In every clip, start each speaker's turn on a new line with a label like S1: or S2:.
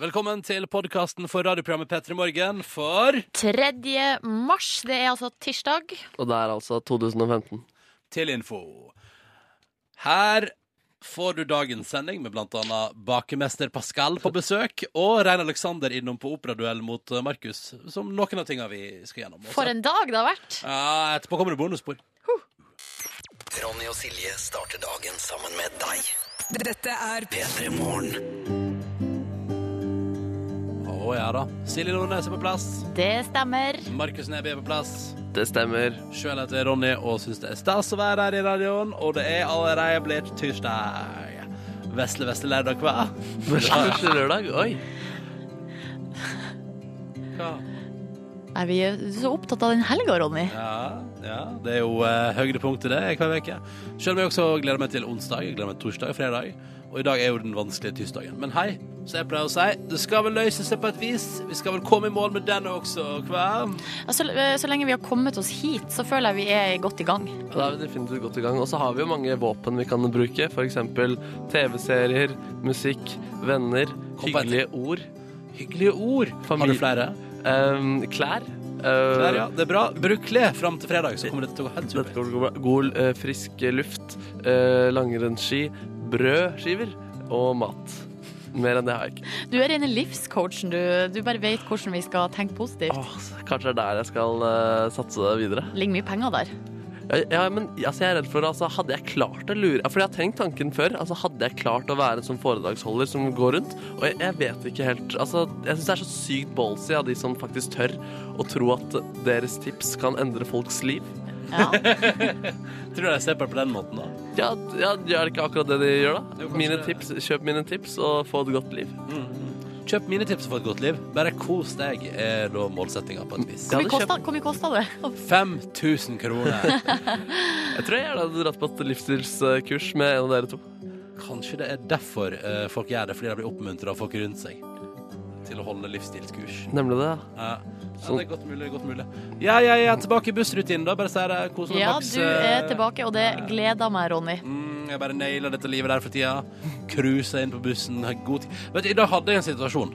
S1: Velkommen til podkasten for radioprogrammet P3 Morgen for
S2: 3. mars, det er altså tirsdag.
S3: Og det er altså 2015.
S1: Til info. Her får du dagens sending med blant annet bakemester Pascal på besøk og Rein Alexander innom på operaduell mot eh, Markus, som noen av tingene vi skal gjennom.
S2: For en dag det har vært.
S1: Ja, etterpå kommer det bonusspor.
S4: Ronny og Silje starter dagen sammen med deg.
S5: Dette er
S4: P3 Morgen.
S1: Å ja da. Silje Nordnes er på plass.
S2: Det stemmer.
S1: Markus Neby er på plass.
S3: Det stemmer.
S1: Sjøl heter jeg Ronny og syns det er stas å være her i radioen, og det er allerede blitt tirsdag. Vesle, vesle lørdag, hva?
S3: Første lørdag. Oi.
S1: hva?
S2: Nei, vi er så opptatt av den helga, Ronny.
S1: Ja, ja, det er jo eh, høydepunktet det hver uke. Selv om jeg også gleder meg til onsdag, jeg gleder meg til torsdag, fredag. Og i dag er jo den vanskelige tirsdagen. Men hei, så jeg pleier å si, det skal vel løse seg på et vis. Vi skal vel komme i mål med den også, hva?
S2: Ja, Så, eh, så lenge vi har kommet oss hit, så føler jeg vi er godt i gang.
S3: Og Da er vi definitivt godt i gang. Og så har vi jo mange våpen vi kan bruke. F.eks. TV-serier, musikk, venner,
S1: Kom på
S3: hyggelige ord,
S1: Hyggelige ord. Har
S3: Familie-
S1: du flere?
S3: ehm, klær. eh,
S1: Der, ja. Det er bra. Bruk klær fram til fredag, så kommer dette til å gå helt
S3: Dette
S1: supert.
S3: går bra. God eh, frisk luft, eh, langrennsski, brødskiver og mat. Mer enn det har jeg ikke.
S2: Du er rene livscoachen, du. Du bare vet hvordan vi skal tenke positivt.
S3: Åh, så kanskje det er der jeg skal eh, satse videre.
S2: Ligger mye penger der.
S3: Ja, ja men altså, jeg er redd for altså, Hadde jeg klart å lure For jeg har tenkt tanken før. Altså, hadde jeg klart å være en sånn foredragsholder som går rundt? Og jeg, jeg vet ikke helt altså, Jeg syns det er så sykt ballsy av de som faktisk tør å tro at deres tips kan endre folks liv.
S2: Ja.
S1: Tror du jeg ser på det på den måten, da?
S3: Ja, ja er det ikke akkurat det de gjør, da?
S1: Jo, kanskje
S3: mine
S1: det- Mm,
S3: tips, kjøp mine tips og få et godt liv.
S1: Kjøp mine tips for et godt liv. Bare kos deg, er da målsettinga på et vis.
S3: Ja.
S2: Hvor mye
S3: det
S2: kosta- Hvor mye kosta det?
S1: 5000 kroner.
S3: Jeg tror jeg gjerne hadde dratt på et livsstilskurs med en av dere to.
S1: Kanskje det er derfor eh, folk gjør det, fordi de blir oppmuntra av folk rundt seg til å holde livsstilskurs.
S3: Nemlig det. Sånn.
S1: Ja. Ja,
S3: Så-
S1: det er godt mulig. godt mulig Ja, ja, ja, tilbake i bussrutinen, da. Bare si det. Kos
S3: sånn
S1: meg
S2: Ja,
S1: maks.
S2: du er
S3: eh,
S2: tilbake, og det gleder meg, Ronny.
S1: Mm, eh, jeg bare nailer dette livet der for tida. Cruiser inn på bussen. har God tid. Vet du, I dag hadde jeg en situasjon.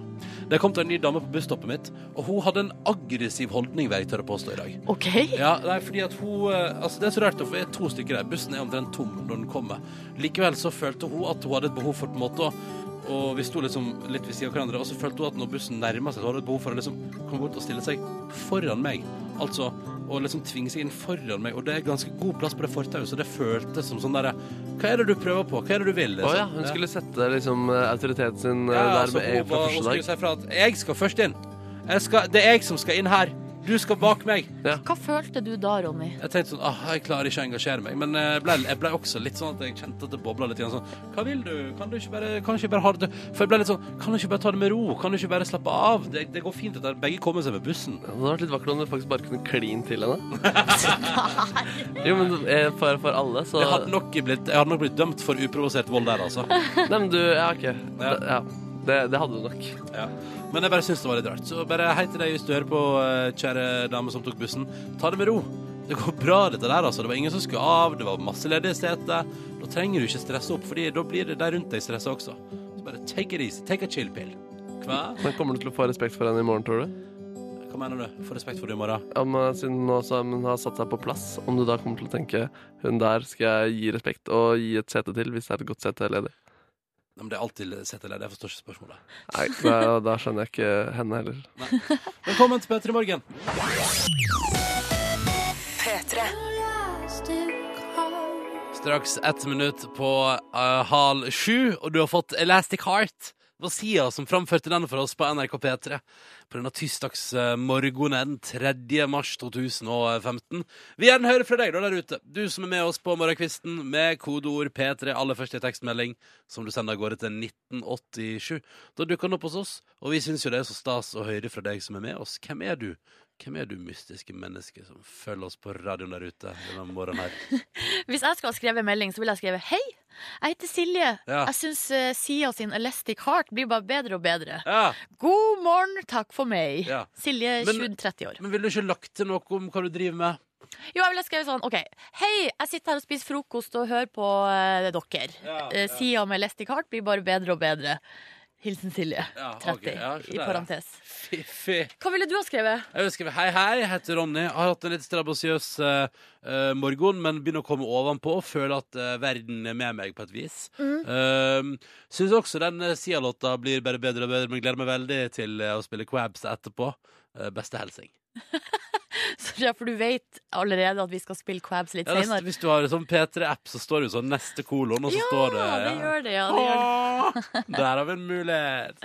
S1: Det kom til en ny dame på busstoppet mitt, og hun hadde en aggressiv holdning, vil jeg tørre å påstå i dag.
S2: OK?
S1: Ja, nei, fordi at hun eh, Altså, det er så rart, for vi er to stykker der. Bussen er omtrent tom når den kommer. Likevel så følte hun at hun hadde et behov for på en måte å og vi sto liksom litt ved siden av hverandre, og så følte hun at når bussen nærma seg, så hadde hun et behov for å liksom komme bort og stille seg foran meg. Altså å liksom tvinge seg inn foran meg, og det er ganske god plass på det fortauet, så det føltes som sånn derre Hva er det du prøver på? Hva er det du vil?
S3: Å ja, hun skulle sette liksom autoriteten sin eh,
S1: ja,
S3: der
S1: altså,
S3: med en
S1: hun,
S3: fra
S1: var- hun
S3: første
S1: skulle
S3: dag.
S1: si fra at jeg skal først inn. Jeg skal, det er jeg som skal inn her. Du skal bak meg.
S2: Hva følte du da, Ronny?
S1: Jeg tenkte sånn, ah, jeg klarer ikke å engasjere meg Men eh, jeg ble, jeg ble også litt sånn at jeg kjente at det boblet litt grann sånn, Hva vil du? Kan du ikke bare, kan du ikke bare ha det For jeg ble litt sånn, kan du ikke bare ta det med ro? Kan du ikke bare slappe av? Det, det går fint at dere begge kommer seg med bussen
S3: Det hadde vært litt vakkert om du faktisk bare kunne kline til henne. jo, men eh, for, for alle, så
S1: jeg hadde, nok blitt, jeg hadde nok blitt dømt for uprovosert vold der altså
S3: Nei, men du Ja, OK.
S1: Ja.
S3: Det- Ja. Det, det hadde du nok.
S1: ja. Men jeg bare synes det var litt rart Så bare hei til deg hvis du hører på, eh, kjære dame som tok bussen Ta det med ro Det går bra dette der altså Det var ingen som skulle av, det var masse ledige seter Da trenger du ikke stresse opp Fordi da blir det der rundt deg stresset også Så bare take it easy, take a chill pill Hva?
S3: Men kommer du til å få respekt for henne i morgen, tror du?
S1: Hva mener du? Få respekt for det i morgen.
S3: Om, eh, siden nå som hun har satt seg på plass, om du da kommer til å tenke hun der skal jeg gi respekt og gi et sete til, hvis det er et godt sete ledig?
S1: Nei, men det er alltid setteledd. Jeg forstår ikke spørsmålet.
S3: Nei, da, da skjønner jeg ikke henne heller.
S1: Velkommen til P3 Morgen.
S5: P3.
S1: Straks ett minutt på eh, hal sju, og du har fått Elastic Heart. Det var Sia som framførte den for oss på NRK P3 på denne tirsdagsmorgenen 3. mars 2015. Vi gjerne hører fra deg da der ute, du som er med oss på morgenkvisten med kodeord P3 aller først i tekstmelding, som du sender av gårde til 1987. Da dukker den opp hos oss, og vi syns jo det er så stas å høre fra deg som er med oss. Hvem er du? Hvem er du mystiske menneske som følger oss på radioen der ute denne morgenen her?
S2: Hvis jeg skulle ha skrevet en melding, så ville jeg skrevet Hei, jeg heter Silje.
S1: Ja.
S2: Jeg syns eh, Sia sin Elastic Heart blir bare bedre og bedre.
S1: Ja,
S2: God morgen, takk for meg.
S1: Ja.
S2: Silje,
S1: Men-
S2: 20-30 år.
S1: Men ville du ikke lagt til noe om hva du driver med?
S2: Jo, jeg ville skrevet sånn, ok Hei, jeg sitter her og spiser frokost og hører på eh, dere
S1: Ja,
S2: Eh, Sia med Elastic Heart blir bare bedre og bedre Hilsen Silje.
S1: Ja,
S2: 30,
S1: ok, ja, så
S2: i
S1: der, ja.
S2: parentes.
S1: Fiffi.
S2: Hva ville du ha skrevet?
S1: Jeg vil skrive hei, hei, jeg heter Ronny. Jeg Har hatt en litt strabasiøs eh, eh, morgen, men begynner å komme ovenpå og føler at eh, verden er med meg på et vis. Mm. Syns også den eh, Sia-låta blir bare bedre og bedre, men gleder meg veldig til eh, å spille Quabs etterpå. Eh, beste hilsing.
S2: Så- Ja, for du vet allerede at vi skal spille Quabs litt
S1: Ja, det-
S2: senere.
S1: hvis du har en sånn P3-app, så står det jo sånn neste kolon, og så står det
S2: Ja, det gjør det. Ja, det gjør det.
S1: Åh, Der har vi en mulighet.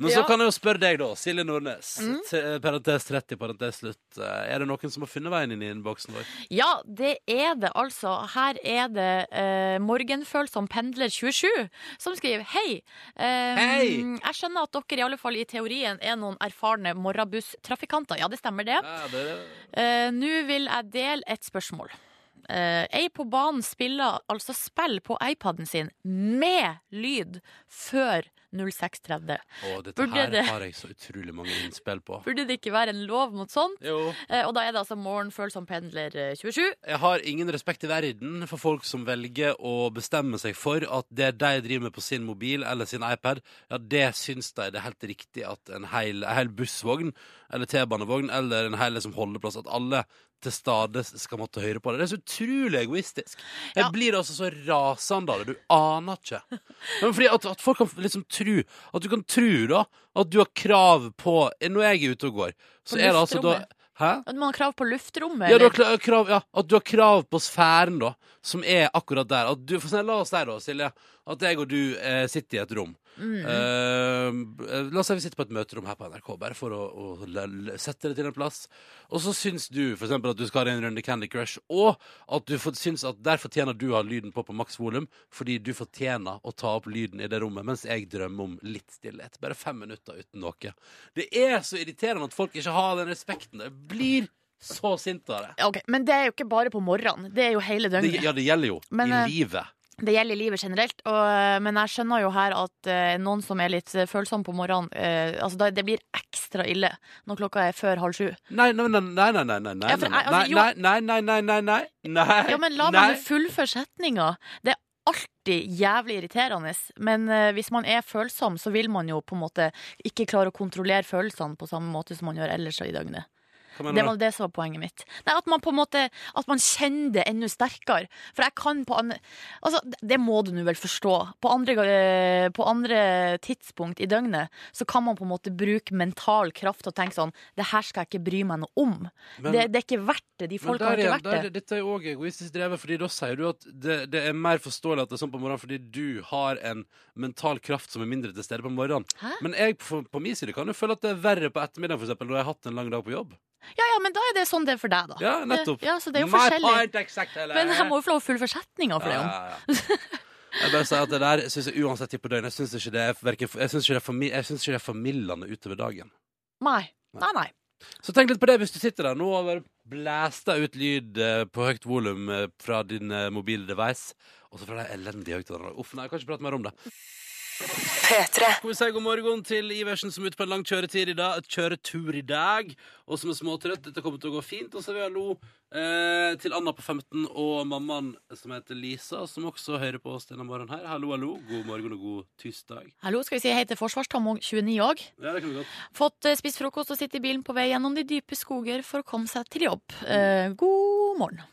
S1: Men så
S2: Ja. Mm.
S1: kan jeg jo spørre deg, da. Silje Nordnes. T- eh, Parentes 30, parentes slutt. Eh, Er det noen som har funnet veien inn i innboksen vår?
S2: ja, det er det, altså. Her er det eh, morgenfølsom pendler 27 som skriver Hei! Eh,
S1: Hei!»
S2: Jeg skjønner at dere i alle fall i teorien er noen erfarne morgenbusstrafikanter. Ja, det stemmer det.
S1: Ja, det
S2: Eh, Nå vil jeg dele et spørsmål. Eh, ei på banen spiller altså spill på iPaden sin med lyd før 06.30.
S1: Å, dette
S2: Burde
S1: her
S2: det-
S1: har jeg så utrolig mange innspill på.
S2: Burde det ikke være en lov mot sånt?
S1: Jo.
S2: Eh, og da er det altså morgenfølsom pendler eh, 27.
S1: Jeg har ingen respekt i verden for folk som velger å bestemme seg for at det de driver med på sin mobil eller sin iPad, ja, det syns de det er helt riktig at en hel, en hel bussvogn eller T-banevogn eller en hel liksom, holdeplass, at alle til stades skal måtte høre på det. Det er så utrolig egoistisk. Jeg
S2: Ja.
S1: blir altså så rasende av det. Du aner ikke. Ja, men fordi at, at folk kan liksom tru At du kan tru da at du har krav på Når jeg er ute og går, så
S2: På
S1: er det altså da
S2: luftrommet.
S1: Hæ?
S2: At Man har krav på luftrommet.
S1: Ja, du
S2: eller?
S1: har kla- krav, ja, at du har krav på sfæren, da, som er akkurat der. At du, for eksempel, la oss si, da, Silje, at jeg og du eh, sitter i et rom.
S2: Mm.
S1: Eh, la oss si vi sitter på et møterom her på NRK, bare for å, å la- la- sette det til en plass. Og så syns du for eksempel at du skal ha en runde Candy Crush, og at du for, syns at der fortjener du å ha lyden på på maks volum, fordi du fortjener å ta opp lyden i det rommet, mens jeg drømmer om litt stillhet. Bare fem minutter uten noe. Det er så irriterende at folk ikke har den respekten. Jeg blir så sint av det.
S2: Ok, Men det er jo ikke bare på morgenen. Det er jo hele
S1: det.
S2: døgnet.
S1: Ja, det gjelder jo
S2: Men,
S1: i
S2: eh,
S1: livet.
S2: Det gjelder i livet generelt, og, men jeg skjønner jo her at eh, noen som er litt eh, følsom på morgenen eh, altså da, Det blir ekstra ille når klokka er før halv sju.
S1: Nei, nei, nei, nei, nei, nei, nei, nei,
S2: Ja, for jeg- altså, jo-
S1: nei, nei, nei, nei, nei, nei, nei,
S2: Ja, men La
S1: nei.
S2: meg nå fullføre setninga. Det er alltid jævlig irriterende, men eh, hvis man er følsom, så vil man jo på en måte ikke klare å kontrollere følelsene på samme måte som man gjør ellers i døgnet.
S1: Hva mener
S2: Det
S1: du?
S2: var det som var poenget mitt. Nei, At man på en måte At man kjenner det enda sterkere. For jeg kan på andre Altså, det må du nå vel forstå. På andre, ga- eh, på andre tidspunkt i døgnet så kan man på en måte bruke mental kraft og tenke sånn Det her skal jeg ikke bry meg noe om.
S1: Men-
S2: det, det er ikke verdt det. De
S1: Men
S2: folka har
S1: der
S2: ikke
S1: igjen,
S2: vært det.
S1: der- Dette er jo også egoistisk drevet, fordi da sier du at det, det er mer forståelig at det er sånn på morgenen fordi du har en mental kraft som er mindre til stede på morgenen.
S2: Hæ?
S1: Men jeg på, på min side kan jo føle at det er verre på ettermiddagen, for eksempel, når jeg har hatt en lang dag på jobb.
S2: Ja, ja, men da er det sånn det er for deg, da.
S1: Ja, nettopp.
S2: Ja, så det er jo
S1: My
S2: forskjellig.
S1: point exactly.
S2: Men jeg må jo få lov å fullføre setninga for det. jo.
S1: Ja, ja, ja. Jeg bare sier at det der synes jeg uansett tid på døgnet Jeg synes ikke det er, hverken- jeg synes ikke det er, formi- jeg synes ikke det er formildende utover dagen
S2: Nei. Nei, nei.
S1: Så tenk litt på det hvis du sitter der nå og bare blæster ut lyd eh, på høyt volum eh, fra din eh, mobile device, og så fra de elendige høyttalerne. Uff, nei, jeg kan ikke prate mer om det.
S5: P3.
S1: Skal vi si god morgen til Iversen som er ute på en lang kjøretid i dag, kjøretur i dag, og som er småtrøtt. Dette kommer til å gå fint. Og så vil jeg hallo eh, til Anna på 15 og mammaen som heter Lisa, som også hører på oss denne morgenen her. Hallo, hallo. God morgen og god tirsdag.
S2: Hallo, skal vi si hei til Forsvarstamong 29 òg.
S1: Ja, det kan vi godt.
S2: Fått eh, spist frokost og sitter i bilen på vei gjennom de dype skoger for å komme seg til jobb. Eh, god morgen.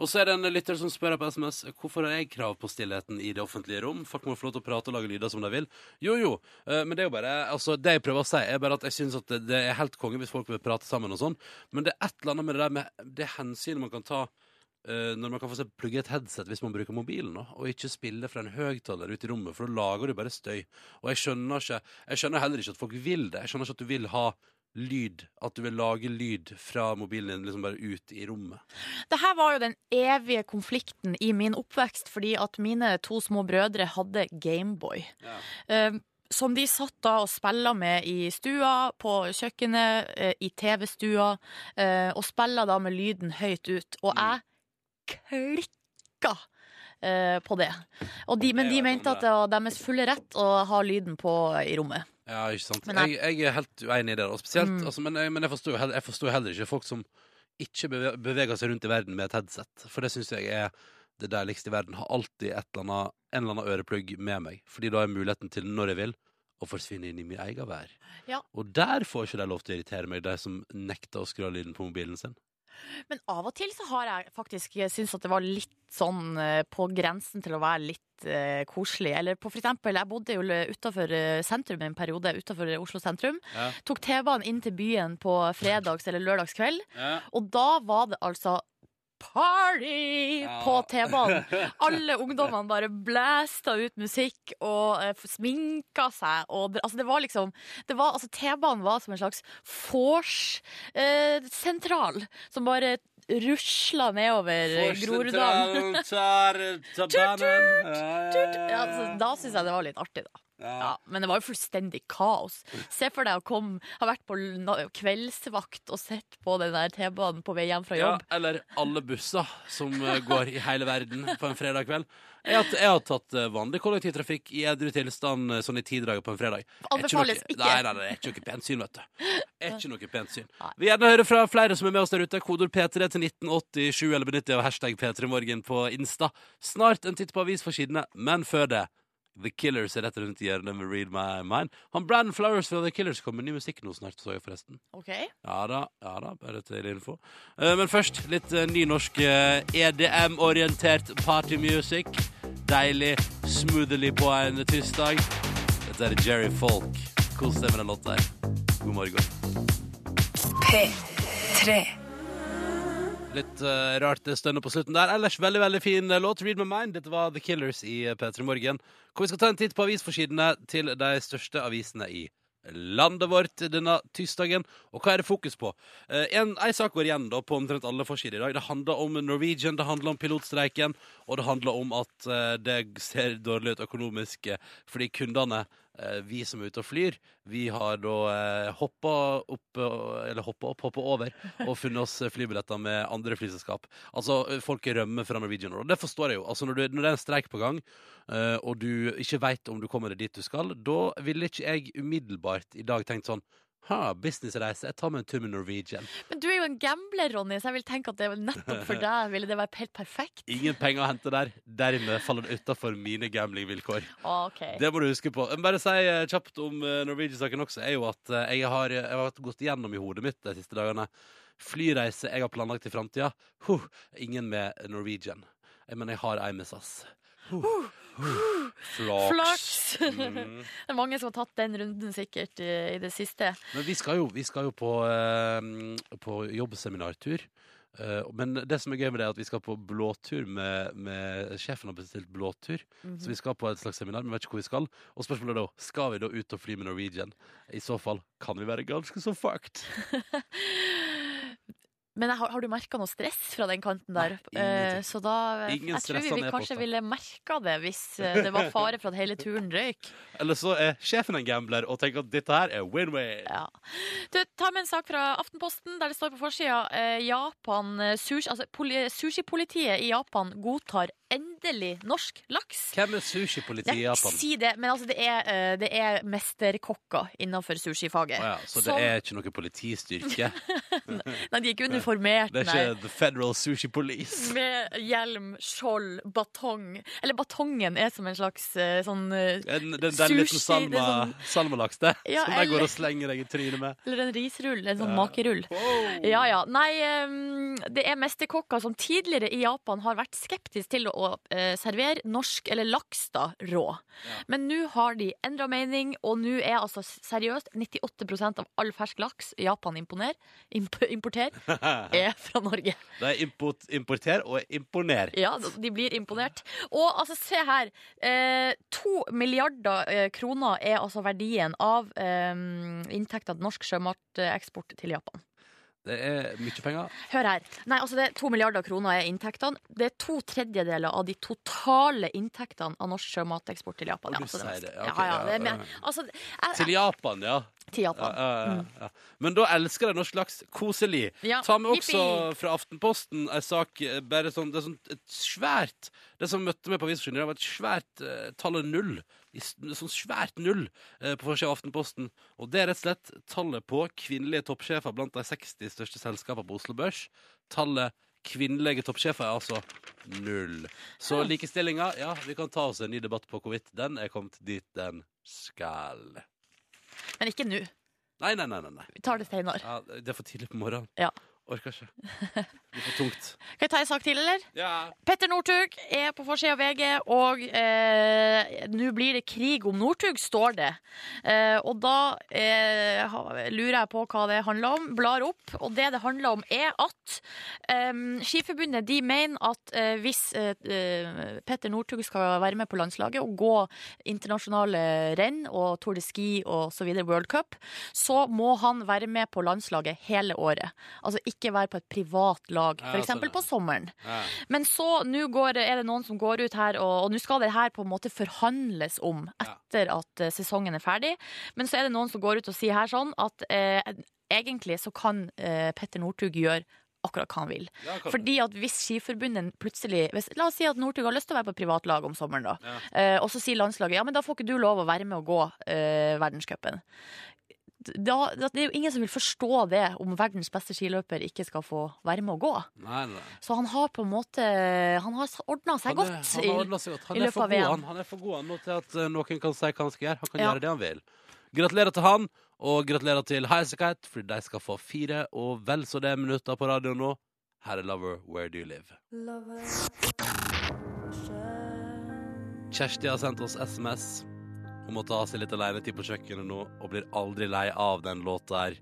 S1: Og så er det en lytter som spør her på SMS hvorfor har jeg krav på stillheten i det offentlige rom. Folk må få lov til å prate og lage lyder som de vil. Jo, jo, eh, men det er jo bare altså, Det jeg prøver å si, er bare at jeg syns at det, det er helt konge hvis folk vil prate sammen og sånn, men det er et eller annet med det der med det hensynet man kan ta eh, når man kan få seg plugge et headset hvis man bruker mobilen, nå, og ikke spille fra en høyttaler ute i rommet, for da lager du bare støy. Og jeg skjønner ikke Jeg skjønner heller ikke at folk vil det. Jeg skjønner ikke at du vil ha lyd, at du vil lage lyd fra mobilen din liksom bare ut i rommet.
S2: Det her var jo den evige konflikten i min oppvekst, fordi at mine to små brødre hadde Gameboy.
S1: Ja.
S2: Eh, som de satt da og spilla med i stua, på kjøkkenet, eh, i TV-stua, eh, og spilla da med lyden høyt ut. Og
S1: Mm.
S2: jeg klikka eh, på det. Og de, men
S1: Det
S2: de
S1: var
S2: mente
S1: sånn
S2: at
S1: det
S2: det var deres fulle rett å ha lyden på i rommet.
S1: Ja, ikke sant.
S2: Men
S1: Jeg, jeg er helt uenig i det. da, Og spesielt,
S2: Mm.
S1: altså, men jeg, men jeg, forstår jo heller, jeg forstår jo heller ikke folk som ikke beve- beveger seg rundt i verden med et headset. For det syns jeg er det deiligste i verden. Har alltid et eller annet, en eller annen øreplugg med meg. Fordi da har jeg muligheten til, når jeg vil, og forsvinner inn i min egen vær.
S2: Ja.
S1: Og der får ikke de lov til å irritere meg, de som nekter å skru av lyden på mobilen sin.
S2: Men av og til så har jeg faktisk eh, syntes at det var litt sånn eh, på grensen til å være litt eh, koselig. Eller på for eksempel, jeg bodde jo utafor sentrum i en periode, utafor Oslo sentrum.
S1: Ja.
S2: Tok T-banen inn til byen på fredags- eller lørdagskveld, og da var det altså Party
S1: Ja.
S2: på T-banen! Alle ungdommene bare blæsta ut musikk og eh, sminka seg. Og, det- altså, det var liksom det var, altså, T-banen var som en slags vors-sentral som bare rusla nedover eh, Groruddalen.
S1: tar, banen.
S2: Ja, altså, da syns jeg det var litt artig, da. Ja, men det var jo fullstendig kaos. Se for deg å komme, ha vært på l- na- kveldsvakt og sett på den der T-banen på vei hjem fra
S1: Ja,
S2: jobb.
S1: eller alle busser som eh, går i hele verden på en fredag kveld. Jeg har, jeg har tatt eh, vanlig kollektivtrafikk i edru tilstand eh, sånn i ti dager på en fredag. Det er
S2: Anbefales
S1: noe-
S2: ikke.
S1: Nei, nei, nei, det er ikke noe pent syn, vet du. Det Er ikke noe pent syn. Vi vil gjerne høre fra flere som er med oss der ute. Kodord P3 til 1987 eller benytt deg av hashtag P3morgen på Insta. Snart en titt på avisforsidene, men før det The Killers er rett rundt i hjørnet med Read My Mind. Han Brandon Flowers fra The Killers kommer med ny musikk nå snart, så jeg forresten.
S2: Ok,
S1: Ja da, ja da, bare til info. Eh, men først litt eh, nynorsk eh, EDM-orientert partymusic. Deilig, smoothly på en tirsdag. Dette er Jerry Folk. Kos deg med den låta her. God morgen.
S5: P3.
S1: Litt eh, rart det stønner på slutten der. Ellers veldig veldig fin eh, låt. Read My Mind. Dette var The Killers i eh, P3 Morgen. Hvor vi skal ta en titt på avisforsidene til de største avisene i landet vårt denne tirsdagen. Og hva er det fokus på? Eh, en, en sak går igjen da på omtrent alle forsider i dag. Det handler om Norwegian, det handler om pilotstreiken, og det handler om at eh, det ser dårlig ut økonomisk eh, fordi kundene eh, vi som er ute og flyr, vi har da eh, hoppa opp, eh, eller hoppa opp, hoppa over, og funnet oss eh, flybilletter med andre flyselskap. Altså, eh, folk rømmer fra Norwegian, og det forstår jeg jo. Altså, når, du, når det er en streik på gang, eh, og du ikke veit om du kommer deg dit du skal, da ville ikke jeg umiddelbart i dag tenkt sånn Ha, businessreise. Jeg tar meg en tur med Norwegian.
S2: Men du er jo en gambler, Ronny, så jeg vil tenke at det er nettopp for deg ville det være helt perfekt.
S1: Ingen penger å hente der. Dermed faller det utafor mine gamblingvilkår.
S2: Ok.
S1: Det må du huske på. Jeg må Bare si eh, kjapt om eh, Norwegian-saken også, er jo at eh, jeg har, jeg har hatt- gått gjennom i hodet mitt de siste dagene. Flyreise jeg har planlagt i framtida. Huh, ingen med Norwegian. Eh, Jeg mener, jeg har ei med SAS. Huh, huh. Flaks.
S2: Flaks.
S1: Mm.
S2: Det er mange som har tatt den runden sikkert i, i det siste.
S1: Men vi skal jo, vi skal jo på, eh, på jobbseminartur. Eh, men det som er gøy med det, er at vi skal på blåtur med, med Sjefen har bestilt blåtur.
S2: Mhm.
S1: Så vi skal på et slags seminar, men vet ikke hvor vi skal. Og spørsmålet er da skal vi da ut og fly med Norwegian. I så fall kan vi være ganske så fucked.
S2: Men jeg har, har du merka noe stress fra den kanten der?
S1: Nei,
S2: Eh,
S1: ingenting.
S2: så da
S1: Ingen
S2: Jeg tror vi,
S1: stressa
S2: vi
S1: nedposter.
S2: kanskje ville merka det hvis eh, det var fare for at hele turen røyk.
S1: Eller så er sjefen en gambler og tenker at dette her er win-win.
S2: Ja. Du, ta med en sak fra Aftenposten, der det står på forsida eh, Japan, eh, sushi, altså, poli, Sushipolitiet i Japan godtar endelig norsk laks.
S1: Hvem er sushipolitiet i
S2: Jeg
S1: Japan?
S2: Si det, men altså, det er, eh, det er mesterkokker innenfor sushifaget.
S1: Å ja, så det
S2: Som-
S1: er ikke noe politistyrke?
S2: Nei, de er ikke uniformert,
S1: Det er
S2: nei.
S1: ikke The Federal Sushi Police?
S2: Med hjelm, skjold, batong. Eller batongen er som en slags eh, sånn eh,
S1: En, den der
S2: Sushi, det er sånn
S1: liten salma, salmalaks der,
S2: Ja,
S1: som jeg går
S2: eller-
S1: og slenger deg i trynet med.
S2: Eller en risrull. En sånn makerull. Ja, ja. Nei, ehm, det er mesterkokker som tidligere i Japan har vært skeptiske til å eh, servere norsk eller laks da, rå. Men nå har de endra mening, og nå er altså seriøst 98 av all fersk laks Japan imponer, imp importerer, er fra Norge.
S1: Det er import, importer og imponer.
S2: Ja, de blir imponert. Og altså, se her. Eh, to milliarder eh, kroner er altså verdien av eh, inntekta til norsk sjømateksport til Japan.
S1: Det er mye penger.
S2: Hør her. Nei, altså det er To milliarder kroner er inntektene. Det er to tredjedeler av de totale inntektene av norsk sjømateksport til Japan.
S1: Og du
S2: altså, er
S1: sier
S2: mest-
S1: det, ja, ok,
S2: ja, ja,
S1: ja,
S2: det er med.
S1: ja.
S2: Altså, jeg,
S1: Til Japan, ja.
S2: jeg, til
S1: ja,
S2: Japan. Mm.
S1: ja, ja, ja. Men da elsker jeg norsk laks. Koselig.
S2: Ja,
S1: Ta med også
S2: yippee.
S1: fra Aftenposten en sak eh, bare sånn, Det er sånn et svært Det som møtte meg på avisforsiden, i dag, var et svært eh, tallet null. I s- Sånn svært null eh, på forsida av Aftenposten. Og det er rett og slett tallet på kvinnelige toppsjefer blant de 60 største selskapene på Oslo Børs. Tallet kvinnelige toppsjefer er altså null. Så likestillinga, ja, vi kan ta oss en ny debatt på hvorvidt den er kommet dit den skal.
S2: Men ikke nå.
S1: Nei, nei, nei. nei, nei.
S2: Vi tar det senere.
S1: Ja, det er for tidlig på morgenen.
S2: Ja.
S1: Orker ikke. Det blir for tungt.
S2: Skal vi ta en sak til, eller?
S1: Ja.
S2: Petter Northug er på forsida av VG, og eh, nå blir det krig om Northug, står det. Eh, og da eh, ha- lurer jeg på hva det handler om. Blar opp, og det det handler om, er at eh, Skiforbundet de mener at eh, hvis eh, eh, Petter Northug skal være med på landslaget og gå internasjonale renn og Tour de Ski og så videre, World Cup, så må han være med på landslaget hele året. Altså ikke være på et privat lag,
S1: Ja,
S2: f.eks.
S1: sånn, ja.
S2: på sommeren.
S1: Ja.
S2: Men så nå går, er det noen som går ut her, og, og nå skal det her på en måte forhandles om etter at eh, sesongen er ferdig. Men så er det noen som går ut og sier her sånn at eh, egentlig så kan eh, Petter Northug gjøre akkurat hva han vil.
S1: Ja, kan
S2: Fordi at hvis Skiforbundet plutselig hvis, La oss si at Northug har lyst til å være på privatlag om sommeren, da.
S1: Ja.
S2: Eh, og så sier landslaget ja, men da får ikke du lov å være med og gå eh, verdenscupen. Da, da, det er jo ingen som vil forstå det om verdens beste skiløper ikke skal få være med å gå.
S1: Nei, nei. nei.
S2: Så han har på en måte Han har ordna seg
S1: Han er-
S2: godt.
S1: Han, har ordnet seg godt.
S2: i
S1: han, er
S2: løpet
S1: for
S2: av
S1: god,
S2: VM.
S1: han. han er for god han, nå til at eh, noen kan si hva han skal gjøre. Han kan
S2: Ja.
S1: gjøre det han vil. Gratulerer til han, og gratulerer til Highasakite, fordi de skal få fire og vel så det minutter på radioen nå. Her er Lover, Where Do You Live? Kjersti har sendt oss SMS. Hun må ta seg litt alenetid på kjøkkenet nå, og blir aldri lei av den låta her.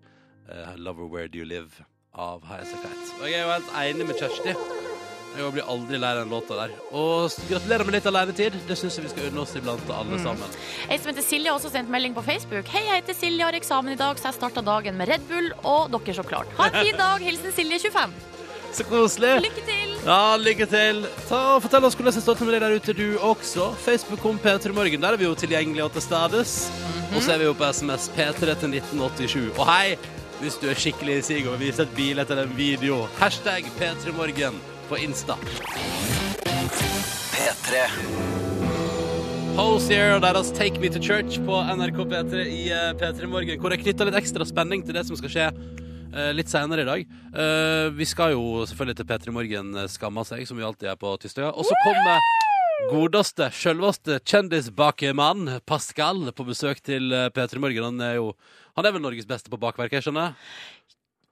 S1: eh, Lover, Where Do You Live? Av Highasakite. Og jeg er jo helt enig med Kjersti. Jeg blir aldri lei den låta der. Og s- gratulerer med litt alenetid. Det syns jeg vi skal unne oss iblant alle sammen.
S2: Ei som heter Silje, har også sendt melding på Facebook. Hei, jeg heter Silje, har eksamen i dag, så jeg starta dagen med Red Bull og dere, så klart. Ha en fin dag. Hilsen Silje, 25.
S1: Så koselig.
S2: Lykke til.
S1: Ja, lykke til. Ta og Fortell oss hvordan det står til med deg der ute, du også. Facebook kom P3 Morgen. Der er vi jo tilgjengelige og til stades.
S2: Mhm.
S1: Og så er vi jo på SMS P3 til 1987. Og hei, hvis du er skikkelig i sig og vil vise et bil etter en video, hashtag P3 Morgen på Insta.
S4: P3
S1: Hosier og deres Take Me To Church på NRK P3 i eh, P3 Morgen, hvor jeg knytta litt ekstra spenning til det som skal skje eh, litt senere i dag. Eh, vi skal jo selvfølgelig til P3 Morgen eh, skamma seg, som vi alltid er på tirsdager. Og så kommer godeste, sjølveste kjendisbakemann Pascal på besøk til eh, P3 Morgen. Han er jo han er vel Norges beste på bakverk, jeg skjønner?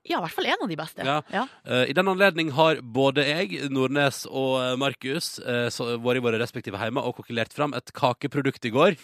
S2: Ja, i hvert fall en av de beste.
S1: Ja. Eh, I den anledning har både jeg, Nordnes og eh, Markus eh, så- vært i våre respektive hjemme og kokkelert fram et kakeprodukt i går.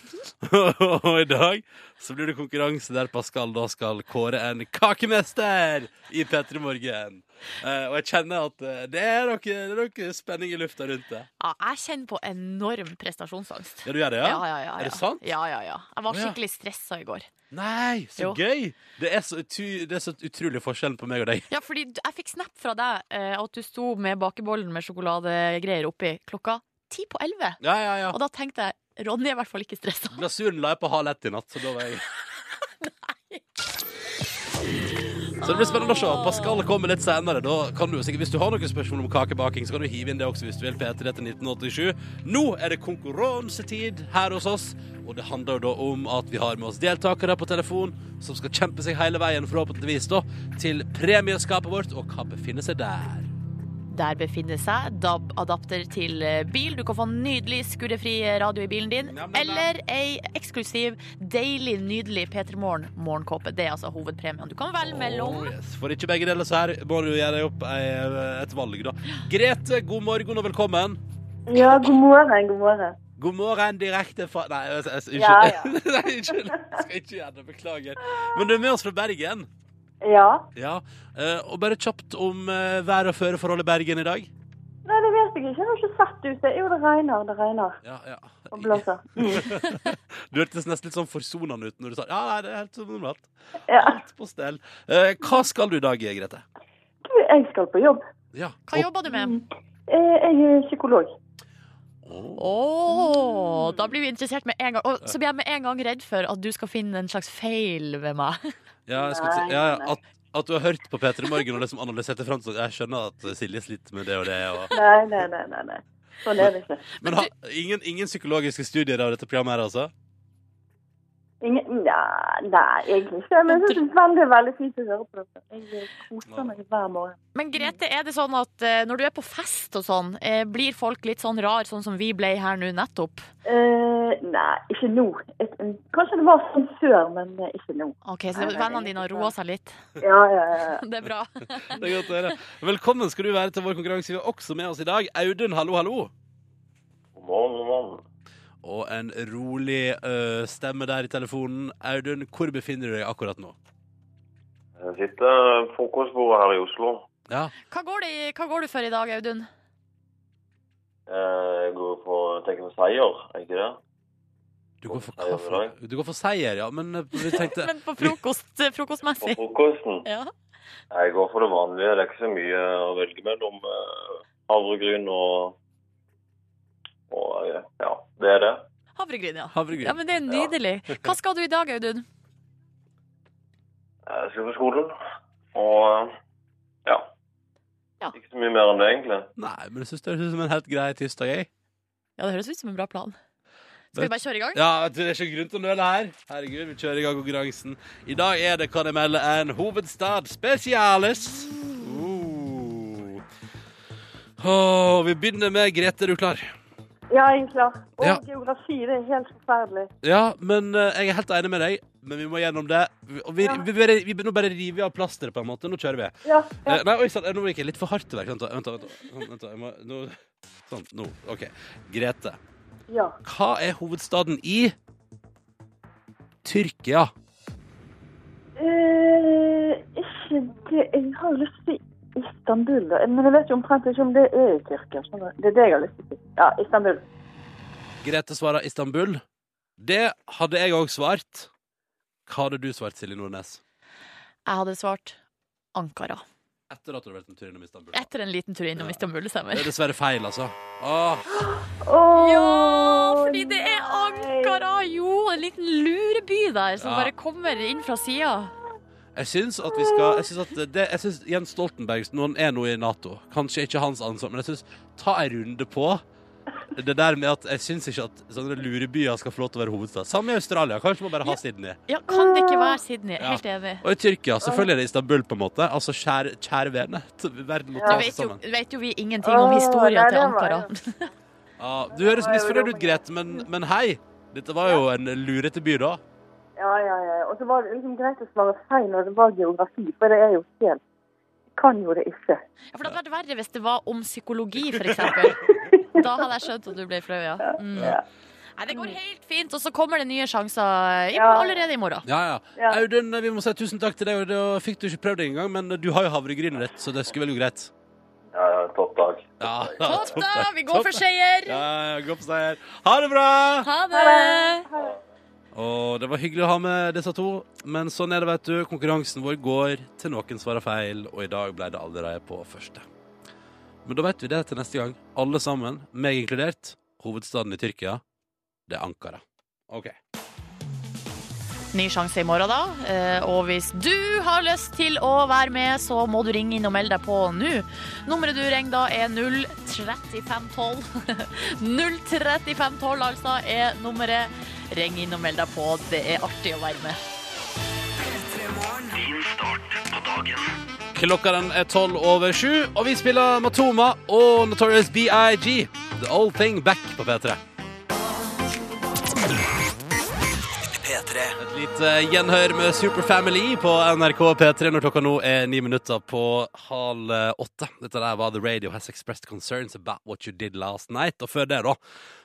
S1: og i dag så blir det konkurranse der Pascal da skal kåre en kakemester i P3 Morgen. Eh, og jeg kjenner at eh, det er noe, det er noe spenning i lufta rundt det.
S2: Ja, jeg kjenner på enorm prestasjonsangst.
S1: Ja, du gjør det, ja?
S2: Ja, ja, ja,
S1: Er det
S2: ja.
S1: sant?
S2: Ja, ja, ja. Jeg var
S1: Å, ja.
S2: skikkelig stressa i går.
S1: Nei,
S2: Jo.
S1: så gøy! Det er så, utu, det er så utrolig forskjellen på meg og deg.
S2: Ja, fordi du- jeg fikk snap fra deg eh, at du sto med bakebollen med sjokoladegreier oppi klokka ti på elleve.
S1: Ja, ja, ja.
S2: Og da tenkte jeg Ronny er i hvert fall ikke stressa.
S1: Glasuren la jeg på halv ett i natt, så da var jeg Så det blir spennende å se. Pascal kommer litt senere. Da kan du sikkert, Hvis du har noen spørsmål om kakebaking, så kan du hive inn det også hvis du vil. P3 til 1987. Nå er det konkurransetid her hos oss, og det handler jo da om at vi har med oss deltakere på telefon som skal kjempe seg hele veien, forhåpentligvis, da, til premieskapet vårt, og hva befinner seg der.
S2: Der befinner seg DAB-adapter til eh, bil. Du kan få nydelig skurrefri radio i bilen din.
S1: Nam, nam, nam.
S2: Eller ei eksklusiv, deilig, nydelig P3 Morgen-morgenkåpe. Det er altså hovedpremien. Du kan velge mellom.
S1: Oh, yes. For ikke begge deler, så her må du gjøre deg opp ei- et valg, da. Grete, god morgen og velkommen.
S6: Ja, god morgen, god morgen.
S1: God morgen direkte fra Nei, jeg- jeg- unnskyld.
S6: Ja, ja.
S1: Nei, unnskyld. Jeg skal ikke gjøre det. Beklager. Men du er med oss fra Bergen.
S6: Ja,
S1: Ja. eh, Og bare kjapt om eh, vær og føreforhold i Bergen i dag.
S6: nei, det vet jeg ikke. Jeg har ikke sett ute. Jo, det regner, det regner.
S1: Ja, ja.
S6: Og blåser. Mm.
S1: Du hørtes nesten litt sånn forsonende ut når du sa ja, nei, det er helt som normalt.
S6: Ja.
S1: Alt på stell. Eh, Hva skal du i dag, Grete?
S6: Du, jeg skal på jobb.
S1: Ja.
S2: Hva jobber du med?
S6: Eh, Jeg er psykolog.
S1: Å,
S2: Å, da blir vi interessert med en gang. Og så blir jeg med en gang redd for at du skal finne en slags feil ved meg.
S1: Ja, jeg skulle si
S6: Nei,
S1: ja,
S6: nei.
S1: at, at du har hørt på P3 Morgen og liksom analysert det fram sånn. Jeg skjønner at Silje sliter med det og det. Og...
S6: Nei, nei, nei, nei. nei. Sånn er det ikke.
S1: Men ha, ingen, ingen psykologiske studier av dette programmet her, altså?
S6: Ingen, ja, nei, egentlig ikke. Men jeg syns veldig, veldig fint å høre på dere. Jeg koser meg hver morgen.
S2: Men Grete, er det sånn at eh, når du er på fest og sånn, eh, blir folk litt sånn rar, sånn som vi ble her nå nettopp?
S6: Eh, nei, ikke nå. Jeg- Kanskje det var sånn før, men eh, ikke nå.
S2: Ok, Så
S6: Nei, nei,
S2: vennene
S6: nei,
S2: dine har
S6: ikke
S2: roa seg litt?
S6: Ja, ja, ja.
S2: Det er bra.
S1: Det er godt å høre. Velkommen skal du være til vår konkurranse. Vi har også med oss i dag Audun, hallo, hallo.
S7: God morgen, god morgen.
S1: Og en rolig ø, stemme der i telefonen. Audun, hvor befinner du deg akkurat nå?
S7: Jeg sitter på frokostbordet her i Oslo.
S1: Ja,
S2: Hva går, det, i- hva går du for i dag, Audun?
S7: Eh, Jeg går på, tenker på seier, er ikke det?
S1: Du går for kaffe. Du går for seier, ja. Men ø, vi tenkte
S2: Men på frokost,
S7: På
S2: frokostmessig?
S7: frokosten.
S2: Ja.
S7: Jeg går for det vanlige. Det er ikke så mye å velge mellom. eh, Havregryn og, og eh, Ja, det er det.
S2: Havregryn, ja.
S1: havregryn.
S2: Ja, men Det er nydelig. Hva skal du i dag, Audun?
S7: Jeg skal på skolen. Og eh, ja.
S2: Ja.
S7: Ikke så mye mer enn det, egentlig.
S1: Nei, men jeg synes det høres ut som en helt grei tirsdag, jeg.
S2: Ja, Det høres ut som en bra plan. Skal vi bare kjøre i gang?
S1: Ja, vet du, det er ikke grunn til å nøle her. Herregud, vi kjører i gang konkurransen. I dag er det, kan jeg melde, en hovedstad spesialis. Uh. Åh, vi begynner med Grete, er du klar?
S6: ja jeg er klar. Og
S1: Ja.
S6: geografi, det er helt forferdelig.
S1: Ja, men eh, jeg er helt enig med deg. Men vi må gjennom det. Vi- Og vi,
S6: Ja.
S1: vi, bare, vi, nå bare river vi av plasteret, på en måte. Nå kjører vi.
S6: Ja, ja.
S1: Eh, Nei, oi sann, nå gikk jeg litt for hardt til verks. Vent, da, vent, da, vent, da. Sånn, vent, da. Jeg må, nå, sånn, nå. OK. Grete,
S6: ja.
S1: hva er hovedstaden i Tyrkia?
S6: Eh, ikke det Jeg har jo lyst til Istanbul, da. men jeg vet jo omtrent ikke om det er i Tyrkia. skjønner du? Det er det jeg har lyst til. Ja, Istanbul.
S1: Grete svarer Istanbul. Det hadde jeg òg svart. Hva hadde du svart, Silje Nordnes?
S2: Jeg hadde svart Ankara.
S1: Etter at du hadde vært en tur innom Istanbul.
S2: Etter en liten tur innom
S1: Ja.
S2: Istanbul,
S1: Det
S2: stemmer.
S1: er dessverre feil, altså. Åh,
S6: Åh,
S2: Ja, fordi det er
S6: nei.
S2: Ankara! Jo, en liten lureby der som
S1: Ja.
S2: bare kommer inn fra sida.
S1: jeg syns at vi skal Jeg syns at det, jeg syns Jens Stoltenberg noen er nå i Nato. Kanskje ikke hans ansvar, men jeg syns ta en runde på det der med at jeg syns ikke at sånne lurebyer skal få lov til å være hovedstad. Samme i Australia. Kanskje man bare har Sydney.
S2: Ja, kan det ikke være Sydney?
S1: Ja.
S2: Helt enig.
S1: Og i Tyrkia selvfølgelig er det Istanbul, på en måte. Altså kjære, kjære vene. T- Verden må
S2: Nå
S1: ta seg
S2: vet jo,
S1: sammen.
S2: vet jo vi ingenting om
S6: Åh,
S2: historien
S6: nei,
S2: til
S6: det var
S2: Ankara.
S1: Ja, du
S6: Det
S1: høres
S6: var jo
S1: misfornøyd
S6: dumt.
S1: ut, Grete, men, men hei. Dette var jo en lurete by, da.
S6: Ja, ja, ja. Og så var det liksom greit å svare feil når det var geografi, for det er jo helt Jeg Kan jo det ikke.
S2: Ja, For det hadde vært verre hvis det var om psykologi, f.eks. Da hadde jeg skjønt at du ble flau, ja. Mm.
S6: Ja.
S2: Nei, det går helt fint, og så kommer det nye sjanser i,
S6: Ja.
S2: allerede i morgen.
S1: Ja, ja.
S6: Ja.
S1: Audun, vi må si tusen takk til deg. og Da fikk du ikke prøvd det engang, men du har jo havregrynet ditt, så det skulle vel gå greit.
S7: Ja, ja, topp dag.
S1: Ja,
S2: Topp, da! Vi går
S1: Topp,
S2: for
S1: da.
S2: seier!
S1: Ja, ja, gå på seier. Ha det bra!
S2: Ha det!
S1: Og det var hyggelig å ha med disse to, men sånn er det, vet du. Konkurransen vår går til noen svarer feil, og i dag ble det allerede på første. Men da vet vi det til neste gang. Alle sammen, meg inkludert. Hovedstaden i Tyrkia, det er Ankara. OK.
S2: Ny sjanse i morgen, da. Eh, Og hvis du har lyst til å være med, så må du ringe inn og melde deg på nå. Nummeret du ringer da, er 03512. 03512, altså, er nummeret. Ring inn og meld deg på. Det er artig å være med.
S1: Klokka den er tolv over sju, og vi spiller Matoma og Notorious BIG. The Old Thing Back på P3.
S4: P3
S1: Et lite gjenhør med Superfamily på NRK P3 når klokka nå er ni minutter på halv eh, åtte. Dette der var The Radio Has Expressed Concerns About What You Did Last Night. Og før det, da,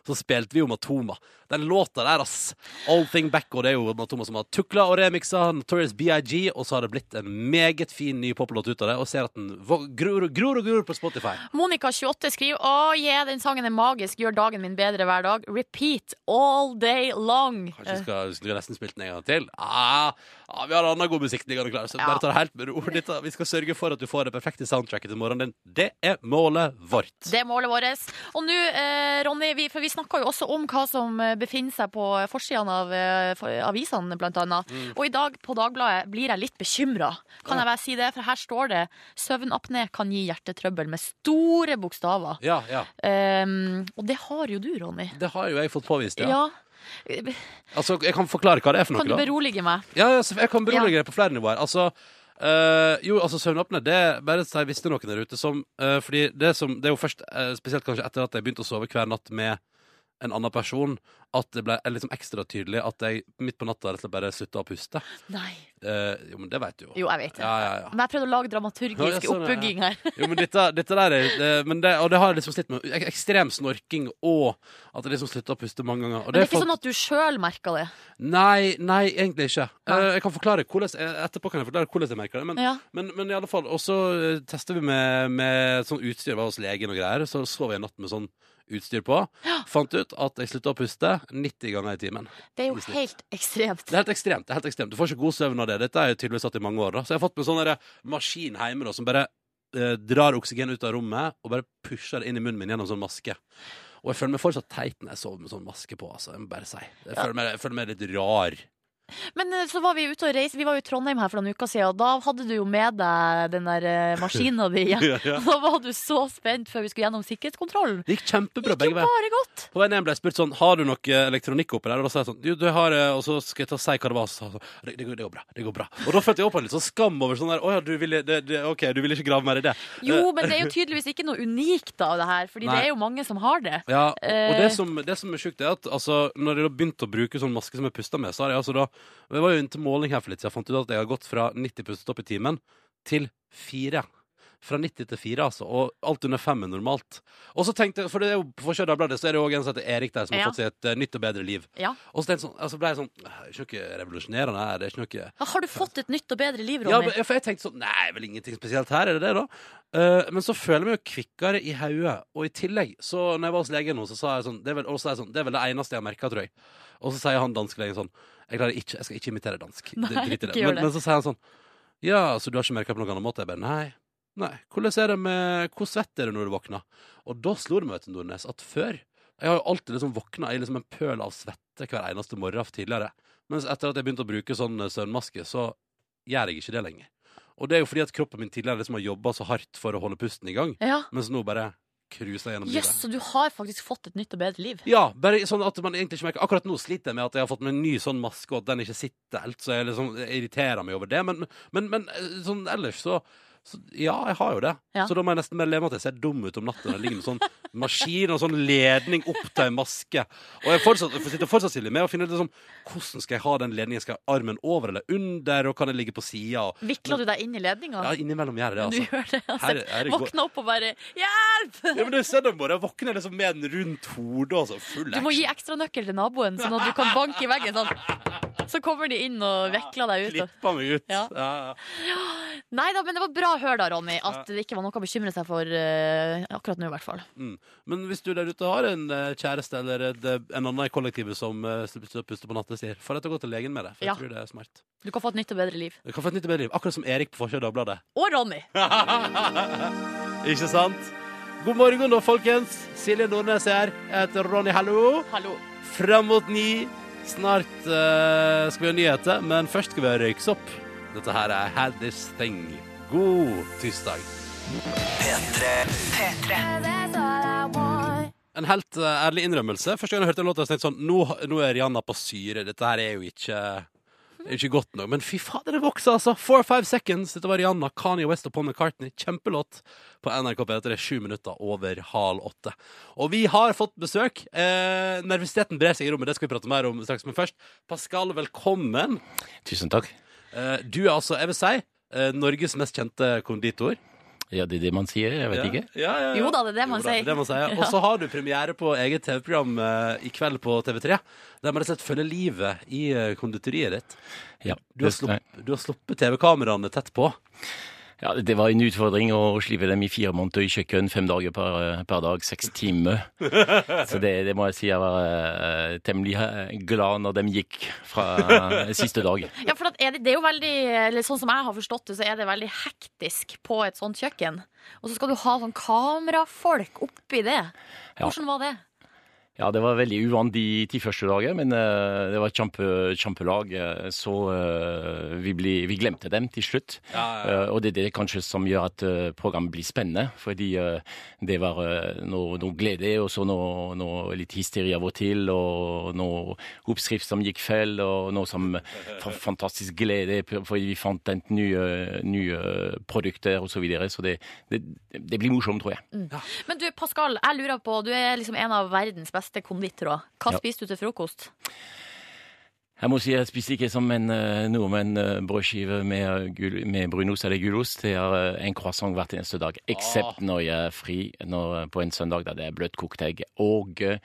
S1: så spilte vi jo Matoma. Den låta der, ass. Old Thing Back, og det er jo Matoma som har tukla og remiksa Notorious BIG, og så har det blitt en meget fin ny poplåt ut av det, og ser at den vå- gror, og- gror og gror på Spotify.
S2: Monica28 skriver Å, yeah, den sangen er magisk, gjør dagen min bedre hver dag. Repeat all day long. Eh,
S1: Kanskje vi skal, skulle nesten spilt den en gang til? Ah, ah, vi har annen god musikk liggende klar, så
S2: Ja.
S1: bare ta det helt med ro. Dette- Vi skal sørge for at du får det perfekte soundtracket til morgenen din. Det er målet vårt.
S2: Det er målet vårt. Og nå, eh, Ronny, vi, for vi snakka jo også om hva som eh, befinner seg på forsidene av eh, for- avisene, blant annet.
S1: Mm.
S2: Og i dag på Dagbladet blir jeg litt bekymra. Kan jeg bare si det? For her står det 'Søvnapné kan gi hjertetrøbbel' med store bokstaver.
S1: Ja, ja.
S2: Um, og det har jo du, Ronny.
S1: Det har jo jeg fått påvist,
S2: Ja.
S1: ja. Altså, jeg kan forklare hva det er for
S2: Kan du
S1: noe. da.
S2: berolige meg?
S1: Ja, ja, så jeg kan berolige deg på flere nivåer. Altså, eh, jo, altså søvnapne, det bare si hvis det er noen der ute som eh, Fordi det, som, det er jo først, eh, spesielt kanskje etter at jeg begynte å sove hver natt med en annen person, at det ble eh, liksom ekstra tydelig at jeg midt på natta rett og slett bare slutta å puste.
S2: Nei.
S1: Eh, jo, men det veit du jo.
S2: Jo, jeg vet det.
S1: Ja, ja, ja.
S2: Men jeg prøvde å lage dramaturgisk
S1: Ja, jeg så det, sånn, ja.
S2: oppbygging her.
S1: Jo, men dette, dette der er det, men det, Og det har jeg liksom slitt med. Ek- Ekstrem snorking og at jeg liksom slutta å puste mange ganger. Og
S2: Men det er ikke
S1: folk-
S2: sånn at du sjøl merka det.
S1: Nei, nei, egentlig ikke.
S2: Nei.
S1: Eh, Jeg kan forklare hvordan, eh, etterpå kan jeg forklare hvordan jeg merker det. Men,
S2: Ja.
S1: men, men i alle fall, og så eh, tester vi med, med sånn utstyr. Jeg var hos legen og greier. Så sov jeg en natt med sånn utstyr på. Fant ut at jeg slutta å puste 90 ganger i timen.
S2: Det er jo
S1: I snitt.
S2: helt ekstremt.
S1: Det er helt ekstremt. det er helt ekstremt Du får ikke god søvn av det. Dette er jo tydeligvis satt i mange år. da Så jeg har fått med sånn der maskin hjemme da, som bare eh, drar oksygen ut av rommet og bare pusher det inn i munnen min gjennom sånn maske. Og jeg føler meg fortsatt teit når jeg sover med sånn maske på. Altså. Jeg må bare si Jeg føler meg, jeg føler meg litt rar.
S2: Men eh, så var vi ute og reiste. Vi var jo i Trondheim her for noen uker siden, og da hadde du jo med deg den der eh, maskina di igjen.
S1: Ja, ja.
S2: Da var du så spent før vi skulle gjennom sikkerhetskontrollen.
S1: Det gikk kjempebra
S2: Gikk jo
S1: begge veier.
S2: bare godt.
S1: På veien hjem ble jeg spurt sånn Har du noe elektronikk oppi der? Og da sa jeg sånn Jo, det har jeg Og så skal jeg ta og si hva det var. Så, sa jeg sånn, det, det, går- det går bra. Det går bra. Og da følte jeg opp en litt sånn skam over sånn der Å ja, du ville det, det, OK, du ville ikke grave mer i det.
S2: Jo, men det er jo tydeligvis ikke noe unikt av det her, fordi
S1: Nei.
S2: det er jo mange som har det.
S1: Ja, og, og det
S2: Eh.
S1: som, det som er sjukt, er at altså, når jeg da begynte å bruke sånn maske som jeg pusta med, så har jeg altså da Jeg var jo inne til måling her for litt siden, jeg fant ut at jeg har gått fra 90 pustestopp i timen til 4. Fra 90 til 4, altså. Og alt under 5 er normalt. Og så tenkte jeg, for det er jo på forsida av Dagbladet, så er det jo også en som heter Erik der, som
S2: Ja.
S1: har fått seg et eh, nytt og bedre liv.
S2: Ja.
S1: Og så tenkte jeg sånn, altså ble jeg sånn «Åh, Det er ikke noe revolusjonerende her. Det er ikke noe
S2: Har du fått et nytt og bedre liv,
S1: ja,
S2: Ronny?
S1: men- for jeg tenkte sånn Nei, vel ingenting spesielt her, er det det, da? Eh, men så føler jeg meg jo kvikkere i hodet. Og i tillegg, så når jeg var hos legen nå, så sa jeg sånn Det er vel, og så sa jeg sånn, det, er vel det eneste jeg har merka, tror jeg. Og så sier han danskelegen sånn Jeg klarer ikke, jeg skal ikke imitere dansk.
S2: Nei,
S1: Drit i det.
S2: ikke gjør
S1: Men,
S2: det.
S1: men så sier han sånn Ja, så du har ikke merka på noen annen måte? Jeg bare Nei. Nei. Hvordan er det med Hvor svett er du når du våkner? Og da slo det meg, vet du, Nordnes, at før Jeg har jo alltid liksom våkna i liksom en pøl av svette hver eneste morgen tidligere. Mens etter at jeg begynte å bruke sånn eh, søvnmaske, så gjør jeg ikke det lenger. Og det er jo fordi at kroppen min tidligere liksom har jobba så hardt for å holde pusten i gang,
S2: Ja.
S1: mens nå bare cruiser jeg gjennom
S2: Jøss,
S1: livet.
S2: så du har faktisk fått et nytt og bedre liv.
S1: Ja, bare sånn at man egentlig ikke merker Akkurat nå sliter jeg med at jeg har fått meg en ny sånn maske, og at den ikke sitter helt, så jeg liksom jeg irriterer meg over det. Men, men, men eh, sånn ellers så, så Ja, jeg har jo det.
S2: Ja.
S1: Så da må jeg nesten bare leve med at jeg ser dum ut om natta når jeg ligger med sånn maskin og sånn ledning opp til ei maske. Og jeg, fortsatt, jeg sitter fortsatt stille med å finne ut liksom, hvordan skal jeg ha den ledningen. Skal jeg ha armen over eller under, og kan jeg ligge på sida?
S2: Vikla du deg inn i ledninga?
S1: Ja, innimellom gjør jeg det,
S2: Du
S1: altså.
S2: gjør det, altså.
S1: Her- her går-
S2: Våkna opp og bare Hjelp!
S1: Ja, men det er søndagsmorgen. Jeg våkner liksom med den rundt hodet. Altså. Full
S2: Du må gi ekstranøkkel til naboen, sånn at du kan banke i veggen. Sånn. Så kommer de inn og vekler deg ut. og-
S1: Klippa meg ut. Ja.
S2: Ja. Nei da, men det var bra å høre da, Ronny, at det ikke var noe å bekymre seg for eh, akkurat nå, i hvert fall.
S1: Mm. Men hvis du der ute har en eh, kjæreste eller et, eh, en annen i kollektivet som eh, slipper å puste på nattestid, får deg til å gå til legen med det. For
S2: Ja.
S1: jeg tror det er smart.
S2: Du kan få et nytt og bedre liv.
S1: Du kan få et nytt bedre liv. Akkurat som Erik på forsida av Dagbladet.
S2: Og Ronny!
S1: Ikke sant? God morgen, da, folkens. Silje Nordnes er her. Jeg heter Ronny, hallo.
S2: Hallo.
S1: Fram mot ni. Snart eh, skal vi ha nyheter, men først skal vi ha røyksopp. Dette her er Had This Thing. God tirsdag. En helt eh, ærlig innrømmelse. Første gang jeg hørte den låta, så tenkte jeg sånn nå, nå er Rihanna på syre. Dette her er jo ikke det er ikke godt nok, men fy fader, det vokser, altså! Four Five Seconds. Dette var Rihanna, Kanye West og Paul McCartney. Kjempelåt på NRK P3. Sju minutter over halv åtte. Og vi har fått besøk. Eh, nervøsiteten brer seg i rommet, det skal vi prate mer om straks. Men først, Pascal, velkommen.
S8: Tusen takk.
S1: Eh, du er altså, jeg vil si, eh, Norges mest kjente konditor.
S8: Ja, det er det man sier. Jeg vet
S1: Ja,
S8: ikke.
S1: Ja, ja, ja.
S2: Jo da, det er det man
S1: Jo da,
S2: sier.
S1: det man sier. Og så har du premiere på eget TV-program eh, i kveld på TV3, der man rett og slett følger livet i eh, konditoriet ditt.
S8: Ja,
S1: Du har
S8: det, nei.
S1: sluppet, du har sluppet TV-kameraene tett på.
S8: ja, det var en utfordring å slippe dem i fire måneder i kjøkken, fem dager per, per dag, seks timer. Så det, det må jeg si jeg var eh, temmelig eh, glad når de gikk fra eh, siste dag.
S2: Ja, for at er det, det er jo veldig eller Sånn som jeg har forstått det, så er det veldig hektisk på et sånt kjøkken. Og så skal du ha sånn kamerafolk oppi det.
S8: Ja.
S2: Hvordan var det?
S8: Ja, det var veldig uvant de ti første dager, men eh, det var et kjempe, kjempelag, eh, så eh, vi, ble, vi glemte dem til slutt.
S1: Ja,
S8: Eh, og det er det kanskje som gjør at eh, programmet blir spennende, fordi eh, det var eh, noe, noe glede, og så noe, noe litt hysteri av og til, og noe oppskrift som gikk feil, og noe som eh, fa- fantastisk glede, p- fordi vi fant enten nye, nye produkter og så videre, så det, det, det blir morsomt, tror jeg.
S2: Men du, Pascal, jeg lurer på, du er liksom en av verdens beste konditorer. Hva
S8: Ja.
S2: spiser du til frokost?
S8: Jeg må si jeg spiser ikke som en eh, nordmenn eh, brødskive med, eh, gul, med brunost eller gulost. Det er eh, en croissant hvert eneste dag,
S2: Ah.
S8: eksept når jeg er fri når, eh, på en søndag der det er bløtkokt egg og eh,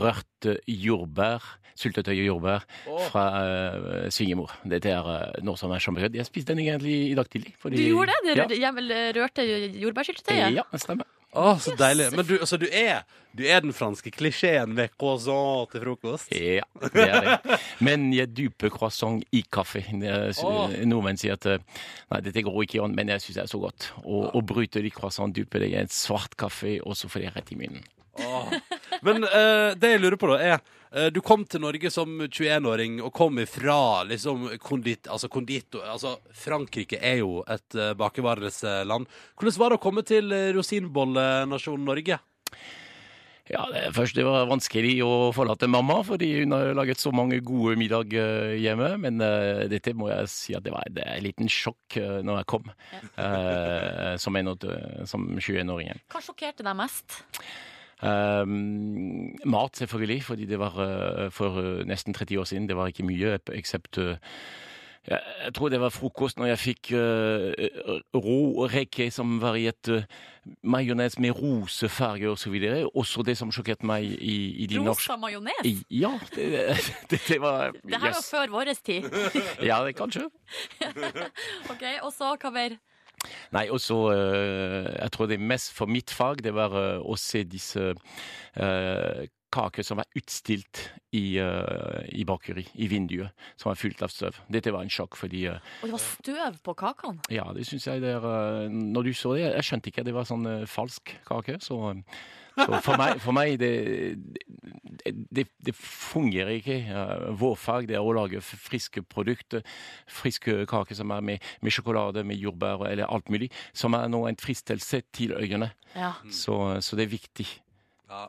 S8: rørte jordbær, syltetøy og jordbær fra eh, svigermor. Dette er eh, noe som er kjempegodt. Jeg spiste den egentlig i dag tidlig. fordi-
S2: Du gjorde det? Det
S8: Ja.
S2: rø- hjemmel- rørte jordbærsyltetøyet?
S8: Ja, det stemmer.
S1: Å, så deilig. Men du, altså, du, er, du er den franske klisjeen med croissant til frokost.
S8: Ja, det er det. Men jeg dyper croissant i kaffe. Jeg sy-
S1: Åh.
S8: Nordmenn sier at eh, nei, dette går ikke an, men jeg syns det er så godt. Og, og bryter de croissant, dyper det i en svart kaffe, og så får det rett i munnen.
S1: Åh. Men eh, det jeg lurer på, da, er eh, Du kom til Norge som 21-åring og kom ifra liksom kondit... Altså kondito... Altså, Frankrike er jo et uh, bakervareland. Hvordan var det å komme til eh, rosinbollenasjonen Norge?
S8: Ja, det, først det var vanskelig å forlate mamma, fordi hun har laget så mange gode middag eh, hjemme. Men eh, dette må jeg si at det var det er en liten sjokk uh, når jeg kom, eh, som, en åtte- som 21-åring.
S2: Hva sjokkerte deg mest?
S8: Ehm, mat, selvfølgelig, fordi det var eh, for eh, nesten 30 år siden. Det var ikke mye, eksept eh, jeg, jeg tror det var frokost når jeg fikk eh, rå reke som var i et eh, majones med rosefarge og så videre. Også det som sjokkerte meg i, i de norske
S2: Rosa majones?
S8: i- Ja, det, det, det var
S2: Det her var
S8: yes.
S2: før vår tid.
S8: Ja, det kanskje.
S2: Ok, Og så, hva mer?
S8: Nei, og så eh, Jeg tror det mest for mitt fag, det var eh, å se disse eh, kaker som var utstilt i, eh, i bakeri, i vinduet, som var fullt av støv. Dette var en sjokk, fordi eh,
S2: Og det var støv på kakene.
S8: Ja, det syns jeg det er eh, Når du så det, jeg skjønte ikke at det var sånn eh, falsk kake, så eh, så for meg, for meg det, det, det, det fungerer ikke. Eh, Vår fag det er å lage f- friske produkter, friske kaker som er med, med sjokolade, med jordbær eller alt mulig, som er nå en fristelse til øyene.
S2: Ja.
S8: Så, så det er viktig.
S1: Ja.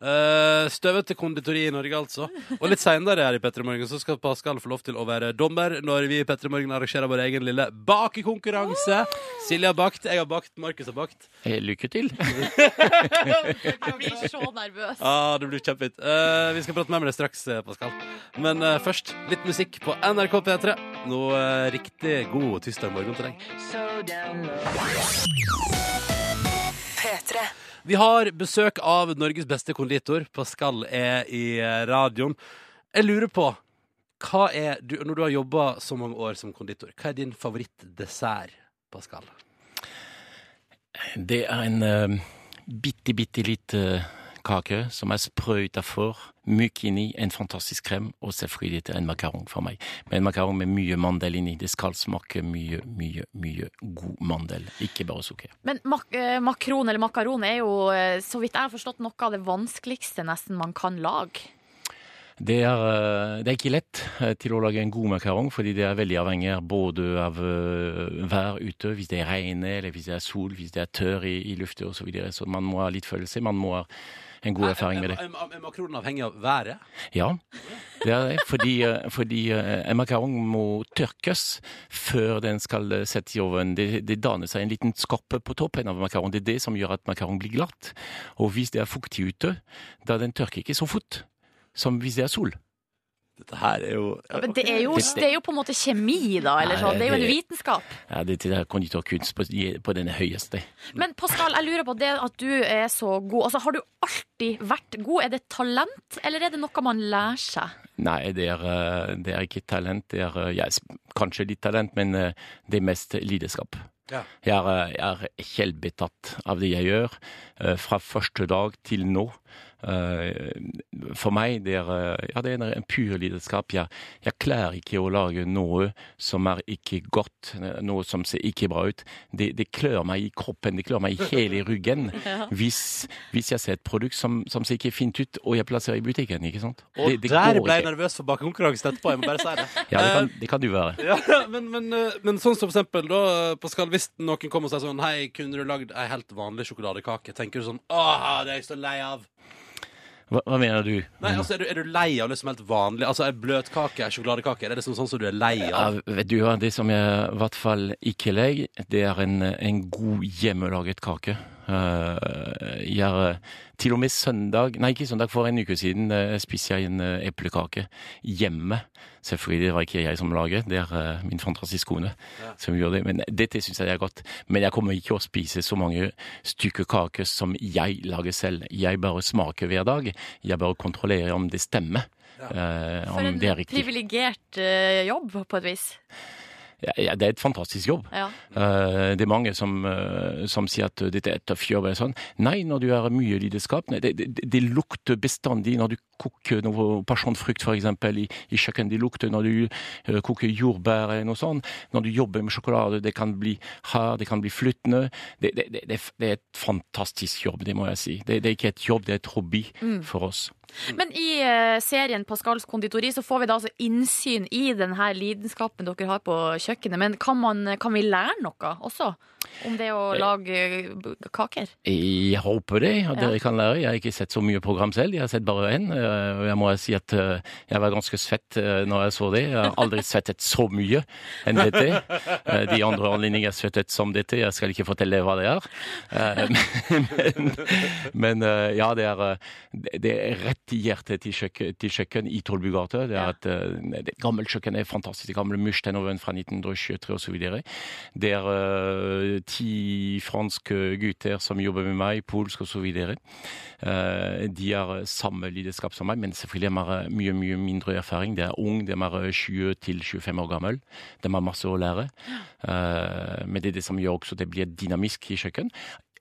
S1: Eh, støvete konditori i Norge, altså. Og litt seinere her i Petter Morgen så skal Pascal få lov til å være dommer når vi i Petter Morgen arrangerer vår egen lille bakekonkurranse. Silje har bakt, jeg har bakt, Markus har bakt.
S8: Eh, Lykke til!
S2: Jeg blir så nervøs.
S1: Ja, det blir kjempefint. Eh, vi skal prate mer med deg straks, eh, Pascal. Men eh, først litt musikk på NRK P3. Nå eh, riktig god tirsdag morgen til deg.
S5: P3.
S1: Vi har besøk av Norges beste konditor. Pascal er i eh, radioen. Jeg lurer på hva er du, Når du har jobba så mange år som konditor, hva er din favorittdessert, Pascal?
S8: Det er en eh, bitte, bitte lite eh, kake som er sprø utafor, myk inni, en fantastisk krem, og selvfølgelig dette er en makaron for meg. Men en makaron med mye mandel inni. Det skal smake mye, mye, mye god mandel, ikke bare sukker.
S2: Men mak eh, makron eller makaron er jo, eh, så vidt jeg har forstått, noe av det vanskeligste nesten man kan lage.
S8: Det er, eh, det er ikke lett eh, til å lage en god makaron, fordi det er veldig avhengig av både av eh, vær ute, hvis det regner, eller hvis det er sol, hvis det er tørr i, i lufta osv. Så, videre. så man må ha litt følelse, man må ha en god erfaring med det.
S1: Er- Er er- er makronen avhengig av været?
S8: Ja, det er det. Fordi, eh, fordi eh, en makarong må tørkes før den skal eh, settes i ovnen. Det, det danner seg en liten skorpe på toppen av makaron. Det er det som gjør at makaron blir glatt. Og hvis det er fuktig ute, da den tørker ikke så fort som hvis det er sol.
S1: Dette her er jo
S2: Men det er jo,
S8: Det-
S2: det er jo på en måte kjemi, da. Eller
S8: Nei,
S2: sånn. Det er jo en
S8: det-
S2: vitenskap.
S8: Ja, det er konditorkunst på, på den høyeste.
S2: Men Pascal, jeg lurer på det at du er så god. Altså, Har du alltid vært god? Er det talent, eller er det noe man lærer seg?
S8: Nei, det er, eh, det er ikke talent. Det er eh, ja, s- kanskje litt talent, men eh, det er mest lidenskap.
S1: Ja.
S8: Jeg, er, eh, jeg er helt betatt av det jeg gjør, eh, fra første dag til nå. Eh, for meg det er, eh, ja, det er en pur lidenskap. Jeg, jeg klarer ikke å lage noe som er ikke godt, eh, noe som ser ikke bra ut. Det, det klør meg i kroppen, det klør meg i hele ryggen hvis, hvis jeg ser et produkt som, som ser ikke fint ut, og jeg plasserer i butikken. ikke sant?
S1: Og
S8: Det- det
S1: der
S8: går
S1: ble jeg
S8: ikke.
S1: nervøs for bakekonkurransen etterpå, jeg må bare si det.
S8: Ja, det kan, det kan du være.
S1: Ja, men, men, eh, men sånn som for eksempel da, eh, på skal, Hvis noen kommer og sier sånn Hei, kunne du lagd ei helt vanlig sjokoladekake? Tenker du sånn Åh, det er jeg så lei av.
S8: Hva, hva mener du?
S1: Nei, altså, er du, er du lei av liksom helt vanlig Altså, ei bløtkake, ei sjokoladekake? Er det liksom sånn som du er lei av?
S8: Ja, vet du hva, det som jeg i hvert fall ikke legger, det er en, en god hjemmelaget kake. Eh, jeg, eh, til og med søndag, nei ikke søndag, for en uke siden eh, spiste jeg en eh, eplekake hjemme. Selvfølgelig det var ikke jeg som laget, det er eh, min fantastiske kone som gjorde det. Men dette synes jeg er godt. Men jeg kommer ikke å spise så mange stykker kake som jeg lager selv. Jeg bare smaker hver dag. Jeg bare kontrollerer om det stemmer. eh,
S2: For
S8: om
S2: en
S8: det er riktig.
S2: privilegert eh, jobb, på et vis.
S8: Ja, ja, det er et fantastisk jobb.
S2: Ja.
S8: Eh, det er mange som, eh, som sier at dette er et tøff jobb. Eller sånn. Nei, når du har mye lidenskap nei, det, det, det lukter bestandig når du koker noe pasjonfrukt, f.eks. i, i kjøkkenet. Det lukter når du eh, koker jordbær eller noe sånt. Når du jobber med sjokolade, det kan bli hard, det kan bli flytende. Det, det, det, det er f- det er et fantastisk jobb, det må jeg si. Det, det er ikke et jobb, det er et hobby for oss.
S2: Men i eh, serien Pascals konditori så får vi da altså innsyn i den her lidenskapen dere har på kjøkkenet. Men kan, man, kan vi lære noe også om det å lage eh, b- kaker?
S8: Jeg håper det, at
S2: Ja.
S8: dere kan lære. Jeg har ikke sett så mye program selv, jeg har sett bare én. eh, Og jeg må si at eh, jeg var ganske svett eh, når jeg så det. Jeg har aldri svettet så mye enn dette. Eh, De andre anledningene jeg har svettet som dette, jeg skal ikke fortelle hva det er. Eh, Men, men eh, ja, det er, eh, det- det er rett i hjertet til kjøkken, til kjøkken i Tollbugata. Det er et, eh, det er et gammelt kjøkken, det er fantastisk. Det gamle mursteinovnen fra 1923 osv. Det er eh, ti franske gutter som jobber med meg, polsk osv. Uh, de har samme lidenskap som meg, men selvfølgelig de har mye mye mindre erfaring. De er eh, unge, de er 20-25 år gammel. De har masse å lære. Eh, men det er det som gjør også at det blir dynamisk i kjøkken.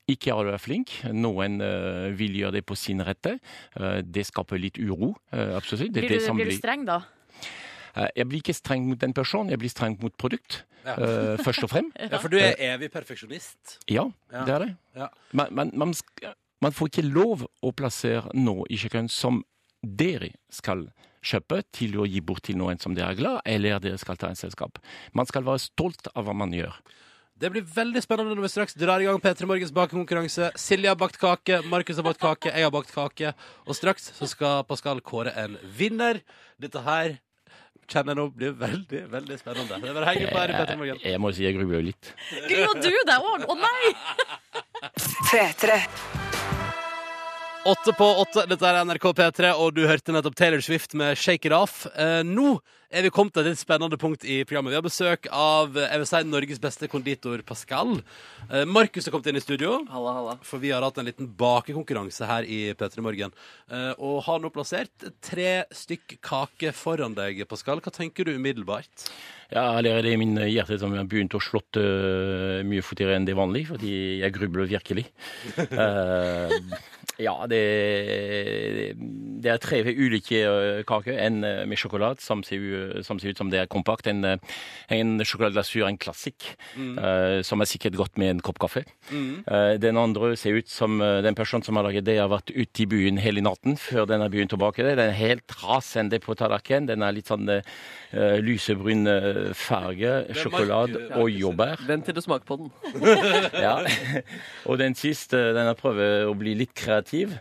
S8: Ikke alle er flink, noen eh, vil gjøre det på sin rette. Eh, det skaper litt uro, eh, absolutt. Det er
S2: Blir
S8: det
S2: du,
S8: som
S2: blir du streng da?
S8: Eh, jeg blir ikke streng mot den personen, jeg blir streng mot produkt,
S1: Ja.
S8: eh, først og frem. Eh,
S1: Ja, for du er evig perfeksjonist.
S8: Ja,
S1: Ja.
S8: det er det.
S1: Ja.
S8: Men, men man, sk- man får ikke lov å plassere noe i kjøkken som dere skal kjøpe til å gi bort til noen som dere er glad, eller dere skal ta en selskap. Man skal være stolt av hva man gjør.
S1: Det blir veldig spennende når vi straks drar i gang P3 Morgens bakekonkurranse. Silje har bakt kake, Markus har bakt kake, jeg har bakt kake. Og straks så skal Pascal kåre en vinner. Dette her kjenner jeg nå blir veldig, veldig spennende. Det er bare å henge på her i P3 Morgen.
S8: Jeg, Eh, jeg må si jeg grubler litt.
S2: Gruer du deg òg? Å nei!
S5: P3.
S1: Åtte på åtte, dette er NRK P3, og du hørte nettopp Taylor Swift med Shake It Off. Eh, nå er vi kommet til et litt spennende punkt i programmet. Vi har besøk av eh, jeg vil si, Norges beste konditor Pascal. Eh, Markus har kommet inn i studio,
S3: Halla, halla.
S1: for vi har hatt en liten bakekonkurranse her i P3 Morgen. Eh, og har nå plassert tre stykk kake foran deg, Pascal. Hva tenker du umiddelbart?
S8: Ja, allerede i min hjerte som har begynt å slått øh, mye fortere enn det vanlige, fordi jeg grubler virkelig. Eh, ja, det, det er tre ulike øh, kaker. En øh, med sjokolade, som ser, u- som ser ut som det er kompakt. En, øh, en sjokoladeglasur, en klassikk, øh, som er sikkert godt med en kopp kaffe. Eh, den andre ser ut som øh, den personen som har laget det, har vært ute i byen hele natten før den har begynt å bake det. Den er helt rasende på tallerkenen. Den er litt sånn øh, Eh, lysebrun eh, farge,
S1: er
S8: sjokolade
S1: mark-
S8: og jordbær.
S3: Vent til du smaker på den.
S8: Ja. og den siste, eh, den har prøvd å bli litt kreativ.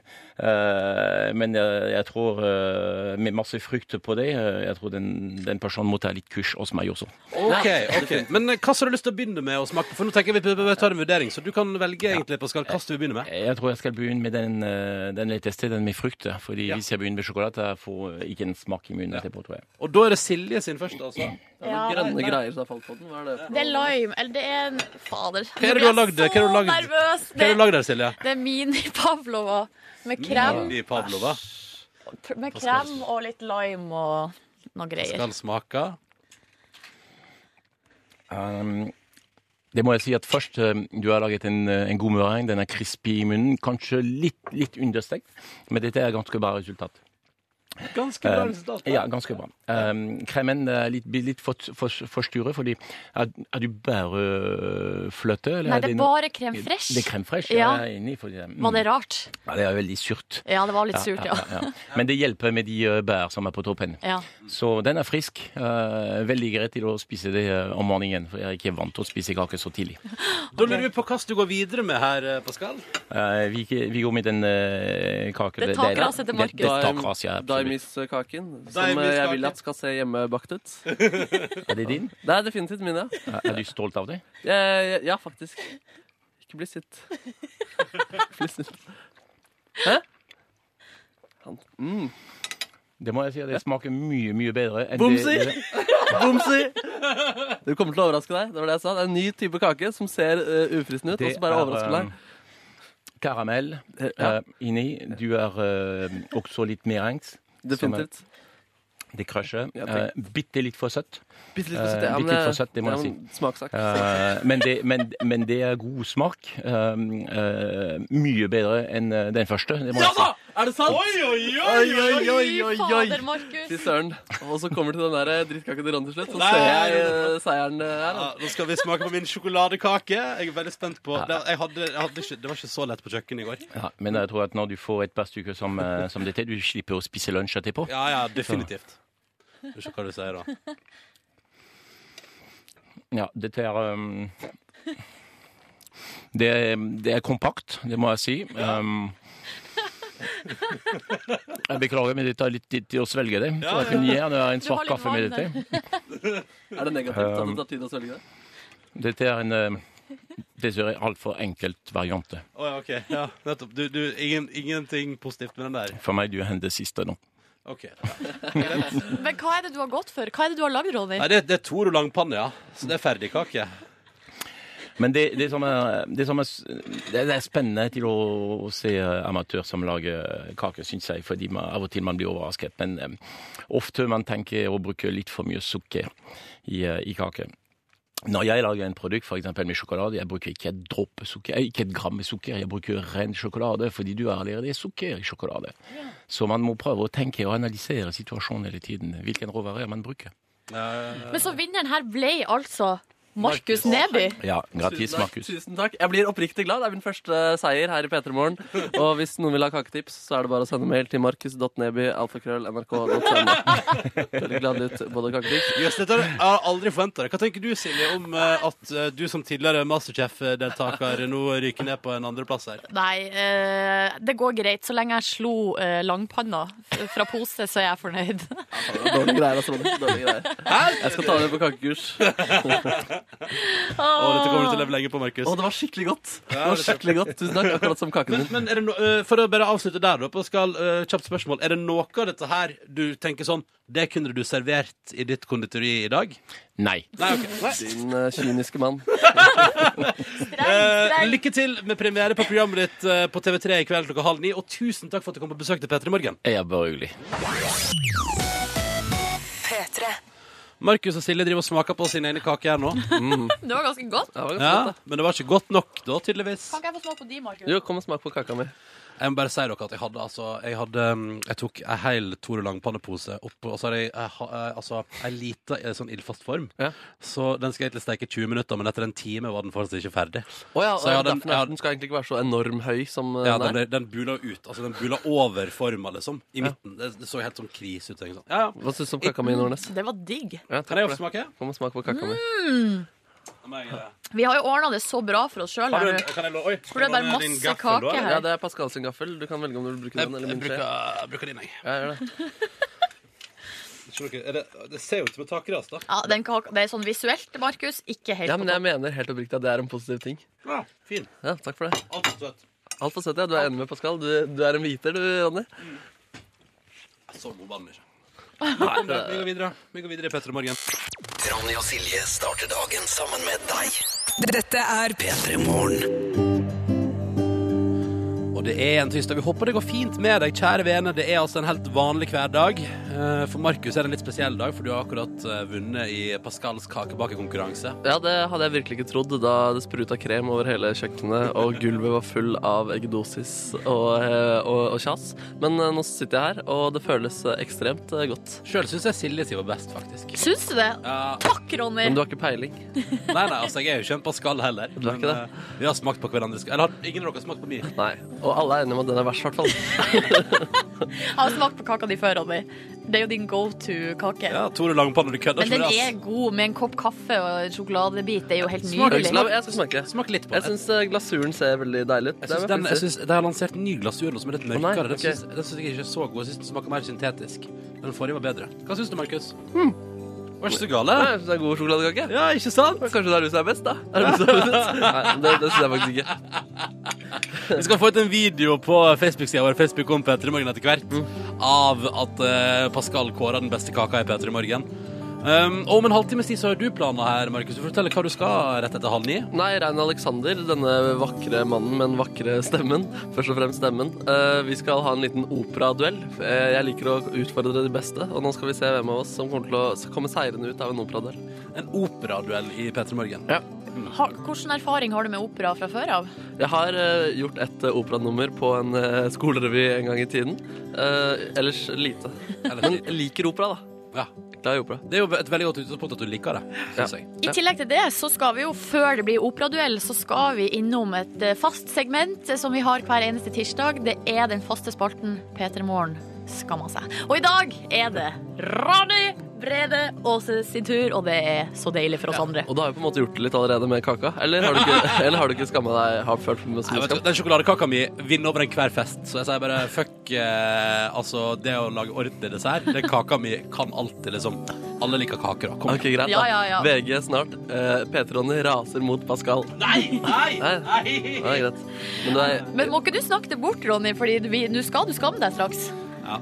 S8: eh, men jeg, jeg tror, eh, med masse frukt på det, eh, jeg tror den, den personen må ta litt kurs hos meg også.
S1: Ok, ok. Men eh, hva har du lyst til å begynne med å smake på? For nå tenker jeg vi bør ta en vurdering, så du kan velge egentlig, Pascal. Hva skal vi begynne med?
S8: Jeg tror jeg skal begynne med den, eh, den letteste, den med frukt. ja. Fordi
S1: Ja.
S8: hvis jeg begynner med sjokolade, jeg får jeg ikke en smak i munnen etterpå, tror jeg.
S1: Og da er det Silje sin først, altså.
S3: Det er noen grønne greier som har falt på den. Hva er det? for
S2: Det er
S3: noe?
S2: lime. Eller det er en Fader.
S1: er det du har lagd? Hva er det du har lagd?
S2: Så nervøs.
S1: Hva har du lagd der, Silje?
S2: Det er mini-pavlova med krem,
S1: Mini Pavlova.
S2: med krem og litt lime og noe greier.
S1: Skal smake.
S8: Um, Det må jeg si at først, eh, du har laget en, eh, en god meringue. Den er crispy i munnen. Kanskje litt, litt understekt, men dette er ganske bra resultat.
S1: Ganske bra
S8: Eh,
S1: resultat.
S8: Ja, ganske bra. Eh, kremen er litt, blir litt for, for, forstyrret, fordi er, er du bare fløte? eller
S2: Nei, det er
S8: noe-
S2: bare crème fresh.
S8: Det er crème fresh, ja.
S2: Ja.
S8: jeg er enig, fordi, mm,
S2: Var det rart?
S8: Ja, det er veldig surt.
S2: Ja, det var litt surt, ja.
S8: ja, ja. Men det hjelper med de eh, bær som er på toppen.
S2: ja.
S8: Så den er frisk. eh, veldig greit til å spise det eh, om morgenen, for jeg er ikke vant til å spise kake så tidlig.
S1: Da lurer vi på hva du går videre med her, eh, Pascal.
S8: Eh, vi, vi går med den uh, kake
S2: Det tar kraset til markedet.
S8: Det, det tar kraset, ja, absolutt.
S3: Daimis-kaken, som
S1: Daimis-kaken.
S3: eh, jeg vil at skal se hjemmebakt ut.
S8: Er det din?
S3: Det er definitivt min, ja.
S8: Er- Er du stolt av det?
S3: Eh, Ja, faktisk. Ikke bli sitt. Ikke bli sitt. Hæ? Han. Mm.
S8: Det må jeg si, det smaker mye, mye bedre enn
S3: Bomsi!
S8: det.
S3: Bomsi! Du kommer til å overraske deg. Det var det jeg sa. Det er en ny type kake som ser eh, ufristen ut, og som bare overrasker deg.
S8: eh, Karamell
S3: Eh, Ja,
S8: eh, inni. Du er eh, også litt merengs.
S3: definitivt.
S8: Det krasjer.
S3: Ja,
S8: Uh,
S3: takk.
S8: bitte litt for søtt.
S3: Bitte litt for søtt.
S8: eh,
S3: Ja,
S8: bitte
S3: men
S8: litt for
S3: det-
S8: søtt, det må jeg
S3: er
S8: si.
S3: en Smaksak.
S8: Eh, men, det, men, men det er god smak. Eh, eh, mye bedre enn eh, den første. Det må
S3: Ja
S8: jeg si.
S3: da! Er det sant? Oi, oi, oi,
S2: Fy
S3: oi,
S2: fader,
S3: oi.
S2: Markus.
S3: Fy søren. Og så kommer det til den der drittkaka til Ron til slutt, så
S1: Nei,
S3: ser jeg
S1: nei,
S3: eh, seieren eh, her. da.
S1: Ja, nå skal vi smake på min sjokoladekake. Jeg er veldig spent på Det, jeg hadde, jeg hadde ikke, det var ikke så lett på kjøkkenet i går.
S8: Ja, men jeg tror at når du får et par stykker som, eh, som dette, du slipper å spise lunsj etterpå.
S1: Ja, ja, definitivt. Skal vi se hva du sier, da.
S8: Ja, dette er um, det, er- det er kompakt, det må jeg si. Um, jeg beklager, men det tar litt tid til å svelge det. Så jeg kunne gjerne ha en
S2: Du har
S8: svart
S2: litt
S8: kaffe med
S2: vann eh. der.
S8: dette.
S3: Er det negativt at
S8: Um,
S3: det tar tid å svelge det?
S8: Dette er en um, dessverre altfor enkelt variante.
S1: Å, ja, ok. Ja, nettopp. Du, du, ingen, ingenting positivt med den der.
S8: For meg du er det siste nå.
S1: Ok.
S2: Men hva er det du har gått for? Hva er det du har lagd, Ronny?
S1: Nei, det, det er Toro langpanne, ja. Så det er ferdigkake.
S8: Men det, det, som er, det, som er, s- det det er spennende til å, å se eh, amatør som lager kake, syns jeg. Fordi man, av og til man blir overrasket. Men eh, ofte man tenker å bruke litt for mye sukker i, eh, i kake. Når jeg lager en produkt for eksempel med sjokolade, jeg bruker ikke et dråpe sukker, eh, ikke et gram med sukker, jeg bruker ren sjokolade, fordi du er allerede sukker i sjokolade. Så man må prøve å tenke og analysere situasjonen hele tiden. Hvilken råvare man bruker.
S2: Men så vinneren her ble altså Markus
S1: Markus.
S2: Neby.
S8: Ja, gratis,
S3: Tusen takk,
S8: Markus.
S3: Tusen takk. Jeg blir oppriktig glad. Det er min første eh, seier her i P3 Morgen. Og hvis noen vil ha kaketips, så er det bare å sende mail til markus.neby.alfakrøll.nrk.no. Veldig glad ut både kaketips
S1: Jøss, dette har jeg har aldri forventa det. Hva tenker du, Silje, om eh, at eh, du som tidligere Masterchef-deltaker nå ryker ned på en andreplass her?
S2: Nei, eh, det går greit. Så lenge jeg slo eh, langpanna f- fra pose, så er jeg fornøyd.
S3: Dårlige greier, altså. Ronny. Dårlige greier. Jeg skal ta det på kakekurs.
S1: Å, dette kommer du til å leve lenge på, Markus.
S3: Å, det var skikkelig godt. Det var skikkelig godt. Tusen takk. Akkurat som kaken
S1: Men,
S3: din.
S1: men er det no, eh, for å bare avslutte der, da, på skal, eh, kjapt spørsmål. Er det noe av dette her du tenker sånn Det kunne du servert i ditt konditori i dag?
S8: Nei.
S1: Nei, ok. Nei.
S3: Din eh, kyniske mann.
S1: Eh, lykke til med premiere på programmet ditt eh, på TV3 i kveld klokka halv ni. Og tusen takk for at du kom på besøk til P3 Morgen.
S8: Jeg er bare hyggelig.
S5: P3.
S1: Markus og Silje driver og smaker på sine egne kaker her nå.
S2: Det var ganske godt.
S3: Ja, det var ganske
S1: Mm. Ja,
S3: godt, da.
S1: men det var ikke godt nok da, tydeligvis.
S2: Kan ikke jeg få smake på de, Markus?
S3: Jo, kom og smak på kaka mi.
S1: Jeg må bare si dere at jeg hadde altså Jeg, hadde, mm, jeg tok en hel Tore Langpanne-pose oppå, og så hadde jeg, jeg, ha- eh, altså, en lita eh, sånn ildfast form.
S3: Ja.
S1: Så den skal egentlig steke 20 minutter, men etter en time var den fortsatt ikke ferdig.
S3: Å ja,
S1: Så jeg hadde en-
S3: derfor er den skal egentlig ikke være så enorm høy som eh,
S1: Ja,
S3: den
S1: den,
S3: er.
S1: ble- den bula ut. Altså, den bula over forma, liksom. I midten. Det, det så helt sånn kris ut. tenkte jeg Sånn. Ja, ja.
S3: Hva syns du om kaka mi, Nordnes?
S2: Det var digg.
S3: Ja,
S1: Kan jeg
S3: takk for
S1: også
S3: det.
S1: smake? Mm.
S3: Kom og smak på kaka mi.
S1: Kan jeg, eh,
S2: Vi har jo ordna det så bra for oss sjøl.
S1: Har du en, kan jeg lå- Oi,
S2: For det er
S1: var
S2: bare
S1: din
S2: masse
S1: gaffel da,
S2: kake
S1: eller?
S2: her.
S3: Ja, det er Pascal sin gaffel. Du kan velge om du vil bruke
S1: Jeg,
S3: den eller
S1: jeg
S3: min skje.
S1: bruker, jeg bruker din, jeg.
S3: Ja, gjør det.
S1: Skjønner dere, er Det, det ser jo ut som et takras, da.
S2: Ja, den kaka, det er sånn visuelt, Markus. Ikke helt
S3: ja,
S2: på
S3: men jeg
S2: topp.
S3: mener helt oppriktig at det er en positiv ting.
S1: Ja, fin.
S3: Ja, takk for det.
S1: Alt er søtt.
S3: Alt for søtt, ja. Du er enig med Pascal. Du, du er en hviter, du, Ronny.
S1: Så god vann, ikke. Kom, da, Vi går videre Vi går videre i Petter og Morgen.
S4: Ronny og Silje starter dagen sammen med deg.
S5: Dette er
S4: P3 Morgen.
S1: Og det er en tirsdag. Vi håper det går fint med deg, kjære vene. Det er altså en helt vanlig hverdag. Eh, For Markus er det en litt spesiell dag, for du har akkurat eh, vunnet i Pascals kakebakekonkurranse.
S3: Ja, det hadde jeg virkelig ikke trodd da det spruta krem over hele kjøkkenet, og gulvet var full av eggedosis og, eh, og, og kjas. Men eh, nå sitter jeg her, og det føles eh, ekstremt eh, godt.
S1: Sjøl syns jeg Silje si var best, faktisk.
S2: Syns du det?
S1: Ja,
S2: Takk, Ronny!
S3: Men du har ikke peiling.
S1: nei, nei, altså, jeg er jo ikke en Pascal heller.
S3: Du er ikke det?
S1: eh, vi har smakt på hverandres Eller har ingen av dere smakt på min?
S3: Nei. Og alle er enige om at den er verst, i hvert fall.
S2: Jeg har smakt på kaka di før, Ronny. Det er jo din go to-kake.
S1: Ja, Tore Langpanne, du kødder
S2: Men den
S1: ikke med det,
S2: er god med en kopp kaffe og en sjokoladebit. Det er jo helt
S1: Smak-
S2: nydelig.
S3: La- Jeg skal smake.
S1: ass. Smak litt på
S3: Jeg
S1: den.
S3: syns glasuren ser veldig deilig ut.
S1: Jeg synes
S3: Det må
S1: den, jeg
S3: faktisk si.
S1: synes, de har lansert ny glasur nå som er litt
S3: nei,
S1: mørkere. Den
S3: ok.
S1: syns- Den syns jeg ikke er så god. Jeg syns den smaker mer syntetisk. Den forrige var bedre. Hva syns du, Markus? Var ikke så gale.
S3: Hmm. Nei, jeg synes det er god sjokoladekake.
S1: Ja, ikke sant?
S3: Men Kanskje det er du som er best, da? Er det du som er best? Nei, det, det syns jeg faktisk ikke.
S1: Vi skal få ut en video på Facebook-sida vår Facebook om P3 Morgen etter hvert av at eh, Pascal kårer den beste kaka i P3 Morgen. Um, og om en halvtimes tid så har du planer her, Markus. Du forteller hva du skal rett etter halv ni.
S3: Nei, Rein Alexander, denne vakre mannen med den vakre stemmen. Først og fremst stemmen. Eh, vi skal ha en liten operaduell. Eh, jeg liker å utfordre de beste, og nå skal vi se hvem av oss som kommer til å komme seirende ut av en operaduell.
S1: En operaduell i P3 Morgen.
S2: Har, hvordan erfaring har du med opera fra før av?
S3: Jeg har eh, gjort et eh, operanummer på en eh, skolerevy en gang i tiden. Eh, ellers lite.
S1: Eller,
S3: Men jeg liker opera, da.
S1: ja.
S3: Glad i opera.
S1: Det er jo et veldig godt utgangspunkt at du liker det. Synes jeg.
S2: I tillegg til det så skal vi jo, før det blir operaduell, så skal vi innom et eh, fast segment eh, som vi har hver eneste tirsdag. Det er den faste spalten P3 Morgen skammer seg. Og i dag er det Ronny Brede Aase sin tur, og det er så deilig for oss andre.
S3: Og da har vi på en måte gjort det litt allerede med kaka. Eller har du ikke, eller har du ikke skamma deg? Har følt for mye
S1: Nei, vet du,
S3: skam?
S1: den sjokoladekaka mi vinner over enhver fest, så jeg sier bare fuck eh, altså det å lage ordentlig dessert. Den kaka mi kan alltid, liksom. Alle liker kaker, da. Kom.
S3: Ok, greit, da.
S2: Ja, ja, ja.
S3: VG snart. Eh, P3-Ronny raser mot Pascal.
S1: Nei, nei,
S3: Nei. Ja, det er greit. Men du er
S2: Men må ikke du snakke det bort, Ronny, Fordi du- vi- nå skal du skamme deg straks.
S1: Ja.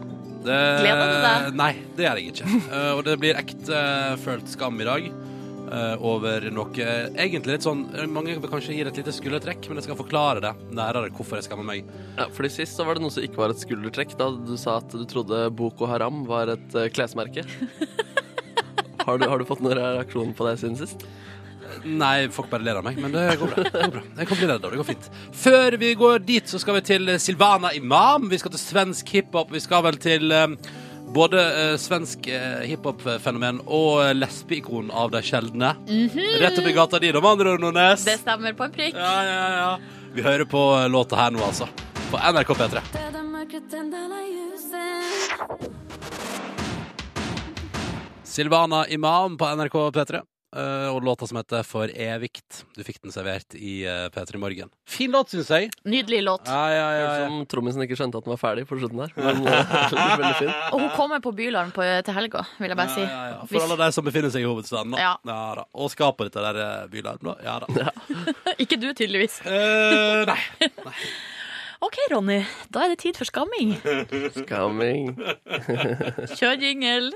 S1: Det,
S2: Gleder du deg?
S1: Nei, det gjør jeg ikke. Eh, og det blir ekte eh, følt skam i dag. eh, over noe Egentlig litt sånn Mange vil kanskje gi det et lite skuldertrekk, men jeg skal forklare det nærere hvorfor jeg skammer meg.
S3: ja, fordi Sist så var det noe som ikke var et skuldertrekk, da du sa at du trodde Boko Haram var et eh, klesmerke. Har du, har du fått noen reaksjon på det siden sist?
S1: Nei, folk bare ler av meg, men det går bra. Det går bra. Jeg kan bli redd av det. Det går fint. Før vi går dit, så skal vi til eh, Silvana Imam. Vi skal til svensk hiphop. Vi skal vel til eh, både eh, svensk eh, hiphop-fenomen og eh, lesbeikon av de sjeldne. Rett opp i gata di, da, med andre ord,
S2: Mhm.
S1: Nordnes.
S2: Mm. Det stemmer på en prikk.
S1: Ja, ja, ja. Vi hører på eh, låta her nå, altså. På NRK P3. Silvana Imam på NRK P3. eh, Og låta som heter For evigt. Du fikk den servert i eh, P3 Morgen. Fin låt, syns jeg.
S2: Nydelig låt.
S1: Ja, ja, ja, ja.
S3: Som trommisen ikke skjønte at den var ferdig på slutten der. Men eh, veldig fin.
S2: Og hun kommer på Bylarm på, til helga, vil jeg bare si.
S1: Ja, ja, ja. For alle de som befinner seg i hovedstaden. Da.
S2: Ja.
S1: da. Og skaper dette der eh, bylarm, da. Ja da.
S2: Ikke du, tydeligvis.
S1: Eh, nei.
S2: OK, Ronny. Da er det tid for skamming.
S3: Skamming.
S2: Kjør jingle.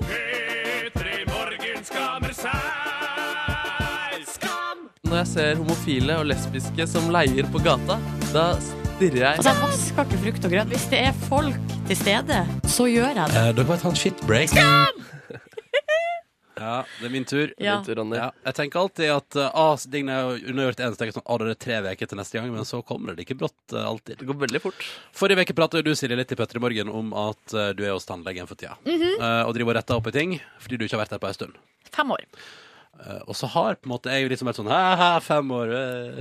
S3: Når jeg ser homofile og lesbiske som leier på gata, da stirrer jeg
S2: Altså, jeg vasker ikke frukt og grønt. Hvis det er folk til stede, så gjør jeg det.
S1: Eh, dere må ta en shitbreak. ja, det er min tur.
S2: Ja.
S3: Litt, Ronny.
S1: Ja, jeg tenker alltid at uh, ah, Dign er jo undergjort eneste tenker jeg sånn, ah, det er tre veker til neste gang, men så kommer det like brått uh, alltid.
S3: Det går veldig fort.
S1: Forrige veke pratet jo du, Silje, litt i Petter i morgen om at uh, du er hos tannlegen for tida, uh, og driver og retter opp i ting, fordi du ikke har vært der på en stund.
S2: Mhm. Fem år.
S1: Uh, og så har på en måte jeg jo liksom vært sånn, hæ, fem år,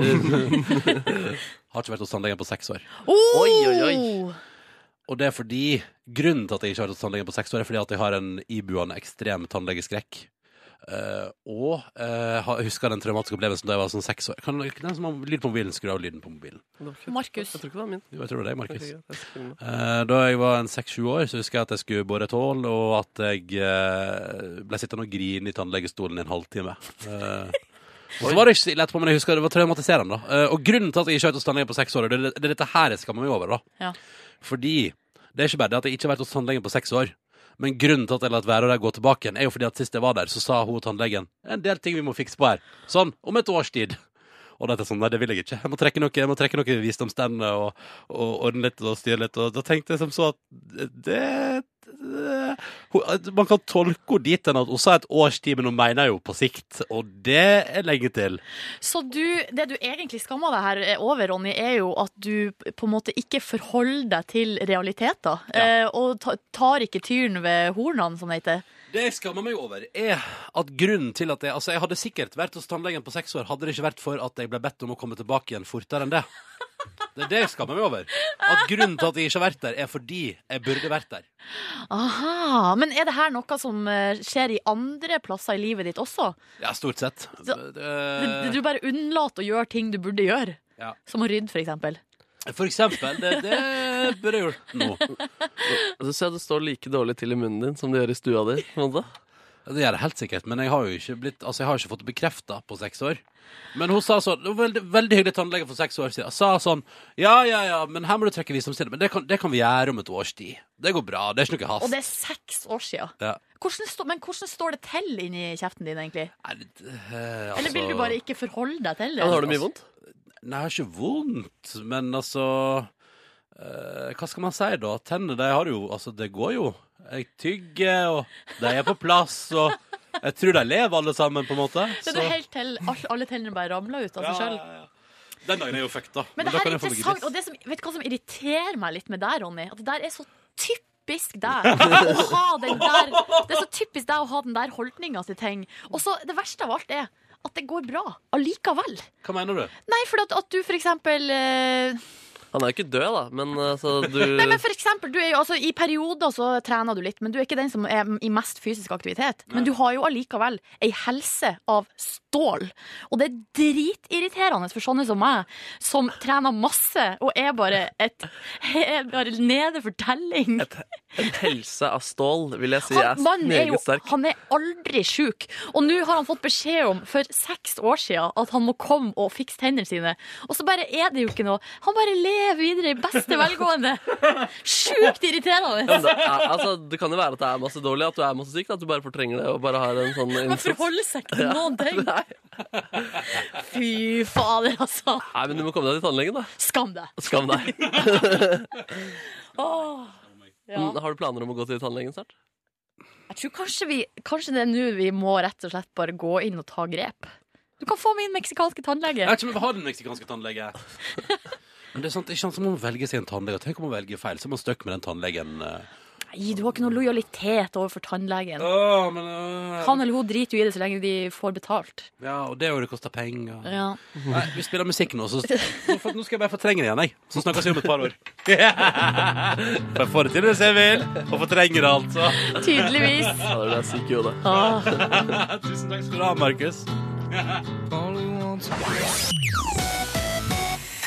S1: øh." har ikke vært hos tannlegen på seks år.
S3: Oi, oi, oi.
S1: Og det er fordi Grunnen til at jeg ikke har vært hos tannlegen på seks år, er fordi at jeg har en ibuende ekstrem tannlegeskrekk. Eh, og eh, har- jeg husker den traumatiske opplevelsen da jeg var sånn seks år. Kan den som har lyd på mobilen, skru av lyden på mobilen?
S2: Markus.
S3: Jeg tror ikke det var min.
S1: Jo, jeg tror det er deg, Markus.
S3: Ok, greit. Jeg skriver den.
S1: Eh, da jeg var en seks-sju år, så husker jeg at jeg skulle bore et hull, og at jeg eh, ble sittende og grine i tannlegestolen i en halvtime. Eh, og så var det ikke så ille etterpå, men jeg husker det var traumatiserende. da. Eh, og grunnen til at jeg ikke har vært hos tannlegen på seks år, det er, det er dette her jeg skammer meg over. da.
S2: Ja.
S1: Fordi det er ikke bare det at jeg ikke har vært hos tannlegen på seks år. Men grunnen til at jeg latt være å gå tilbake igjen, er jo fordi at sist jeg var der, så sa hun tannlegen en del ting vi må fikse på her. Sånn, om et års tid. Og da er jeg sånn, nei, det vil jeg ikke. Jeg må trekke noe, jeg må trekke noe visdomstennene og, og ordne litt og styre litt. Og da tenkte jeg som så at det Hun- at Man kan tolke henne dit hen at hun sa et års tid, men hun mener jo på sikt. Og det er lenge til.
S2: Så du, det du egentlig skammer deg her over, Ronny, er jo at du på en måte ikke forholder deg til realiteter. eh, Og ta- tar ikke tyren ved hornene, som det heter.
S1: Det jeg skammer meg over, er at grunnen til at jeg Altså, jeg hadde sikkert vært hos tannlegen på seks år, hadde det ikke vært for at jeg ble bedt om å komme tilbake igjen fortere enn det. Det er det jeg skammer meg over. At grunnen til at jeg ikke har vært der, er fordi jeg burde vært der.
S2: Aha, Men er det her noe som eh, skjer i andre plasser i livet ditt også?
S1: Ja, stort sett.
S2: Så-
S1: Eh.
S2: Du, du bare unnlater å gjøre ting du burde gjøre.
S1: Ja.
S2: Som å rydde, for eksempel.
S1: For eksempel. Det, det burde jeg gjort nå.
S3: Så ser jeg Altså, det står like dårlig til i munnen din som det gjør i stua di. på en måte.
S1: Ja, Det gjør det helt sikkert, men jeg har jo ikke, blitt, altså jeg har ikke fått det bekrefta på seks år. Men hun sa sånn det var Veldig, veldig hyggelig tannlege for seks år siden. Sa sånn Ja, ja, ja, men her må du trekke visdomstinnet. Men det kan, det kan vi gjøre om et års tid. Det går bra. Det er ikke noe hast.
S2: Og det er seks år sia.
S1: Ja.
S2: Men hvordan står det til inni kjeften din, egentlig?
S1: Nei, det- eh, altså,
S2: Eller vil du bare ikke forholde deg til det?
S3: Ja, har du mye vondt?
S1: Nei, jeg har ikke vondt, men altså eh, Hva skal man si, da? Tennene, de har jo Altså, det går jo. Jeg tygger, og de er på plass, og jeg tror de lever, alle sammen, på en måte.
S2: Det er helt til alle, alle tennene bare ramler ut av seg sjøl.
S1: ja, ja. Den dagen er jo fucked, da.
S2: Men det
S1: da
S2: her
S1: kan
S2: er
S1: jeg få meg
S2: interessant,
S1: gips.
S2: og det som, vet du hva som irriterer meg litt med deg, Ronny? At det der er så typisk deg å ha den der Det er så typisk deg å ha den der holdninga til ting. Og så det verste av alt er at det går bra allikevel.
S1: Hva mener du?
S2: Nei, for at, at du for eksempel eh,
S3: Han er jo ikke død, da, men altså, du
S2: Nei, men for eksempel, du er jo, altså, I perioder så trener du litt, men du er ikke den som er i mest fysisk aktivitet. Men du har jo allikevel ei helse av stål. Og det er dritirriterende for sånne som meg, som trener masse og er bare, et, er bare nede for telling.
S3: Helse av stål, vil jeg si, er
S2: Han, mannen er jo,
S3: meget sterk.
S2: han er aldri sjuk. Og nå har han fått beskjed om for seks år siden at han må komme og fikse tennene sine. Og så bare er det jo ikke noe. Han bare lever videre i beste velgående. Sjukt irriterende.
S3: Men det er, altså, det kan jo være at det er masse dårlig, at du er masse syk, da, at du bare fortrenger det og bare har en sånn
S2: Man
S3: innsats.
S2: forholder seg ikke til noen ting.
S3: Nei.
S2: Fy fader, altså.
S3: Nei, men du må komme deg til tannlegen, da.
S2: Skam deg.
S3: Skam deg.
S2: Åh. Ja.
S3: Mm, Har du planer om å gå til tannlegen snart?
S2: Jeg tror kanskje, vi, kanskje det er nå vi må rett og slett bare gå inn og ta grep. Du kan få min meksikanske
S1: Jeg
S2: tannlege.
S1: vet ikke om jeg vil ha den meksikanske tannlege. Men det er sant, det er ikke sant som om hun velger seg en tannlege. Tenk om hun velger feil, så er man stuck med den tannlegen. eh.
S2: Nei, du har ikke noe lojalitet overfor tannlegen.
S1: Åh, men,
S2: eh,
S1: øh,
S2: Han eller hun driter jo i det så lenge de får betalt.
S1: Ja, og det er jo det koster penger.
S2: Ja.
S1: Nei, vi spiller musikk nå, så nå får- nå skal jeg bare fortrenge det igjen, jeg. Så snakkes vi om et par år. For jeg får det til hvis jeg vil, og fortrenger det altså.
S2: Tydeligvis.
S3: Ja, du er syk i hodet.
S2: Åh.
S1: Tusen takk skal du ha, Markus.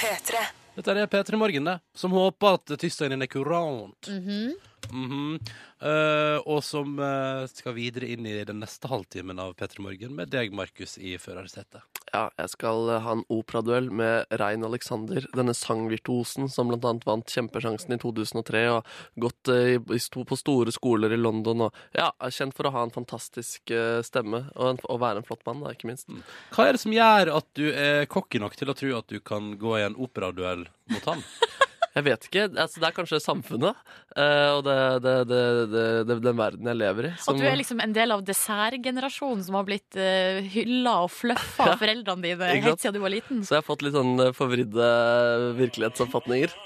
S5: P3.
S1: Dette er P3 Morgen, det. Som håper at tirsdagen din er kurant.
S9: Mm-hmm.
S1: Mhm. Eh, og som eh, skal videre inn i den neste halvtimen av P3 Morgen med deg, Markus, i førersetet.
S3: Ja, jeg skal eh, ha en operaduell med Rein Alexander, denne sangvirtuosen som blant annet vant kjempesjansen i 2003 og gått eh, i- i sto- på store skoler i London og ja, er kjent for å ha en fantastisk eh, stemme og, en, og være en flott mann, da, ikke minst.
S1: Mm. Hva er det som gjør at du er cocky nok til å tro at du kan gå i en operaduell mot han?
S3: Jeg vet ikke, altså det er kanskje samfunnet eh, og det, det, det, det, det, den verden jeg lever i.
S2: At du er liksom en del av dessertgenerasjonen som har blitt uh, hylla og fluffa av foreldrene dine
S3: Ikke sant?
S2: eh, helt siden du var liten.
S3: Så jeg har fått litt sånn eh, forvridde virkelighetsoppfatninger.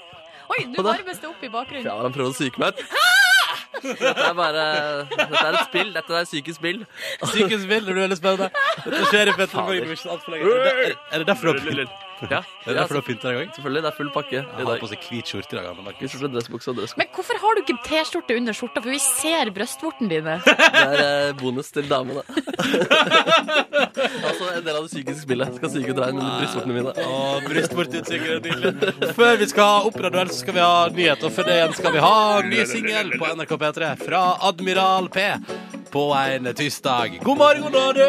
S2: Oi, nå varmes det opp i bakgrunnen.
S3: Ja, han prøver å psyke meg ut. Dette er bare Dette er et spill. Dette er et psykisk spill.
S1: Sykehus vil, det blir veldig spennende. Dette skjer i P3 Morgen. det blir ikke alt for lenge. Er det der- Er det derfor du har
S3: Ja,
S1: er det derfor du har pynta deg i dag?
S3: Selvfølgelig, det er full pakke
S1: Han
S3: i
S1: har
S3: dag.
S1: på seg hvit skjorte i dag, han,
S3: Vi
S1: Markus.
S3: skjorte, dressbukse og dresssko.
S2: Men hvorfor har du ikke T-skjorte under skjorta, for vi ser brystvortene dine?
S3: Det er eh, bonus til damene. altså, en del av det psykiske spillet. Skal psyke ut regn under brystvortene mine.
S1: Og brystportutsikkerhet, nydelig. Før vi skal ha operaduell, så skal vi ha nyheter. Før det igjen skal vi ha ny singel på NRK P3 fra Admiral P på en tirsdag. God morgen, Norge!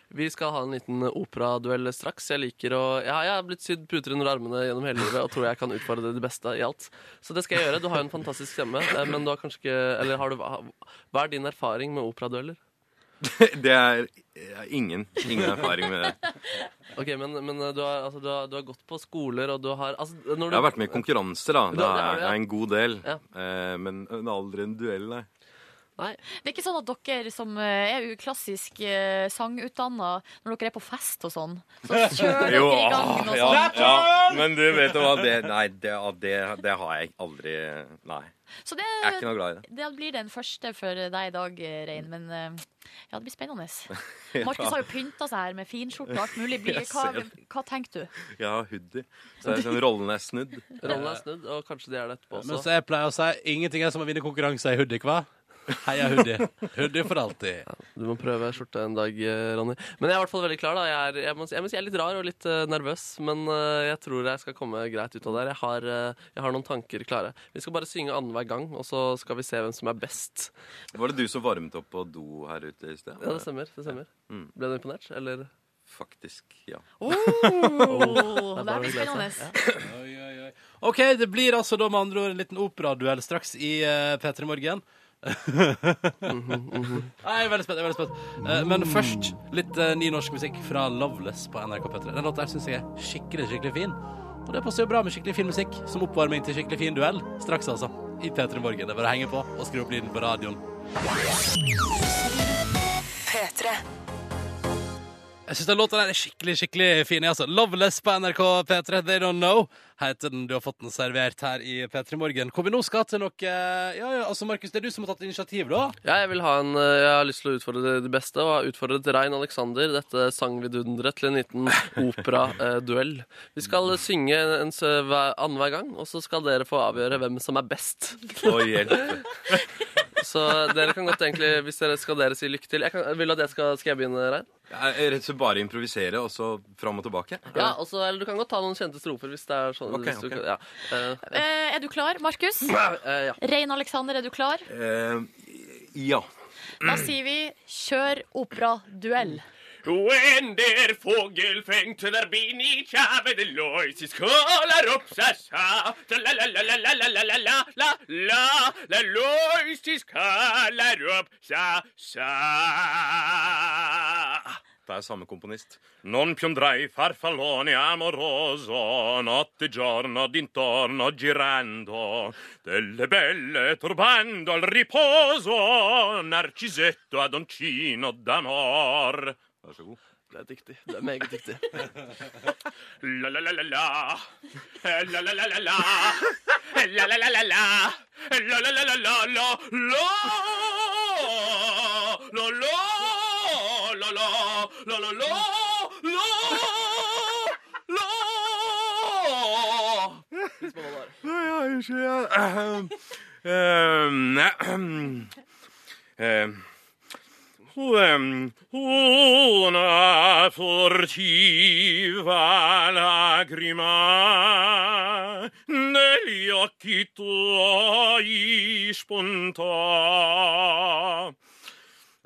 S3: vi skal ha en liten operaduell straks. Jeg liker å ja, Jeg har blitt sydd puter under armene gjennom hele livet og tror jeg kan utfordre det beste i alt. Så det skal jeg gjøre. Du har jo en fantastisk stemme, eh, men du har kanskje ikke Eller har du Hva er din erfaring med operadueller?
S10: Det er jeg har ingen, ingen erfaring med det.
S3: Ok, men, men eh, du, har, altså, du, har, du har gått på skoler, og du har altså, når du,
S10: Jeg har vært med i konkurranser, da.
S3: Ja,
S10: Det
S3: det har
S10: er,
S3: du,
S10: det
S3: ja.
S10: er en god del.
S3: Ja.
S10: Eh, Men men aldri en duell, nei.
S3: Nei.
S2: Det er ikke sånn at dere som eh, er klassisk eh, sangutdanna, når dere er på fest og sånn, så kjører dere i gang og
S10: ah, ja,
S2: sånn.
S10: ja, men du vet jo hva det Nei, det, det, det har jeg aldri Nei.
S2: Så
S10: Jeg er ikke
S2: det,
S10: noe glad i det.
S2: det blir den første for deg i dag, eh, Rein. Men eh, ja, det blir spennende. Markus har jo pynta seg her med finskjorte og alt mulig. Blir,
S10: Jeg ser
S2: hva,
S10: det.
S2: hva tenker du?
S10: Jeg har hoodie, så det er sånn rollen er snudd.
S3: Rollen er snudd, og kanskje de er det etterpå
S1: Men
S3: også.
S1: så jeg pleier å si ingenting er som å vinne konkurranse i hoodie, hva? Heia hoodie. Hoodie for alltid.
S3: Du må prøve skjorte en dag, eh, Ronny. Men jeg er i hvert fall veldig klar. da Jeg, er, jeg, må, si- jeg må si jeg er litt rar og litt eh, nervøs, men eh, jeg tror jeg skal komme greit ut av det her. Jeg har, eh, jeg har noen tanker klare. Vi skal bare synge annenhver gang, og så skal vi se hvem som er best.
S10: Var det du som varmet opp på do her ute i sted?
S3: Ja, det stemmer. det stemmer
S10: Mm.
S3: Ble du imponert, eller?
S10: Faktisk, ja.
S2: Oh, det her blir
S3: bare å glede
S2: spennende.
S3: seg.
S1: Oi, oi, oi. OK, det blir altså da med andre ord en liten operaduell straks i uh, P3 Morgen.
S10: Mhm,
S1: Nei, jeg er veldig spent. jeg er veldig spent. Eh, men først litt eh, ny norsk musikk fra Loveless på NRK P3. Den låta her syns jeg er skikkelig, skikkelig fin. Og det passer jo bra med skikkelig fin musikk som oppvarming til skikkelig fin duell straks, altså. I P3 Morgen. Det er bare å henge på og skru opp lyden på radioen.
S5: P3.
S1: Jeg syns den låta der er skikkelig skikkelig fin. Altså. Loveless på NRK P3, They Don't Know, heter den. Du har fått den servert her i P3 Morgen. Hvor vi nå skal til noe Ja, ja, altså, Markus, det er du som har tatt initiativ, da?
S3: Ja, jeg, vil ha en, eh, jeg har lyst til å utfordre det- det beste, og har utfordret Rein Alexander, dette sangvidunderet, til en liten operaduell. Vi skal synge en s- hver- annenhver gang, og så skal dere få avgjøre hvem som er best.
S10: Å, hjelp.
S3: Så dere kan godt egentlig, hvis dere skal dere si lykke til jeg kan, Vil du at jeg skal, skal jeg begynne, Rein?
S10: Jeg er Rett og slett bare improvisere, og så fram og tilbake?
S3: Ja, også, eller du kan godt ta noen kjente strofer hvis det er sånn
S10: Ok,
S3: hvis du,
S10: ok.
S3: kan- ja. Eh,
S2: Eh, Er du klar, Markus?
S3: eh, ja.
S2: Rein Alexander, er du klar?
S10: Eh, ja.
S2: Da sier vi kjør operaduell.
S11: Wender fågelfängt där bin i tjaven Loisis kollar upp sa sa Tra la la la la la la la la la la la la Loisis kollar upp sa sa
S10: Det er samme komponist.
S11: Non piondrai farfallone amoroso, notte e giorno d'intorno girando, delle belle turbando al riposo, narcisetto ad oncino d'amor.
S10: Vær så god.
S3: Du er dyktig. Du er meget dyktig.
S11: La la la la la, Eh, la la la la la, Eh, la la la la la, Eh, la la la la la la, la la la la la, la la la la la.
S10: Nei, jeg er ikke jeg. Ehm, ehm, ehm. Hun, hun er fortiva lacrima negli occhi tuoi spunta.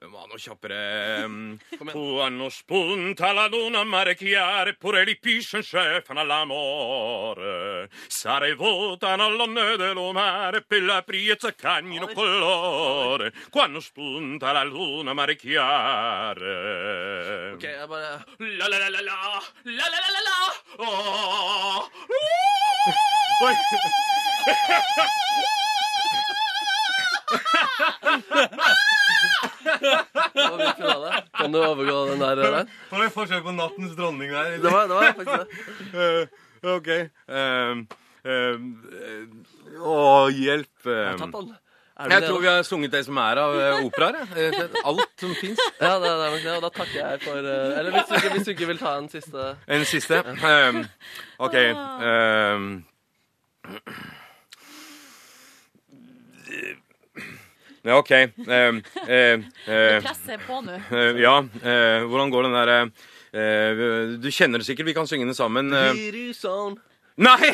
S10: Ma no kjappere. Fu hanno spunta la luna a mare chiare, pure li pisce scefana l'amore. Sare votano all'onne dello mare, per la priezza cagnino colore. Quando spunta la luna a mare chiare.
S3: Ok, jeg bare
S11: La la la la la, la la la la la. Åh.
S10: Oi.
S3: det var min finale.
S10: eh,
S3: Kan du overgå den der, Rein?
S10: Var det forskjell på nattens dronning der?
S3: Det var, det var faktisk det.
S10: Eh, ok. Ehm, ehm, eh, å, hjelp.
S3: Jeg
S10: ehm.
S3: tatt den. Er du
S10: Jeg
S3: det,
S10: tror vi
S3: da?
S10: har sunget det som er av eh, operaer. jeg. Rett og slett Alt som fins.
S3: Ja, det, det er nok det. Og da takker jeg for eh, Eller hvis du, ikke- hvis du ikke vil ta en siste
S10: En siste. Ehm, OK. ehm. Ja, OK. ehm, ehm, ehm,
S2: Presset er på nå.
S10: eh, ja, eh, hvordan går den derre Du kjenner det sikkert, vi kan synge den sammen. eh,
S3: Virus on,
S10: Nei!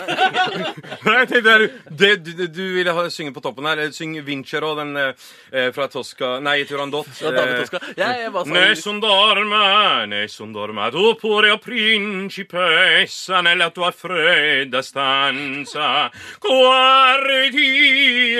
S10: Nei, jeg tenkte her, det, du, du ville ha, synge på toppen her. eh, Syng Vincero, den eh, fra Tosca Nei, Turandot. eh.
S3: Ja, David Tosca. Jeg- jeg bare sa-
S10: Nessun dorme, nessun dorme, tu pure o principessa nella tua fredda stanza. Guardi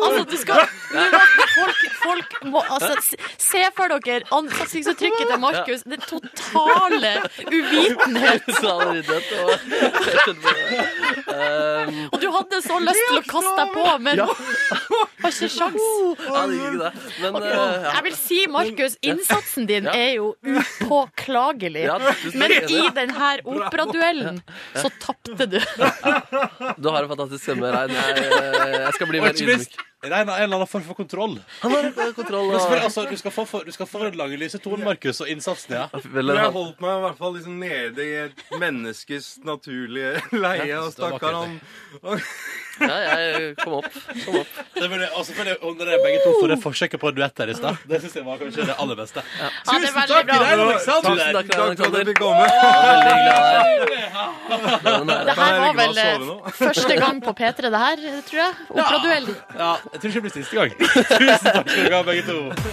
S2: Altså, du skal du må, folk, folk må altså, s- Se for dere ansiktsuttrykket til Markus. Den totale uvitenhet. Og du hadde så lyst til å kaste deg på, men
S3: Ehm, Ja.
S2: har ikke sjans.
S3: Ja, det gikk det. Men,
S2: Ok,
S3: eh, ja.
S2: Jeg vil si, Markus, innsatsen din er jo upåklagelig.
S3: Ja, du- du-
S2: Men i denne operaduellen så tapte du.
S3: Du har en fantastisk stemme, Rein. Jeg, eh, jeg skal bli mer
S1: Og ikke minst,
S3: ydmyk.
S1: Rein har en eller annen form for kontroll.
S3: Han har eh, kontroll.
S1: Men selvfølgelig,
S3: Og...
S1: altså, du skal få for, du skal få for den lange lyse tonen, Markus, og innsatsen, ja.
S3: Vel,
S10: Men jeg
S3: han-
S10: holdt meg i hvert fall liksom nede i et menneskes naturlige leie.
S1: Ja,
S10: Og
S1: det var
S10: stakkar han
S3: Ja, jeg Eh, kom opp. Kom opp.
S1: Det var det- Og selvfølgelig under det begge to for det forsøket på en duett her i stad. Det syns jeg var kanskje det aller beste.
S2: Ja, det er veldig bra.
S1: Rein Alexander!
S3: Tusen takk, Rein
S10: Takk for at jeg
S3: Alexander.
S10: fikk komme.
S3: Veldig glad i
S2: Det
S3: deg.
S2: her var
S10: Jeg ligger
S2: vel
S10: bare og sover
S2: eh, første gang på P3, det her, tror jeg. Operaduell.
S1: Ja, jeg tror ikke det blir siste gang. Tusen takk skal dere ha, begge to.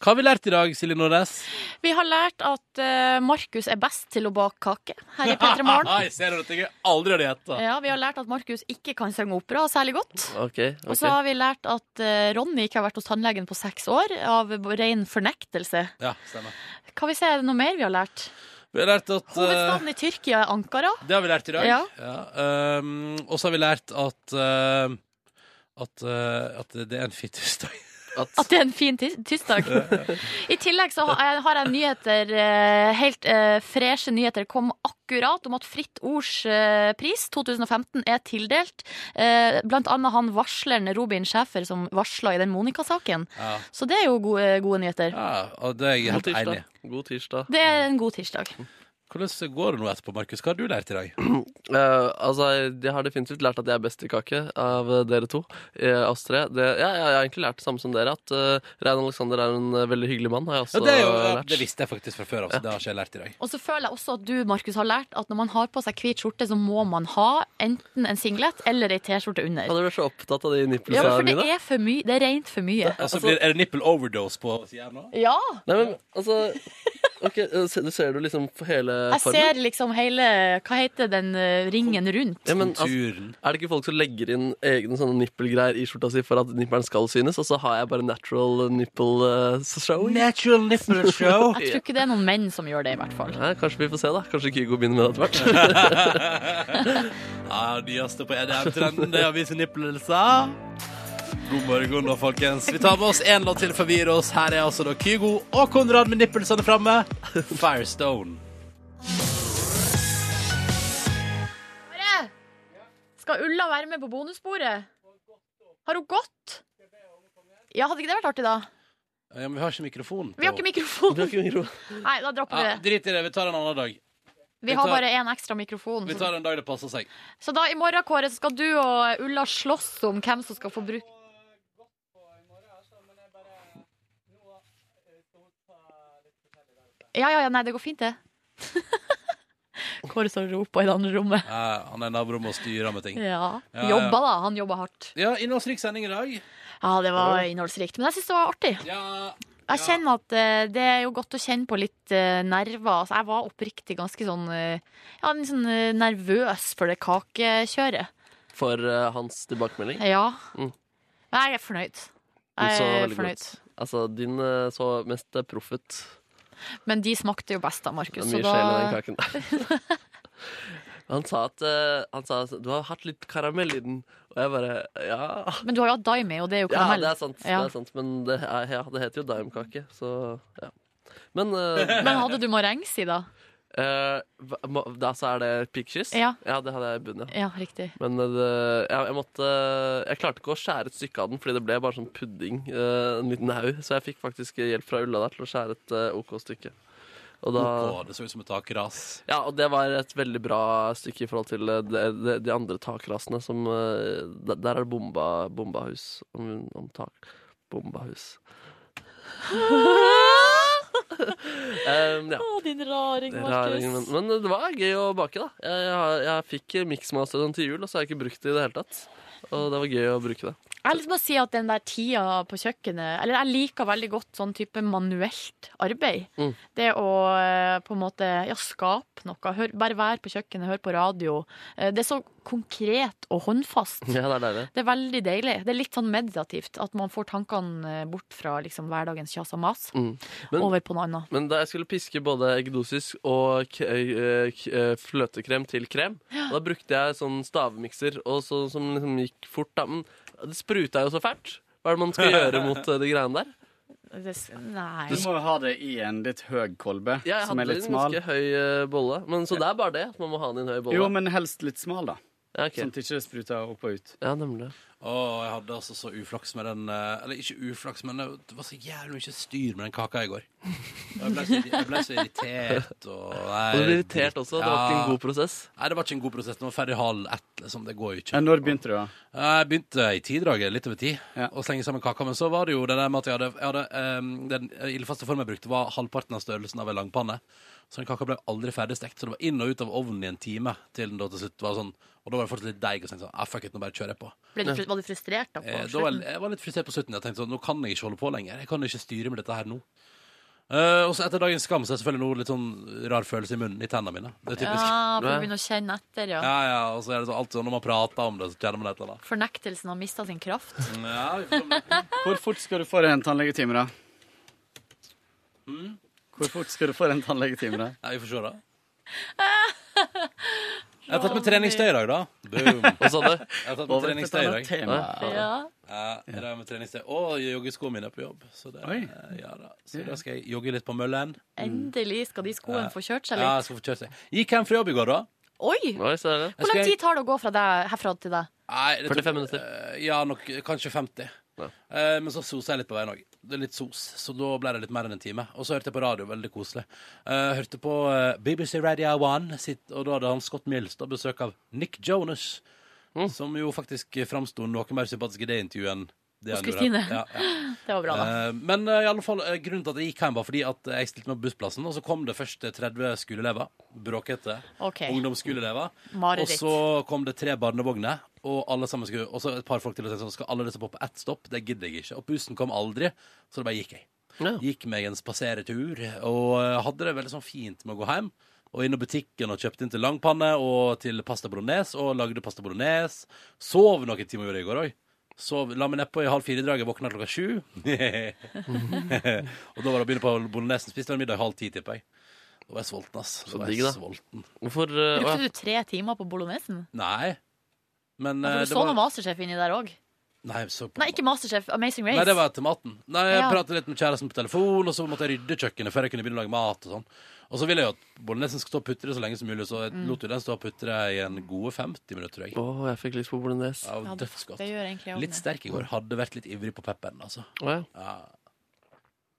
S1: Hva har vi lært i dag, Silje Nordnes?
S2: Vi har lært at eh, Markus er best til å bake kake her i P3 Morgen.
S1: Nei, ser du at jeg aldri hadde gjetta?
S2: Ja, vi har lært at Markus ikke kan synge opera særlig godt.
S3: OK.
S2: Og
S3: ok.
S2: så har vi lært at eh, Ronny ikke har vært hos tannlegen på seks år av ren fornektelse.
S1: Ja, stemmer.
S2: Kan vi se er det noe mer vi har lært?
S1: Vi har lært at eh,
S2: Hovedstaden i Tyrkia er Ankara.
S1: Det har vi lært i dag.
S2: Ja.
S1: ehm, og så har vi lært at eh, at, eh, at det er en fittusdag.
S2: At det er en fin tis- tirsdag. I tillegg så har jeg, har jeg nyheter, eh, helt eh, freshe nyheter, kom akkurat om at Fritt Ords eh, pris 2015 er tildelt. Eh, blant annet han varsleren Robin Schäfer som varsla i den Monica-saken.
S1: Ja.
S2: Så det er jo gode, gode nyheter.
S1: ja, og det er jeg
S3: God
S1: helt enig
S3: tirsdag.
S1: i.
S3: God tirsdag.
S2: Det er en god tirsdag.
S1: Hvordan går det nå etterpå, Markus? Hva har du lært i dag?
S3: Eh, altså, Jeg har definitivt lært at jeg er best i kake av eh, dere to. Uh, oss tre. Det, ja, jeg har egentlig lært det samme som dere, at eh, Rein Alexander er en eh, veldig hyggelig mann. har jeg
S1: Ja,
S3: også
S1: det, er jo, ja,
S3: lært.
S1: det visste jeg faktisk fra før av, så det har ikke jeg lært i dag.
S2: Og så føler jeg også at du, Markus, har lært at når man har på seg hvit skjorte, så må man ha enten en singlet eller ei T-skjorte
S3: Han
S2: under.
S3: er så opptatt av de
S2: Ja, for
S3: nippelsene
S2: det
S3: mine.
S2: er for mye. Det er rent for mye.
S1: Altså, blir, er det nipple overdose på sida nå?
S2: Ja!
S3: Nei, men altså Ok, eh, ser, ser du liksom hele
S2: Jeg
S3: formen?
S2: ser liksom hele Hva heter den eh, ringen rundt?
S3: Ja, men, altså,
S1: Turen.
S3: er det ikke folk som legger inn egne sånne nippelgreier i skjorta si for at nippelen skal synes, og så har jeg bare natural nipple eh, show?
S1: Natural nipple show.
S2: Jeg tror ikke det er noen menn som gjør det, i hvert fall.
S3: Nei, kanskje vi får se, da. Kanskje Kygo begynner med det etter hvert.
S1: Ja, nyeste på EDM-trenden, det er å vise nippelser. God morgen, da, folkens. Vi tar med oss én låt til før vi gir oss. Her er altså da Kygo og Konrad med nippelsene framme. Firestone.
S2: Skal Ulla være med på bonussporet? Har hun gått? Ja, hadde ikke det vært artig, da?
S1: Ja, men vi har ikke mikrofon.
S2: Vi har ikke mikrofon.
S3: Kygo.
S2: Nei, da dropper vi
S1: ja,
S2: det.
S1: Drit i det. Vi tar en annen dag.
S2: Vi har bare én ekstra mikrofon.
S1: Vi tar en dag det passer seg.
S2: Så da i morgen, Kåre, så skal du og Ulla slåss om hvem som skal få bruke Ja, ja, ja, nei, det går fint, det. Kåre står og roper i det andre rommet.
S1: Ja, han er nabo og styrer med ting.
S2: Ja.
S1: Ja, ja.
S2: Jobba, da. Han jobba hardt.
S1: Ja, innholdsrik sending i dag.
S2: Ja, det var innholdsrikt. Men jeg syns det var artig.
S1: Ja,
S2: Jeg kjenner at eh, Det er jo godt å kjenne på litt eh, nerver. Altså, jeg var oppriktig ganske sånn eh, Ja, litt sånn eh, nervøs for det kakekjøret.
S3: For eh, hans tilbakemelding.
S2: Ja.
S3: Mm.
S2: Men jeg er fornøyd. Jeg
S3: Den så
S2: er
S3: veldig god
S2: fornøyd.
S3: ut. Altså, din eh, så mest eh, proff ut.
S2: Men de smakte jo best da,
S3: Det
S2: Markus.
S3: er
S2: Så
S3: mye sjel i den
S2: da
S3: kaken der. Han sa at eh, han sa, at du har hatt litt karamell i den. Og jeg bare ja.
S2: Men du har jo hatt daimi, og det er jo
S3: Ja,
S2: karamell.
S3: det er sant.
S2: Ja.
S3: Det er sant men det, er, ja, det heter jo daimkake, så ja. Men eh,
S2: Men hadde du marengs i, da?
S3: Eh, hva- må- da så er det pikkkyss?
S2: Ja.
S3: det hadde jeg i bunnen,
S2: Ja, riktig.
S3: Men eh, det, jeg, jeg måtte Jeg klarte ikke å skjære et stykke av den, fordi det ble bare sånn pudding. eh, en liten haug. Så jeg fikk faktisk hjelp fra Ulla der til å skjære et eh, OK stykke. Og da,
S1: OK, det så ut som et takras.
S3: ja, og det var et veldig bra stykke i forhold til eh, de, de, de andre takrasene som eh, Der der er det bomba, bombahus. Om, om tak. Bombahus. Um, ja.
S2: Å, din raring,
S3: Det er
S2: Markus.
S3: raring, men, men det var gøy å bake, da. Jeg, jeg, har- jeg fikk miksmasteren til jul, og så har jeg ikke brukt det i det hele tatt. Og det var gøy å bruke det.
S2: Jeg vil bare si at den der tida på kjøkkenet Eller jeg liker veldig godt sånn type manuelt arbeid.
S3: Mm.
S2: Det å eh, på en måte ja, skape noe. Hør, bare være på kjøkkenet, høre på radio. Eh, Det er så konkret og håndfast.
S3: Ja, det er deilig.
S2: Det er veldig deilig. Det er litt sånn meditativt. At man får tankene eh, bort fra liksom, hverdagens kjas og mas.
S3: Mm. Men-
S2: over på noe annet.
S3: Men da jeg skulle piske både eggdosis og k eh, k eh, fløtekrem til krem, og da brukte jeg sånn stavmikser og så, som liksom gikk fort, da. Men det spruta jo så fælt. Hva er det man skal gjøre mot eh, de greiene der?
S2: Det, s- nei.
S12: Du må jo ha det i en litt høy kolbe,
S3: Jeg
S12: som
S3: hadde
S12: er litt
S3: en
S12: smal.
S3: ganske høy eh, bolle, men så det er bare det. at Man må ha den i en høy bolle.
S12: Jo, men helst litt smal, da.
S3: Ja, ok.
S12: Sånn at det ikke spruter opp og ut.
S3: Ja, nemlig.
S1: Å, jeg hadde altså så uflaks med den eh, Eller ikke uflaks, men det var så jævlig mye styr med den kaka i går. Og Jeg ble så, jeg ble så irritert og nei,
S3: Og du ble irritert også, det var ikke en
S1: ja.
S3: god prosess.
S1: Nei, det var ikke en god prosess. Den var ferdig halv ett, liksom. Det går jo ikke.
S12: Ja, når begynte du, da?
S1: Jeg begynte i tidraget, litt over ti, å slenge sammen kaka. Men så var det jo det der med at jeg hadde, jeg hadde ehm, Den ildfaste formen jeg brukte, var halvparten av størrelsen av en langpanne. Så den kaka ble aldri ferdigstekt. Så det var inn og ut av ovnen i en time til den da til slutt var sånn. Og da var det fortsatt litt deig. Og så tenkte jeg sånn, ah, fuck it, nå bare kjører jeg på.
S2: Ble du, fru- var du frustrert da? På
S1: Eh, da var,
S2: slutten?
S1: jeg- jeg var litt frustrert på slutten. Jeg tenkte sånn, nå kan jeg ikke holde på lenger. Jeg kan ikke styre med dette her nå. Eh, og så etter dagens skam så er selvfølgelig nå litt sånn rar følelse i munnen, i tennene mine. Det er typisk.
S2: Ja, for å begynne å kjenne etter, ja.
S1: Ja, ja, og så er det så alt sånn, når man prater om det, så kjenner man et eller annet.
S2: Fornektelsen har mista sin kraft.
S12: Hvor fort skal du få deg en tannlegetime, da?
S1: Mm.
S12: Hvor fort skal du få deg en tannlegetime, da?
S1: Nei, vi får se, da. Jeg har tatt med treningstøy i dag, da. Boom.
S3: Hva sa du?
S1: Jeg har tatt med
S12: Over til
S1: treningstøy i
S12: et
S1: dag.
S12: annet tema.
S1: Ja.
S12: Ja.
S1: jeg har med treningstøy. Og joggeskoene mine er på jobb. Så, det, ja, da. så da skal jeg jogge litt på møllen.
S2: Endelig skal de skoene få kjørt seg
S1: Ja,
S2: litt.
S1: jeg skal få kjørt seg. Gikk hjem fra jobb i går, da.
S2: Oi!
S3: Oi, så er det.
S2: Hvor lang
S1: Jeg skal-
S2: tid tar det å gå fra deg, herfra til deg?
S1: Nei, det tok-
S3: 45 minutter.
S1: eh, Ja, nok, kanskje 50. Eh, men så sosa jeg litt på veien òg. Det er Litt sos. Så da ble det litt mer enn en time. Og så hørte jeg på radio. Veldig koselig. Eh, hørte på eh, BBC Radio 1, sitt, og da hadde han Scott Mills da besøk av Nick Jonas.
S3: Mm.
S1: Som jo faktisk framsto noe mer sympatisk i det intervjuet enn det
S2: Hos
S1: han gjorde.
S2: Kristine.
S1: Ja, ja.
S2: Det var bra, da.
S1: Eh, Men eh, i alle fall, eh, grunnen til at jeg gikk hjem var fordi at jeg stilte meg på bussplassen, og så kom det først eh, 30 skoleelever. Bråkete
S2: Ok.
S1: ungdomsskoleelever. Og
S2: Mareritt.
S1: så kom det tre barnevogner, og alle sammen skulle, og så et par folk til og tenkte sånn, skal alle disse på på ett stopp? Det gidder jeg ikke. Og bussen kom aldri, så da bare gikk jeg. Gikk meg en spaseretur, og eh, hadde det veldig sånn fint med å gå hjem. Og innom butikken og kjøpte inn til langpanne og til pasta bolognese, og lagde pasta bolognese. Sov noen timer gjorde jeg i går òg. Sov, la meg nedpå i halv fire-draget, våkna klokka sju. og da var det å begynne på bolognesen. Spiste vel middag halv ti, tipper jeg. Da var jeg sulten, ass. Da var jeg
S3: digg, da.
S1: sulten.
S3: Hvorfor eh, å, ja.
S2: Brukte du tre timer på bolognesen?
S1: Nei. Men
S2: Ja,
S1: eh,
S2: for du så
S1: det
S2: noe
S1: var
S2: Masterchef inni der òg.
S1: Nei, så på
S2: Nei, ikke Masterchef, Amazing Race.
S1: Nei, det var til maten. Nei, Jeg
S2: Ja.
S1: pratet litt med kjæresten på telefon, og så måtte jeg rydde kjøkkenet før jeg kunne begynne å lage mat. Og sånn Og så ville jeg jo at bolognesen skal stå og putre så lenge som mulig, så jeg
S2: Mm.
S1: lot jo den stå og putre i en gode 50 minutter, tror jeg.
S3: Å, jeg fikk lyst på bolognese.
S1: Ja,
S2: Ja, det-
S1: Dødsgodt.
S2: det gjør egentlig jeg også.
S1: Litt sterk i går. Hadde vært litt ivrig på pepperen, altså.
S3: Å, ja.
S1: Ja.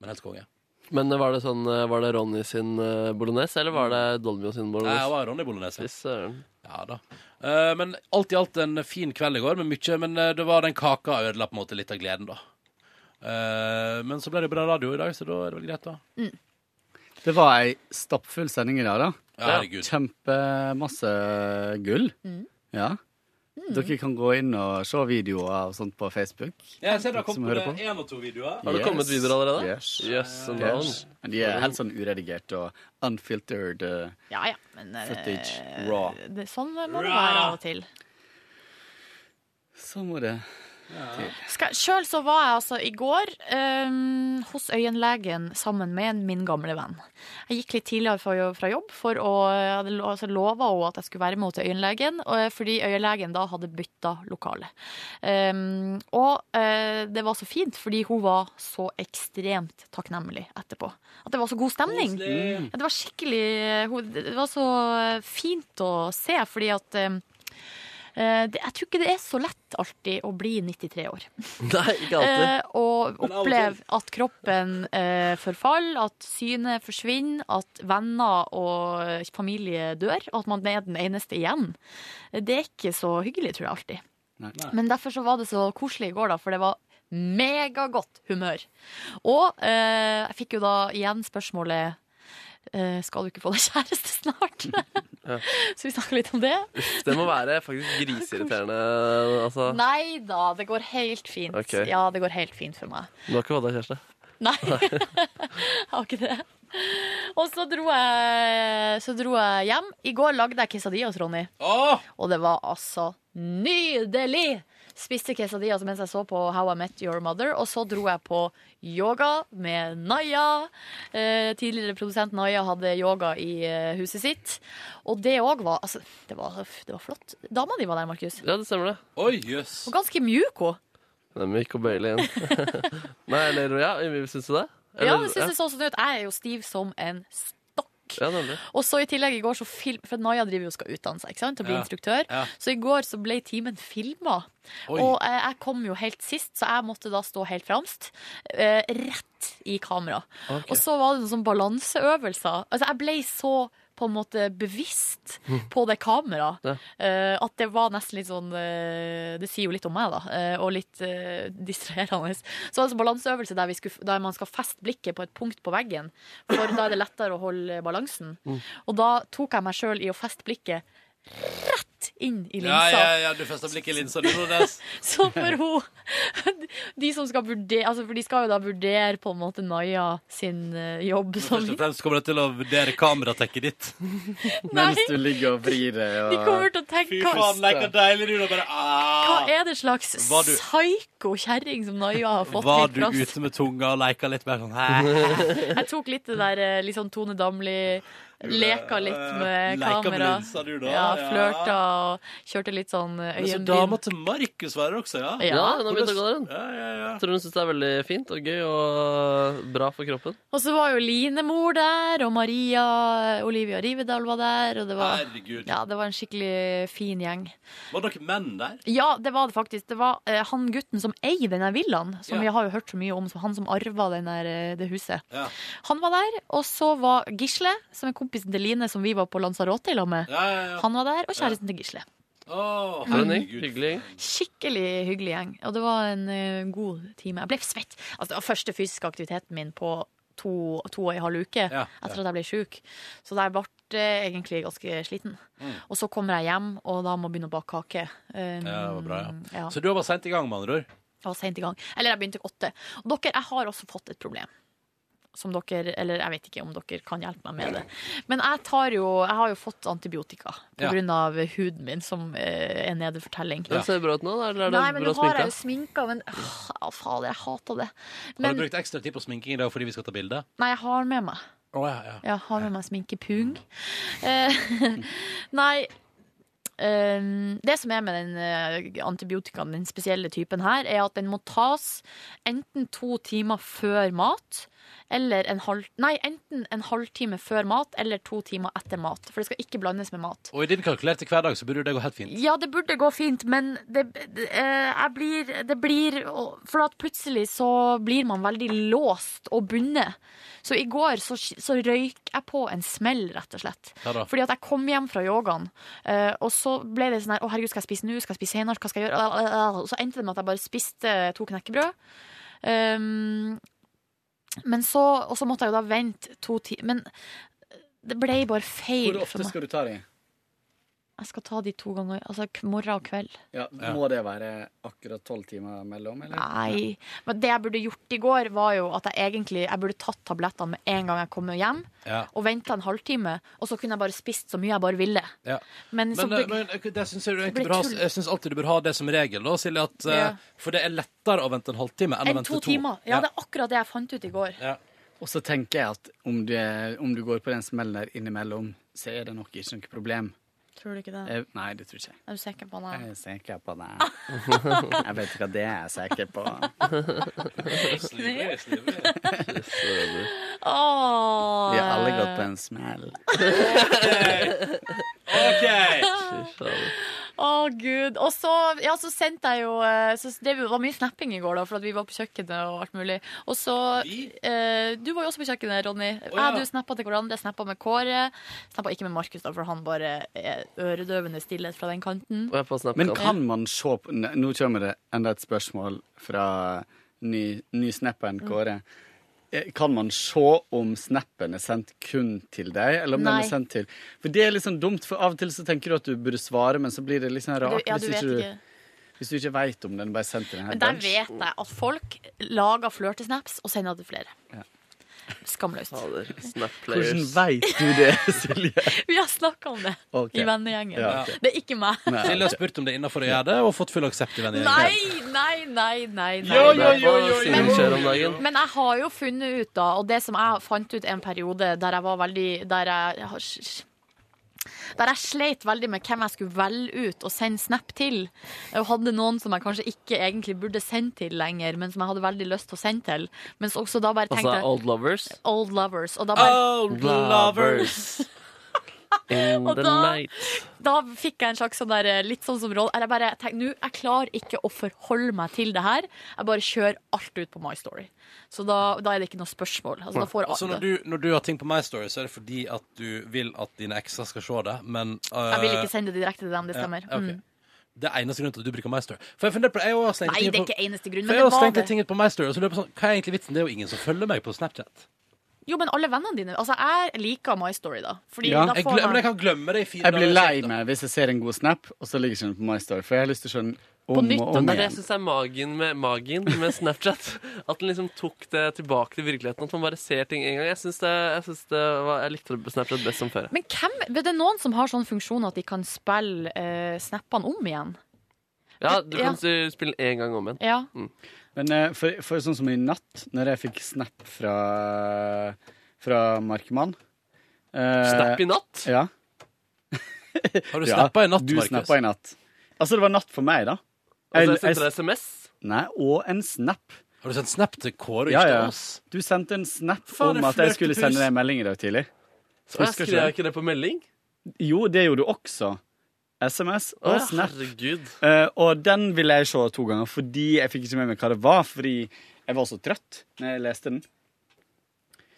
S1: Men helt konge.
S3: Men eh, var det sånn eh, Var det Ronny sin eh, bolognese, eller var det Dolmio sin
S1: Mm. Nei, jeg
S3: bolognese?
S1: var Ronny Bolognese.
S3: Fy søren.
S1: Ja da. Eh, men alt i alt en fin kveld i går, med mye, men eh, det var den kaka ødela på en måte litt av gleden, da. Eh, men så ble det bra radio i dag, så da er det vel greit, da.
S12: Det var ei stappfull sending i dag, da.
S1: Ja, herregud.
S12: Kjempemasse gull. Ja. Dere kan gå inn og se videoer og sånt på Facebook.
S1: Jeg ser det har
S12: Som
S1: kommet
S12: hører på.
S1: én og to videoer.
S3: Har det kommet videoer allerede?
S12: Yes.
S3: Yes, and
S12: yes.
S3: down.
S12: Men De er helt sånn uredigert og unfiltered eh,
S2: Ja, ja, men eh,
S12: footage. Raw.
S2: det, Sånn må det
S1: Raw.
S2: være av og til.
S12: Så må Sånn det
S2: Skal, selv så var jeg altså i går ehm, hos øyenlegen sammen med en- min gamle venn. Jeg gikk litt tidligere fra, fra jobb, for å, jeg hadde lo- altså lova henne at jeg skulle være med henne til øyenlegen, og, eh, fordi øyenlegen da hadde bytta lokale. Ehm, og eh, det var så fint, fordi hun var så ekstremt takknemlig etterpå. At det var så god stemning.
S3: Mm.
S9: Koselig.
S2: Ja, det var skikkelig hun- Det var så eh, fint å se, fordi at ehm, Eh, det, jeg tror ikke det er så lett alltid å bli 93 år.
S3: Nei, ikke alltid.
S2: Eh, og
S3: Men av og
S2: oppleve at kroppen eh, forfaller, at synet forsvinner, at venner og familie dør, og at man er den eneste igjen. Det er ikke så hyggelig, tror jeg alltid. Men derfor så var det så koselig i går, da, for det var megagodt humør. Og eh, jeg fikk jo da igjen spørsmålet eh, Skal du ikke få deg kjæreste snart?
S3: Ja.
S2: så vi snakka litt om det.
S3: Uff, det må være faktisk griseirriterende. Altså.
S2: Nei da, det går helt fint.
S3: Ok.
S2: Ja, det går helt fint for meg.
S3: Du har ikke fått deg kjæreste?
S2: Nei, jeg har ikke det. Og så dro jeg, så dro jeg hjem. I går lagde jeg quesadillas, Ronny. Og det var altså nydelig! Spiste quesadillas mens jeg så på How I Met Your Mother, og så dro jeg på yoga med Naya. Eh, tidligere produsent Naya hadde yoga i eh, huset sitt. Og det òg var Altså, det var, det var flott. Dama di var der, Markus.
S3: Ja, det stemmer det.
S1: Oi, jøss.
S2: Og ganske mjuk òg.
S3: Den er myk og bøyelig igjen. Nei, eller ja, syns du det?
S2: Ja, det synes jeg så sånn ut. Jeg er jo stiv som en s-
S3: Ja, nemlig.
S2: Og så i tillegg i går så film... For Naya driver jo og skal utdanne seg ikke sant? og bli
S3: Ja.
S2: instruktør.
S3: Ja.
S2: Så i går så ble timen filma.
S3: Oi.
S2: Og eh, jeg kom jo helt sist, så jeg måtte da stå helt fremst. eh, rett i kamera.
S9: Ok.
S2: Og så var det noen sånn balanseøvelser. Altså jeg ble så på en måte bevisst
S3: Mm.
S2: på det kameraet.
S9: Ja.
S2: eh, at det var nesten litt sånn eh, Det sier jo litt om meg, da. eh, og litt eh, distraherende. Så var det en sånn balanseøvelse der, vi skulle, der man skal feste blikket på et punkt på veggen. For da er det lettere å holde balansen. Og da tok jeg meg sjøl i å feste blikket rett inn i
S1: Ja,
S2: linsa.
S1: ja, ja, du festa blikket i linsa, du, Nordnes.
S2: Så for hun De som skal vurdere altså For de skal jo da vurdere på en måte Naya sin eh, jobb som
S1: Først og fremst kommer jeg til å vurdere kameratekket ditt.
S2: Mens
S12: du ligger og vrir deg.
S2: De kommer til å tenke
S1: Fy
S2: hva-
S1: faen, leik og deilig du da bare
S2: Hva
S1: ah!
S2: er det slags
S1: Var du-
S2: psyko kjerring som Naya har fått
S1: Var
S2: helt
S1: du
S2: plass?
S1: ute med tunga og leika litt mer sånn hæ?
S2: Jeg tok litt det der eh, litt sånn Tone Damli Leka litt med
S1: eh, Leka med
S2: kamera.
S1: linsa, du da,
S2: ja,
S1: ja.
S2: flørta og kjørte litt sånn eh,
S1: Men så
S2: øyenbryn.
S1: dama til Markus var her også, ja?
S3: Ja, hun har begynt å gå der, hun.
S1: Ja, ja, ja.
S3: Tror hun syns det er veldig fint og gøy og bra for kroppen.
S2: Og så var jo Line mor der, og Maria Olivia Rivedal var der. Og det var,
S1: Herregud.
S2: ja, det var en skikkelig fin gjeng.
S1: Var det noen menn der?
S2: Ja, det var det faktisk. Det var eh, han gutten som eier denne villaen, som
S1: Ja.
S2: vi har jo hørt så mye om, som han som arva den der, eh, det huset.
S1: Ja.
S2: Han var der, og så var Gisle, som er kompisen til Line, som vi var på Lanzarote i lag med.
S1: Ja, ja, ja.
S2: Han var der, og kjæresten til Gisle.
S1: Å,
S3: For en gjeng.
S1: herregud.
S3: Hyggelig gjeng.
S2: Skikkelig hyggelig gjeng, og det var en eh, god time. Jeg ble svett. Altså, det var første fysiske aktiviteten min på to, to og en halv uke etter at jeg ble sjuk. Så der ble jeg egentlig ganske sliten.
S1: Mm.
S2: Og så kommer jeg hjem, og da må jeg begynne å bake kake. Um,
S1: Ja, det var bra, ja.
S2: ja.
S1: Så du var seint i gang, med andre ord?
S2: Jeg var sent i gang. Eller jeg begynte åtte. Og dere, jeg har også fått et problem. Som dere, eller jeg vet ikke om dere kan hjelpe meg med det. Men jeg, tar jo, jeg har jo fått antibiotika
S3: Ja.
S2: pga. av huden min, som eh, er nede for telling.
S3: Den ser bra ut nå, da, eller er det
S2: Nei, men
S3: bra
S2: nå har
S3: sminka?
S2: jeg jo sminka, men åh, ja, fader, jeg hater det.
S1: Har du
S2: Men
S1: brukt ekstra tid på sminking i dag fordi vi skal ta bilde?
S2: nei, jeg har med meg.
S1: Å, ja, ja.
S2: Jeg har med meg sminkepung. Eh, nei eh, Det som er med den eh, antibiotikaen, den spesielle typen her, er at den må tas enten to timer før mat eller en halv, nei, enten en halvtime før mat eller to timer etter mat. For det skal ikke blandes med mat.
S1: Og i din kalkulerte hverdag så burde det gå helt fint.
S2: Ja, det burde gå fint, men det, det- eh, jeg blir, det blir For at plutselig så blir man veldig låst og bundet. Så i går så, så røyk jeg på en smell, rett og slett.
S9: Ja da.
S2: Fordi at jeg kom hjem fra yogaen, eh, og så ble det sånn her Å, herregud, skal jeg spise nå? Skal jeg spise senere? Hva skal jeg gjøre? Ah, ah, ah. Og så endte det med at jeg bare spiste eh, to knekkebrød. Um, men så, og så måtte jeg jo da vente to timer. Men det ble bare feil
S12: Hvor
S2: for
S12: ofte
S2: meg.
S12: skal du ta dem?
S2: Jeg skal ta de to ganger, altså k- morgen og kveld.
S12: Ja, må det være akkurat tolv timer mellom, eller?
S2: Nei. Men det jeg burde gjort i går, var jo at jeg egentlig jeg burde tatt tablettene med en gang jeg kom hjem,
S1: Ja.
S2: og venta en halvtime, og så kunne jeg bare spist så mye jeg bare ville.
S1: Ja.
S2: Men
S1: Men,
S2: så
S1: eh,
S2: beg-
S1: men eh, det synes jeg, du egentlig
S2: blir
S1: bør ha,
S2: tull.
S1: jeg synes alltid du bør ha det som regel, da, Silje. At, eh,
S2: Ja.
S1: For det er lettere å vente en halvtime enn å
S2: Enn
S1: vente
S2: to
S1: to.
S2: timer. Ja, det er akkurat det jeg fant ut i går.
S1: Ja.
S12: Og så tenker jeg at om du, om du går på den smellen der innimellom, så er det nok ikke noe problem.
S2: Tror du ikke det?
S12: Jeg, nei, det tror ikke jeg.
S2: Er du sikker på det?
S12: Jeg er sikker på det. Jeg vet ikke hva det er jeg er sikker på.
S2: Snivrig,
S12: Snivrig.
S2: Åh.
S12: Vi har alle gått på en smell.
S2: Å, gud. Og så, ja, så sendte jeg jo eh, så det var mye snapping i går, da, for at vi var på kjøkkenet og alt mulig. Og så eh, Du var jo også på kjøkkenet, Ronny.
S9: ja.
S2: Jeg, du snappa til hverandre. Jeg snappa med Kåre. Snappa ikke med Markus, da, for han bare er øredøvende stillhet fra den kanten.
S12: Men kan man se på N- Nå kommer det enda et spørsmål fra ny, ny snappen
S2: Mm.
S12: Kåre. Eh, Kan man se om snappen er sendt kun til deg, eller om den
S2: Nei.
S12: er sendt til For det er litt sånn dumt, for av og til så tenker du at du burde svare, men så blir det litt sånn
S2: Du-
S12: rart
S2: ja, du vet ikke.
S12: hvis du ikke veit om den bare er sendt til denne
S2: Men der vet jeg at folk lager flørtesnaps og sender det til flere.
S12: Ja.
S2: Skamløst.
S12: Hvordan veit du det, Silje?
S2: Vi har snakka om det
S1: Ok.
S2: i vennegjengen.
S1: Ja, ok.
S2: Det er ikke meg.
S1: Silje har spurt om det er innafor å gjøre det, og fått full aksept i vennegjengen.
S2: Nei, nei, nei, nei. nei.
S1: Jo, jo, jo, jo, jo.
S2: Men-
S1: Skjer om dagen.
S2: Men jeg har jo funnet ut, da, og det som jeg fant ut en periode der jeg var veldig Der jeg, jeg har sj- der jeg sleit veldig med hvem jeg skulle velge ut og sende snap til. Og hadde noen som jeg kanskje ikke egentlig burde sende til lenger, men som jeg hadde veldig lyst til å sende til. Mens også da bare tenkte
S3: Altså
S2: jeg-
S3: Old Lovers.
S2: Old lovers. Og da bare,
S3: In
S2: Og
S3: the
S2: da-
S3: night.
S2: da fikk jeg en slags sånn der, eh, litt sånn som roll. Eller jeg bare tenkte, nå, jeg klarer ikke å forholde meg til det her. Jeg bare kjører alt ut på My Story. Så da, da er det ikke noe spørsmål. Altså, da får
S1: så når
S2: alle.
S1: du, når du har ting på My Story, så er det fordi at du vil at dine ekser skal se det, men eh,
S2: Jeg vil ikke sende det direkte til dem, det
S1: ja,
S2: stemmer.
S1: ok.
S2: Mm.
S1: Det er eneste grunnen til at du bruker My Story. For jeg funderer på jeg har også slengt
S2: Nei,
S1: ting
S2: det er
S1: på-
S2: ikke eneste grunn,
S1: For
S2: men
S1: jeg
S2: det
S1: har
S2: var
S1: slengt
S2: det.
S1: ting ut på My Story, og så lurer jeg på sånn, hva er egentlig vitsen? Det er jo ingen som følger meg på Snapchat.
S2: Jo, men alle vennene dine. Altså, jeg liker My Story, da. Fordi
S12: Ja.
S2: da
S12: Jeg
S2: får
S12: glem-
S2: man
S12: men jeg
S1: kan glemme det i fire
S12: Jeg blir lei meg hvis jeg ser en god snap, og så ligger ikke den på My Story. For jeg har lyst til å se den om og om
S3: Det er det jeg
S12: igjen.
S3: syns er magien med, magien med Snapchat. At den liksom tok det tilbake til virkeligheten. At man bare ser ting en gang. Jeg synes det, jeg, synes det var, jeg likte Snapchat best som før.
S2: Men hvem, det er noen som har sånn funksjon at de kan spille eh, snappene om igjen.
S3: Ja, du
S2: Ja.
S3: kan s- spille den én gang om igjen.
S2: Ja.
S3: Mm.
S12: Men eh, for, for sånn som i natt, når jeg fikk snap fra, fra Markmann eh,
S3: Snap i natt?
S12: Ja.
S1: Har du
S12: Ja,
S1: snappa i natt,
S12: Du
S1: Markus?
S12: snappa i natt. Altså, det var natt for meg, da.
S3: Altså, jeg sendte deg SMS?
S12: Nei, og en snap.
S1: Har du sendt snap til Kåre?
S12: Ja,
S1: ikke til
S12: ja.
S1: oss?
S12: Du sendte en snap om
S1: Faen, jeg
S12: at jeg skulle
S1: flørtepus.
S12: sende deg en melding i dag tidlig.
S3: Så jeg
S12: Husker ikke
S3: skrev ikke det på melding.
S12: det? Jo, det gjorde du også. SMS
S3: Å,
S12: og snap.
S3: herregud.
S12: Eh, og den ville jeg se to ganger, fordi jeg fikk ikke med meg hva det var, fordi jeg var så trøtt når jeg leste den.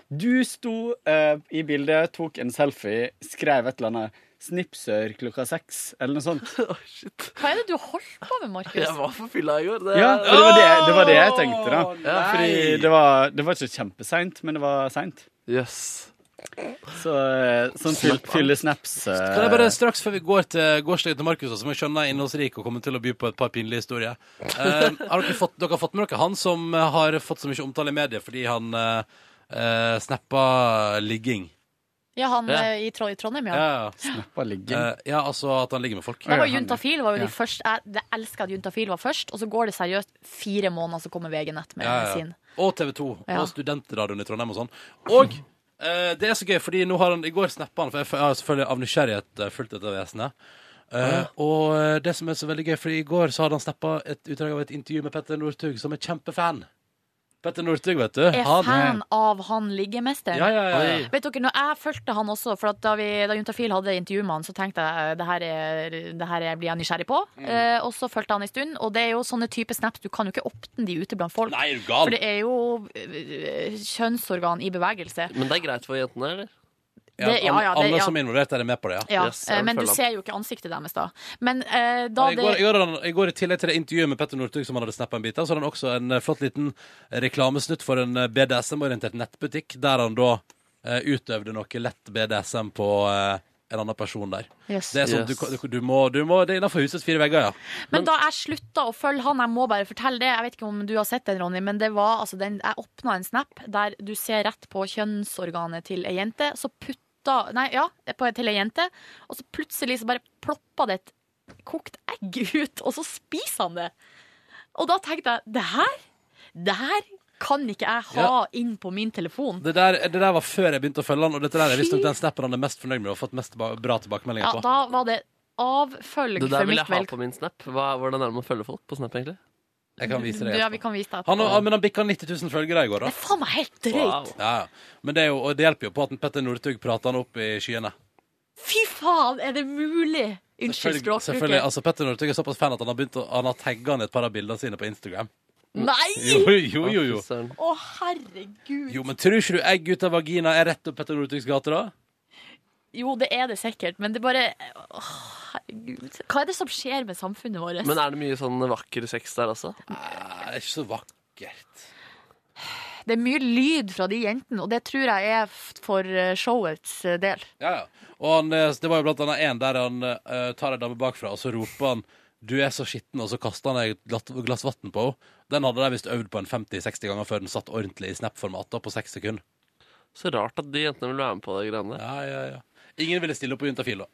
S12: Du sto eh, i bildet, tok en selfie, skrev et eller annet 'Snipsør klokka seks', eller noe sånt.
S2: Hva er det du holdt på med, Markus?
S3: Jeg var på fylla i går.
S12: Ja, og det var det, det var det jeg tenkte, da.
S3: Ja,
S12: fordi
S3: nei.
S12: det var, det var ikke kjempeseint, men det var seint.
S3: Yes.
S12: Så eh, sånn fyll, fylle snaps eh,
S1: Kan jeg bare straks før vi går til gårsdagen til Markus, altså, som jeg skjønner er innholdsrik og kommer til å by på et par pinlige historier Eh, Har dere fått, dere har fått med dere han som eh, har fått så mye omtale i media fordi han eh, eh, snappa ligging?
S2: Ja, han
S1: Ja.
S2: eh, i, Tro- i Trondheim, ja.
S1: Ja,
S12: Snappa ligging?
S1: ja, altså at han ligger med folk.
S2: Det var Juntafil var jo
S1: Ja.
S2: de første Jeg det elsker at Juntafil var først, og så går det seriøst fire måneder, så kommer VG Nett med
S1: Ja, ja.
S2: sin.
S1: Og TV 2
S2: Ja.
S1: og Studentradioen i Trondheim og sånn. Og eh, det er så gøy, fordi nå har han, i går snappa han, for jeg f- jeg har selvfølgelig av nysgjerrighet eh, fulgt dette vesenet. Eh, Og eh, det som er så veldig gøy, fordi i går så hadde han snappa et utdrag av et intervju med Petter Northug, som er kjempefan. Petter Northug, vet du.
S2: Er fan av han liggemesteren.
S1: Ja, ja, ja, ja.
S2: Vet dere, når jeg fulgte han også, for at da, vi, da Juntafil hadde intervju med han, så tenkte jeg det her, er, det her er, blir jeg nysgjerrig på.
S1: Mm.
S2: Eh, og så fulgte han en stund, og det er jo sånne type snaps. Du kan jo ikke åpne de ute blant folk.
S3: Nei, er du gal?
S2: For det er jo eh, kjønnsorgan i bevegelse.
S3: Men det er greit for jentene, eller?
S2: Ja, Det- ja, ja, det-
S1: alle
S2: ja.
S1: som er involvert, er med på det, ja.
S2: Ja, eh, men du ser jo ikke ansiktet deres da. Men eh, da
S1: I
S2: det
S1: går, i, går, hadde han- i går I tillegg til det intervjuet med Petter Northug, som han hadde snappa en bit av, så hadde han også en eh, flott liten reklamesnutt for en eh, BDSM-orientert nettbutikk, der han da eh, utøvde noe lett BDSM på eh, en annen person der.
S2: Yes.
S1: Det er sånn,
S2: Yes.
S1: du, kan- du, må, du må, Det er innenfor husets fire vegger, ja.
S2: Men da jeg slutta å følge han, jeg må bare fortelle det, jeg vet ikke om du har sett den, Ronny, men det var altså den Jeg åpna en snap der du ser rett på kjønnsorganet til ei jente, så putta Nei, ja, på, til ei jente, og så plutselig så bare ploppa det et kokt egg ut, og så spiser han det. Og da tenkte jeg det her, det her kan ikke jeg ha
S1: Ja.
S2: inn på min telefon.
S1: Det der, det der var før jeg begynte å følge han, og dette der er visstnok den snappen han er mest fornøyd med og har fått mest ba- bra tilbakemeldinger
S2: Ja,
S1: på.
S2: da var det avfølg
S3: Det der
S2: for
S3: vil
S2: mitt
S3: jeg ha
S2: vel.
S3: på min Snap. Hva, hvordan er det med å følge folk på Snap, egentlig?
S1: Jeg kan vise deg
S2: Ja,
S1: etterpå.
S2: vi kan vise deg
S1: Han, har-
S2: etterpå.
S1: men han bikka 90 000 følgere i går, da.
S2: Det er faen meg helt drøyt.
S1: Ja, ja. Men det, er jo, og det hjelper jo på at en Petter Northug prater han opp i skyene.
S2: Fy faen, er det mulig? Unnskyld
S1: Selvfølgelig,
S2: språkbruket.
S1: selvfølgelig. altså Petter Northug er såpass fan at han har begynt å Han har tagga ned et par av bildene sine på Instagram.
S2: Nei!
S1: Jo, jo, jo. jo.
S2: Å, herregud.
S1: Jo, men tror ikke du egg ut av vagina er rett opp Petter Northugs gate, da?
S2: Jo, det er det sikkert, men det er bare Åh, herregud. Hva er det som skjer med samfunnet vårt?
S3: Men er det mye sånn vakker sex der også?
S1: Nei, det er ikke så vakkert.
S2: Det er mye lyd fra de jentene, og det tror jeg er f- for eh, showets eh, del.
S1: Ja, ja. Og han, eh, det var jo blant annet en der han eh, tar en dame bakfra, og så roper han 'du er så skitten', og så kaster han et glatt- glass vann på henne. Den hadde de visst øvd på en 50-60 ganger før den satt ordentlig i Snap-format da, på seks sekunder.
S3: Så rart at de jentene vil være med på det greiene der.
S1: Ja, ja, ja. Ingen ville stille opp på Juntafil, da.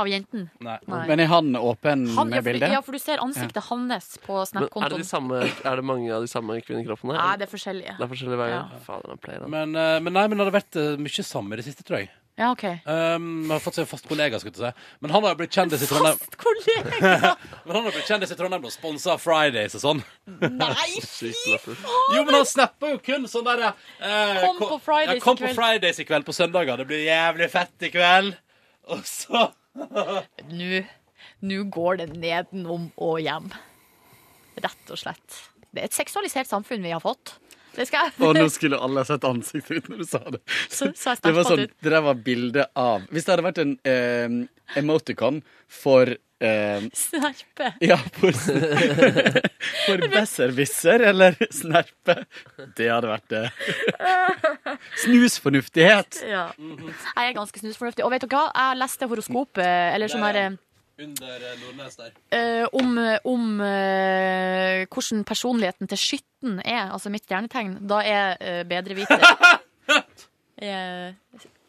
S2: Av jentene.
S1: Nei.
S12: Men er han åpen
S2: Han, ja,
S12: med
S2: for,
S12: bildet?
S2: ja, for du ser ansiktet hans på
S3: Men er det,
S2: Snap-kontoen.
S3: de samme, er det mange av de samme kvinnekroppene?
S2: Nei, sånn. det er forskjellige.
S3: Det er forskjellige veier.
S2: Ja.
S3: Fader, han pleier han.
S1: Men, eh, men nei, men det har vært eh, mye sammen i det siste, tror jeg.
S2: Ja, OK.
S1: Um, har fått seg en fast kollega, skulle jeg til å si. Men han har jo blitt kjendis i Trondheim. men han har blitt kjendis i Trondheim og sponsa Fridays og sånn.
S2: Nei,
S1: fy Jo, men han snapper jo kun sånn derre eh,
S2: Kom på
S1: ko-
S2: Fridays
S1: ja, kom
S2: i
S1: på
S2: kveld.
S1: Fridays i kveld på søndager. Det blir jævlig fett i kveld. Og så
S2: Nå, nå går det nedenom og hjem. Rett og slett. Det er et seksualisert samfunn vi har fått. Det skal jeg.
S12: eh, Og nå skulle alle ha sett ansiktet ditt når du sa det.
S2: Så- så jeg
S12: det var
S2: snappa
S12: sånn,
S2: det
S12: det der var bilde av Hvis det hadde vært en eh, emoticon for eh,
S2: Snerpe.
S12: Ja, for, for besserwisser eller snerpe. Det hadde vært det. Snusfornuftighet.
S2: Ja. Jeg er ganske snusfornuftig. Og vet dere hva? Jeg leste horoskopet, eller sånn
S1: Der er
S2: her
S1: han. Under eh, Nordnes der.
S2: eh, om, om eh, hvordan personligheten til skytten er, altså mitt stjernetegn. Da er eh, bedreviter Eh,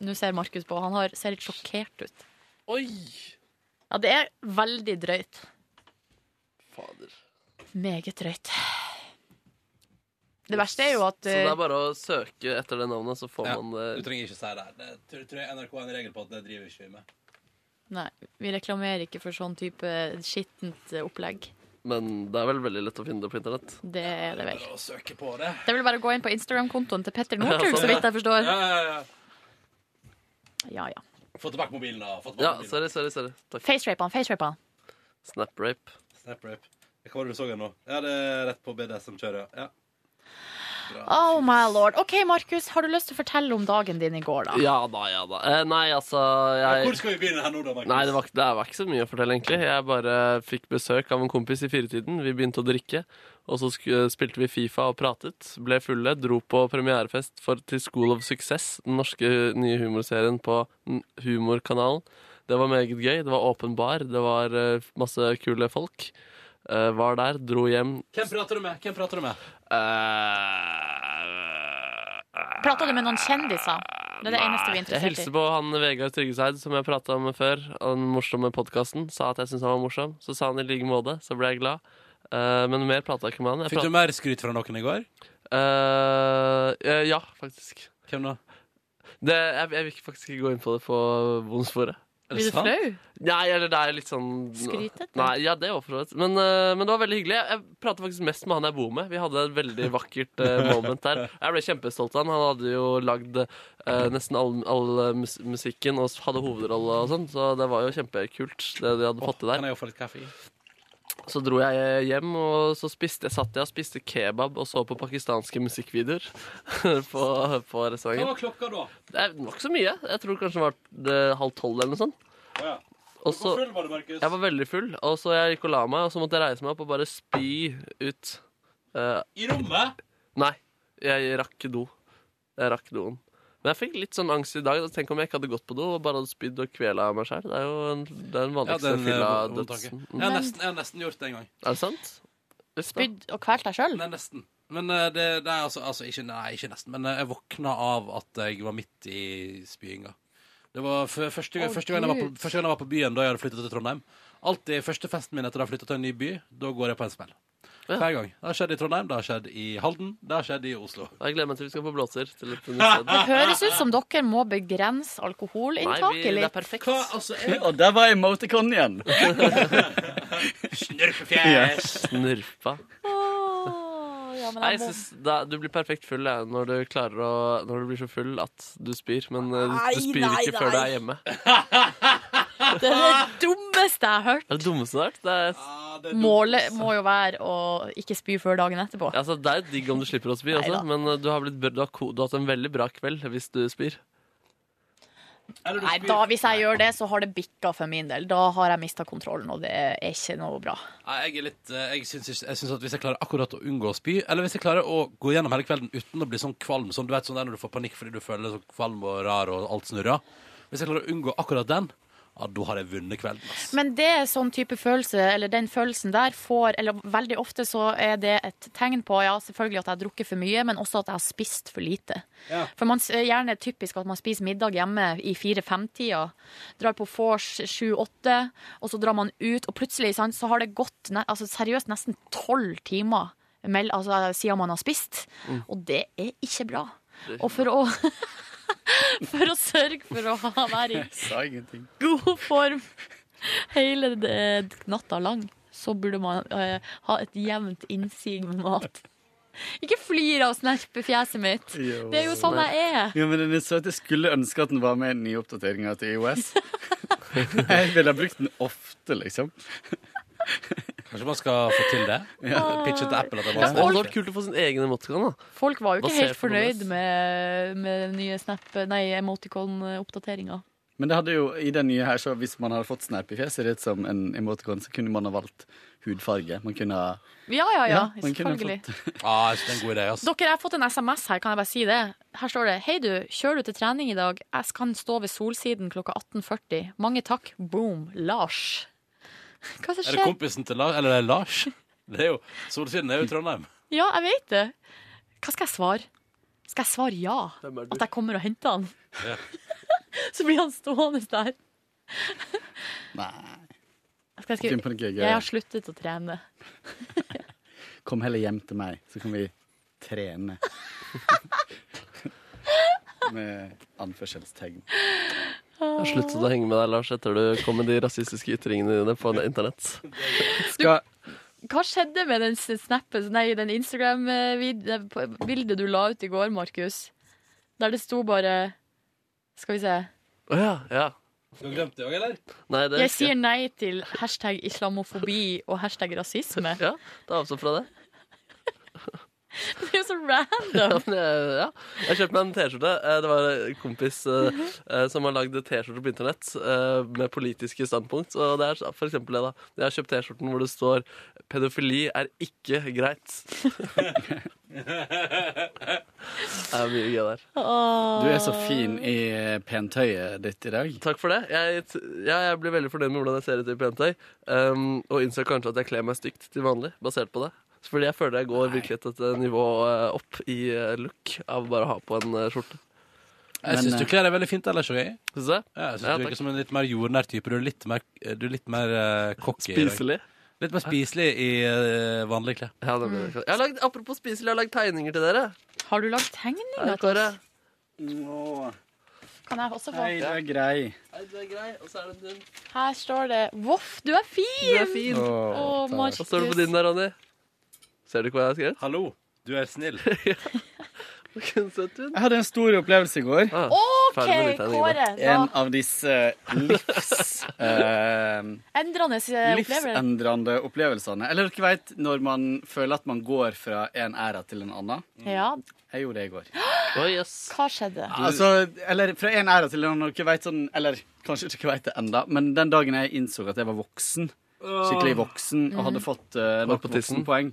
S2: Nå ser Markus på. Han har, ser litt sjokkert ut.
S1: Oi!
S2: Ja, det er veldig drøyt.
S3: Fader.
S2: Meget drøyt. Det verste er jo at
S3: Så det er bare å søke etter det navnet, så får man det.
S1: Du trenger ikke si det. her. Det tror, tror jeg NRK har en regel på at det driver ikke vi med.
S2: eh, Nei, vi reklamerer ikke for sånn type skittent eh, opplegg.
S3: Men det er vel veldig lett å finne det på internett.
S2: Det er det vel.
S1: Bare å søke på det.
S2: Det er vel bare å gå inn på Instagram-kontoen til Petter
S3: Ja,
S2: Northug,
S3: sånn,
S2: så vidt jeg forstår.
S1: Ja, ja, ja.
S2: Ja, ja.
S1: Få tilbake mobilen, da. Få tilbake
S3: Ja,
S1: mobilen.
S3: sorry, sorry. sorry. Takk.
S2: Facerape han, facerape han.
S3: Snaprape.
S1: Snap-rape. Hva var det du så her nå? Ja, det er rett på BDSM-kjøret. Ja.
S2: Oh my lord. OK, Markus, har du lyst til å fortelle om dagen din i går, da?
S3: Ja da, ja da. Eh, nei, altså
S1: Ja, Hvor
S3: jeg
S1: skal vi begynne her nå, da, Markus?
S3: Nei, det var, ikke- det var ikke så mye å fortelle, egentlig. Jeg bare fikk besøk av en kompis i firetiden. Vi begynte å drikke, og så sku- spilte vi Fifa og pratet. Ble fulle, dro på premierefest for, til School of Success, den norske nye humorserien på n- Humorkanalen. Det var meget gøy. Det var åpen bar, det var eh, masse kule folk. Eh, var der, dro hjem.
S1: Hvem prater du med? Hvem prater du med?
S3: Eh,
S2: Prata du med noen kjendiser? Det er det eneste vi er
S3: jeg hilser
S2: interessert i.
S3: på han Vegard Tryggeseid, som jeg prata med før. og Den morsomme podkasten. Sa at jeg syntes han var morsom. Så sa han i like måte. Så ble jeg glad. Eh, men mer prata jeg ikke med han. Jeg
S1: Fikk du mer skryt fra noen i går?
S3: prat- Eh, eh, ja, faktisk.
S1: Hvem da?
S3: Det, jeg, jeg vil faktisk ikke gå inn på det på bondesporet.
S1: Er det Blir du sant? flau?
S3: Nei, eller det er litt sånn
S1: Skrytete?
S3: Nei, ja, det var for så vidt. Men, eh, men det var veldig hyggelig. Jeg, jeg pratet faktisk mest med han jeg bor med. Vi hadde et veldig vakkert eh, moment der. Jeg ble kjempestolt av han. Han hadde jo lagd eh, nesten all, all eh, mus musikken og hadde hovedrolle og sånn, så det var jo kjempekult, det de hadde fått til
S1: Kan
S3: der.
S1: jeg jo få litt kaffe? i?
S3: Så dro jeg hjem, og så spiste, satt jeg og spiste kebab og så på pakistanske musikkvideoer på, på
S1: Hva
S3: restauranten.
S1: var klokka da?
S3: Det er- det var ikke så mye. Jeg tror kanskje det var eh, halv tolv eller noe sånt.
S1: Å ja.
S3: Og
S1: Hvor
S3: så-
S1: full var du, Markus?
S3: Jeg var veldig full, og så jeg gikk og la meg, og så måtte jeg reise meg opp og bare spy ut. Eh,
S1: I rommet?
S3: nei, jeg rakk do. Jeg rakk doen. Men jeg fikk litt sånn angst i dag. Tenk om jeg ikke hadde gått på do og bare hadde spydd og kvela meg sjøl. Det er jo en, det er den
S1: Ja,
S3: vanligste
S1: den, eh,
S3: fylla
S1: vondt taket.
S3: dødsen.
S1: Jeg har nesten, jeg har nesten gjort det en gang.
S3: Er det sant?
S2: Spydd og kvalt deg sjøl?
S1: Nei, nesten. Men eh, det, det er altså, altså ikke, nei, ikke nesten. Men eh, jeg våkna av at jeg var midt i spyinga. Det var f første,
S9: Å,
S1: gang- første, gang jeg var på,
S9: Gud.
S1: første gang jeg var på byen da jeg hadde flytta til Trondheim. Alltid første festen min etter å ha flytta til en ny by, da går jeg på en smell. Hver gang. Det har skjedd i Trondheim, det har skjedd i Halden, det har skjedd i Oslo.
S3: Jeg gleder meg til vi skal på blåser. Til et
S2: Det høres ut som dere må begrense alkoholinntaket litt.
S3: perfekt.
S12: Og der var emoticon igjen.
S1: Snurpefjes.
S3: Snurpa.
S2: Å, ja, men
S3: Nei,
S2: jeg
S3: jeg
S2: må-
S3: synes da, Du blir perfekt full jeg, når du klarer å Når du blir så full at du spyr, men eh,
S2: Nei,
S3: du spyr
S2: nei,
S3: ikke før du
S2: nei.
S3: er hjemme.
S2: Det er det dummeste jeg har hørt.
S3: Det er det dummeste der. Det er,
S2: Målet må jo være å ikke spy før dagen etterpå.
S3: altså, det er digg om du slipper å spy, altså,
S2: Neida.
S3: men eh, du har, blitt, br- du, har, ko- du har hatt en veldig bra kveld hvis du spyr.
S2: Nei, da, hvis jeg gjør det, så har det bikka for min del. Da har jeg mista kontrollen, og det er ikke noe bra.
S1: Nei, jeg er litt eh, Jeg syns, ikke- jeg syns at hvis jeg klarer akkurat å unngå å spy, eller hvis jeg klarer å gå gjennom hele kvelden uten å bli sånn kvalm, sånn du vet sånn der når du får panikk fordi du føler deg sånn kvalm og rar og alt snurrer Hvis jeg klarer å unngå akkurat den, ja, da har jeg vunnet kvelden. altså. ass.
S2: Men det er sånn type følelse, eller den følelsen der får Eller veldig ofte så er det et tegn på ja, selvfølgelig at jeg har drukket for mye, men også at jeg har spist for lite.
S13: Ja.
S2: For man s- gjerne typisk at man spiser middag hjemme i fire-fem-tida. Drar på vors sju-åtte, og så drar man ut, og plutselig sant, så har det gått ne altså, seriøst nesten tolv timer mell- altså, siden man har spist.
S13: Mm.
S2: Og det er ikke bra.
S13: Det er ikke
S2: Og for å, for å sørge for å ha, være i
S12: Sa ingenting.
S2: god form hele eh, natta lang, så burde man eh, ha et jevnt innsig med mat. Ikke flir av snerpefjeset mitt. Det er jo sånn jeg er.
S12: Ja, men den er så at Jeg skulle ønske at den var med i nye oppdateringer til IOS. Jeg ville ha brukt den ofte, liksom.
S1: Kanskje man skal få til det?
S12: Ja.
S1: Pitche til Apple at det sånn.
S3: Ja,
S1: var
S3: det hadde vært kult å få sin egen emoticon. da
S2: Folk var jo ikke
S12: Basert
S2: helt
S12: på
S2: fornøyd med, med den nye snap, nei, emoticon-oppdateringa.
S12: Men det hadde jo, i den nye her, så hvis man hadde fått snap i fjeset ditt som en emoticon, så kunne man ha valgt hudfarge. Man kunne ha
S2: Ja, ja, ja,
S12: Ja, man kunne
S2: selvfølgelig.
S1: Ja, Ah, jeg synes det er en god idé, ass.
S2: Dere, jeg har fått en SMS her, kan jeg bare si det? Her står det Hei du, kjører du til trening i dag? Jeg kan stå ved solsiden klokka 18.40. Mange takk. Boom. Lars. Hva er det som
S1: Er det
S2: skjer?
S1: kompisen til Lars? Eller er det Lars? Det er jo Solsiden er jo i Trondheim.
S2: Ja, jeg vet det. Hva skal jeg svare? Skal jeg svare ja? At jeg kommer og henter han?
S1: Ja.
S2: Så blir han stående der.
S12: Nei.
S2: Skal jeg,
S12: Finn på noe
S2: skrive,
S12: gøy.
S2: jeg har sluttet å trene.
S12: Kom heller hjem til meg, så kan vi trene. Med anførselstegn.
S3: Jeg har sluttet å henge med deg, Lars, etter du kom med de rasistiske ytringene dine på internett.
S2: Hva skjedde med den snappen, nei, den Instagram-bildet du la ut i går, Markus? Der det sto bare Skal vi se.
S3: Å ja, ja.
S1: Du har glemt det òg, eller?
S3: Nei, det
S2: Jeg
S3: husker
S2: sier nei til hashtag islamofobi og hashtag rasisme.
S3: Ja, da avstår fra det.
S2: Det er jo så
S3: Ja,
S2: random.
S3: men jeg, ja. jeg kjøpte meg en T-skjorte. Eh, Det var en kompis eh, eh, som har lagd T-skjorter på internett eh, med politiske standpunkt. Og det er for eksempel det, da. Jeg har kjøpt T-skjorten hvor det står 'Pedofili er ikke greit'. Det er mye gøy der.
S12: Du er så fin i
S1: eh,
S12: pentøyet ditt i dag.
S3: Ah. Takk for det. Jeg, t- ja, jeg blir veldig fornøyd med hvordan jeg ser ut i pentøy. Um, og innser kanskje at jeg kler meg stygt til vanlig, basert på det. Fordi jeg føler jeg går virkelig et et nivå eh, opp i eh, look av bare å ha på en eh, skjorte.
S1: Jeg syns
S2: eh,
S1: du kler deg veldig fint ellers òg.
S3: Syns du det?
S1: Ja, jeg synes
S3: Ja,
S1: du
S3: takk.
S1: virker som en litt mer jordnær type. Du er litt mer, du er litt mer eh, cocky. i dag.
S3: Spiselig?
S1: Litt mer spiselig i eh, vanlige klær.
S3: Ja, det blir Jeg har lagd, apropos spiselig, jeg har lagd tegninger til dere.
S2: Har du lagd tegninger?
S3: Her, Kåre.
S2: Kan jeg også få?
S12: Hei, du er grei.
S3: Nei, du er grei, og så er det din.
S2: Her står det Voff, du er fin!
S3: Du er fin.
S2: Å,
S3: Hva
S2: Markus.
S3: står det på din der, Ronny? Ser du ikke hva jeg har skrevet?
S1: Hallo, du er snill.
S12: Jeg hadde en stor opplevelse i går.
S1: Ah,
S2: OK, Kåre. Da
S12: En av disse livs... eh,
S2: endrende eh, opplever det.
S12: livsendrende opplevelsene. Eller dere vet når man føler at man går fra en æra til en annen.
S2: Ja.
S12: Jeg gjorde det i går.
S2: Hva skjedde?
S12: Altså, eller fra en æra til en annen. Dere vet sånn, eller kanskje ikke dere vet det enda, men den dagen jeg innså at jeg var voksen, skikkelig voksen, og hadde fått uh,
S3: Hår
S12: nok
S3: på tissen.
S12: voksenpoeng,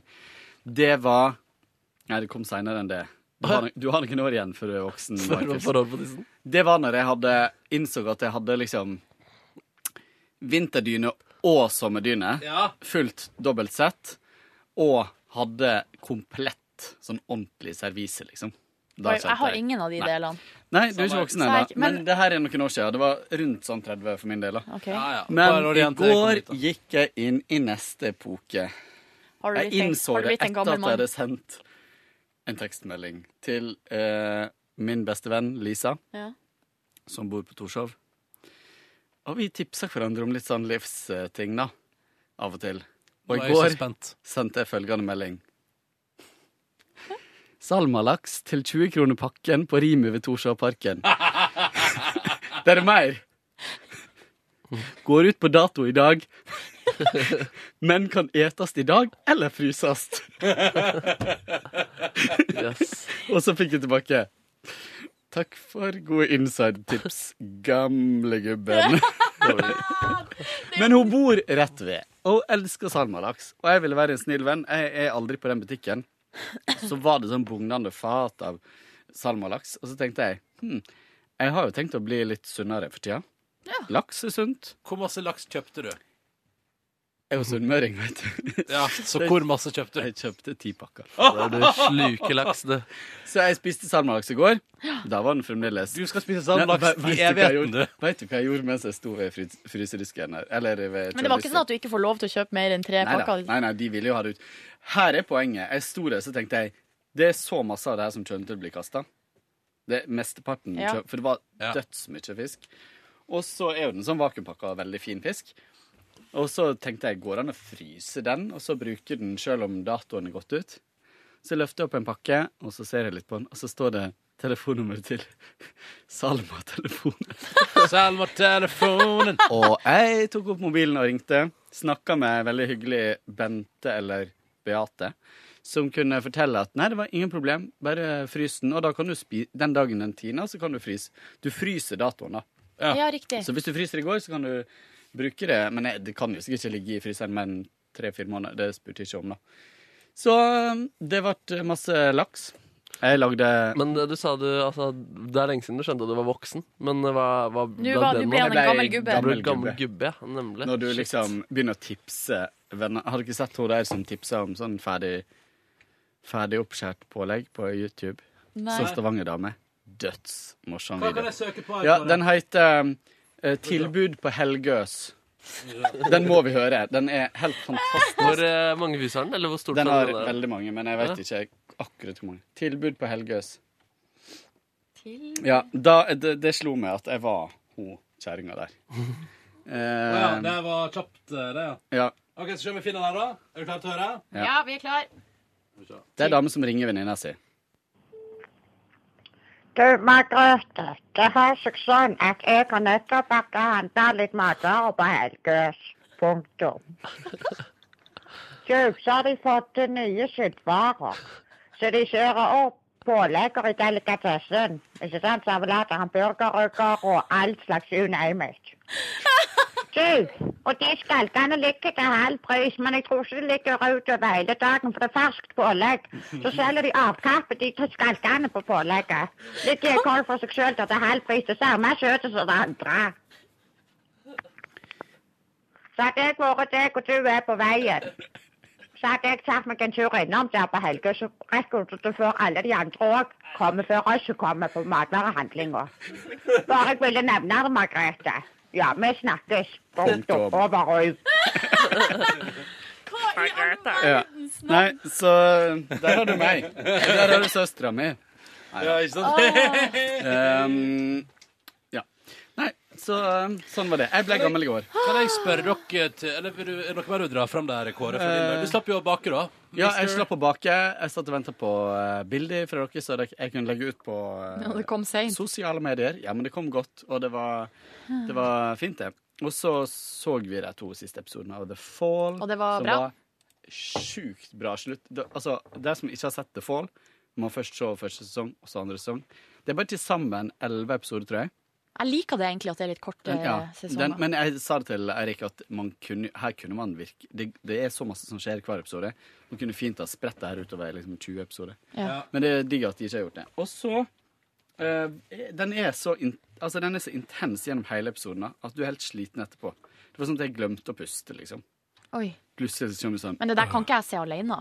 S12: det var Nei, det kom seinere enn det. Du har, no- du har noen år igjen før du er voksen.
S3: Hva var
S12: Markus.
S3: forhold på tissen?
S12: Det var når jeg hadde innså at jeg hadde liksom vinterdyne og sommerdyne. Fullt dobbeltsett. Og hadde komplett sånn ordentlig servise, liksom. Da
S2: Oi,
S12: kjente
S2: jeg har ingen av de
S12: Nei.
S2: delene.
S12: Nei, du er ikke voksen
S2: Så jeg-
S12: ennå. Men
S2: men-
S12: det her er noen år siden. Det var rundt sånn 30 for min del. da.
S2: Ok. Ja, ja.
S12: Men
S2: Bare når de
S12: i
S2: jenter kommer
S12: går gikk jeg inn i neste epoke.
S2: Har du
S12: Jeg
S2: blitt en-
S12: innså
S2: har du
S12: det
S2: blitt en
S12: etter at
S2: gammel
S12: jeg
S2: mann?
S12: hadde sendt en tekstmelding til eh, min beste venn Lisa,
S2: Ja.
S12: som bor på Torshov. Og vi tipser hverandre om litt sånn livsting, da. Av og til. Og
S1: Nå
S12: i
S1: er jeg så
S12: går sendte jeg følgende melding. Salmalaks til 20 kroner pakken på Rimi ved Torshovparken. Det er mer. Går ut på dato i dag, men kan etast i dag eller frysast. Og så fikk jeg tilbake. Takk for gode inside-tips, gamle gubben. Men hun bor rett ved, og hun elsker salmalaks. Og jeg ville være en snill venn. Jeg er aldri på den butikken. Så var det sånn bugnende fat av salmalaks, og så tenkte jeg hm, jeg har jo tenkt å bli litt sunnere for tida. Laks er sunt.
S1: Hvor masse laks kjøpte du?
S12: Jeg er jo sunnmøring, vet du.
S1: Ja, Så hvor masse kjøpte du?
S12: Jeg kjøpte ti pakker.
S1: Fader, du sluker laks,
S12: du. Så jeg spiste salmalaks i går. Da var den fremdeles
S1: Du skal spise salmalaks
S12: Nei, ve- vet du hva
S1: i
S12: jeg
S1: evigheten,
S12: gjorde- Vet du hva jeg gjorde mens jeg sto ved frys- frysedisken her? Eller ved
S2: Men det var ikke sånn at du ikke får lov til å kjøpe mer enn tre
S12: Neida.
S2: pakker? altså.
S12: Nei, nei, de ville jo ha det ut. Her er poenget. Jeg sto der, så tenkte jeg Det er så masse av det her som kommer til å bli kasta. Det er mesteparten.
S2: Ja.
S12: kjø- For det var
S2: Ja.
S12: dødsmye fisk. Og så er jo den sånn vakuumpakka og veldig fin fisk. Og så tenkte jeg, går det an å fryse den, og så bruke den selv om datoen er gått ut? Så løfter jeg opp en pakke, og så ser jeg litt på den, og så står det telefonnummeret til Salma-telefonen.
S1: Salma-telefonen.
S12: og jeg tok opp mobilen og ringte. Snakka med veldig hyggelig Bente eller Beate, som kunne fortelle at nei, det var ingen problem, bare frys den. Og da kan du spi den dagen den tiner, så kan du fryse. Du fryser datoen, da.
S2: Ja. Ja, riktig.
S12: Så hvis du fryser i går, så kan du bruke det. Men nei, det kan jo sikkert ikke ligge i fryseren mer enn tre-fire måneder. Det spurte jeg ikke om, da. Så um, det ble masse laks. Jeg lagde
S3: Men eh, du sa du altså, Det er lenge siden du skjønte at du var voksen. Men eh, hva, hva
S2: Du var- du
S3: det
S2: ble
S3: nå?
S2: en Jeg ble gammel gubbe.
S3: Du ble
S12: gammel
S3: en gammel
S12: gubbe.
S3: gubbe, ja, nemlig.
S12: Når du
S3: Shit.
S12: liksom begynner å tipse venner Har du ikke sett hun der som tipsa om sånn ferdig Ferdig oppskjært pålegg på YouTube?
S1: Nei.
S12: Som Stavanger-dame. Dødsmorsom
S1: Hva kan
S12: video.
S1: jeg søke på? her,
S12: Ja,
S1: Kåre?
S12: den heter eh, 'Tilbud på Helgøs'. Den må vi høre. Den er helt fantastisk.
S3: Hvor eh, mange views har den? Eller hvor stort
S12: Den
S3: er
S12: har
S3: der?
S12: veldig mange, men jeg
S3: Ja.
S12: vet ikke akkurat hvor mange. Tilbud på Helgøs.
S2: Til...
S12: Ja, da, det, det slo meg at jeg var hun kjerringa der.
S1: Å ja,
S12: Eh,
S1: det var kjapt, eh, det, ja.
S12: ja.
S1: OK, så ser vi finner den her, da. Er du klar til å høre?
S12: Ja.
S2: vi er klar.
S12: Det er dame som ringer venninna si.
S9: Du, Margrethe, det har seg sånn at jeg har nettopp ikke handla litt matvarer på Helgøs. Punktum. Jo, så har de fått til nye skittvarer. Så de kjører opp pålegger i delikatessen. Ikke sant? Servelater, hamburgerrygger og all slags you name it. Du, og de skalkene ligger til halv pris, men jeg tror ikke det ligger utover hele dagen, for det er ferskt pålegg. Så selger de avkappet de til skalkene på pålegget. Litt gjekold for seg sjøl til halv pris. Det samme kjøttet som det andre. Så hadde jeg vært deg, og du er på veien. Så hadde jeg tatt meg en tur innom der på Helgø, så rekker du det før alle de andre òg kommer før oss som kommer på matvarehandlinga. Bare jeg ville nevne det, Margrethe. Ja, vi snakkes. Punktum. Over og ut.
S12: Ja. Nei, så der har du meg. Der har du søstera mi. Nei,
S1: Ja, ikke sant?
S12: Ehm, ja. Nei, så um, sånn var det. Jeg ble gammel i går.
S1: Kan jeg spørre dere til Eller vil du, er det noe mer du drar fram der, Kåre? For din
S12: Eh,
S1: del? Du slapp jo å bake, da.
S12: Ja, jeg
S1: Mister-
S12: slapp å bake. Jeg satt og venta på eh, bilder fra dere, så dere- jeg kunne legge ut på eh,
S2: Ja, det kom sent.
S12: sosiale medier. Ja, men det kom godt, og det var, det var fint, det. Og så så vi de to siste episodene av The Fall.
S2: Og det var
S12: som
S2: bra?
S12: var sjukt bra slutt. Det, altså, de som ikke har sett The Fall, må først se første sesong og så andre sesong. Det er bare til sammen elleve episoder, tror jeg.
S2: Jeg liker det egentlig at det er litt eh, korte
S12: Ja, den,
S2: sesonger.
S12: men jeg sa det til Eirik at man kunne, her kunne man virke det, det er så masse som skjer hver episode. Man kunne fint ha spredt det her utover liksom 20 episoder.
S13: Ja.
S12: Men det er digg at de ikke har gjort det. Og så eh, Den er så in, altså den er så intens gjennom hele episoden da, at du er helt sliten etterpå. Det var sånn at jeg glemte å puste, liksom.
S2: Oi.
S12: Plutselig så kommer det sånn
S2: Men det der kan ikke jeg se alene.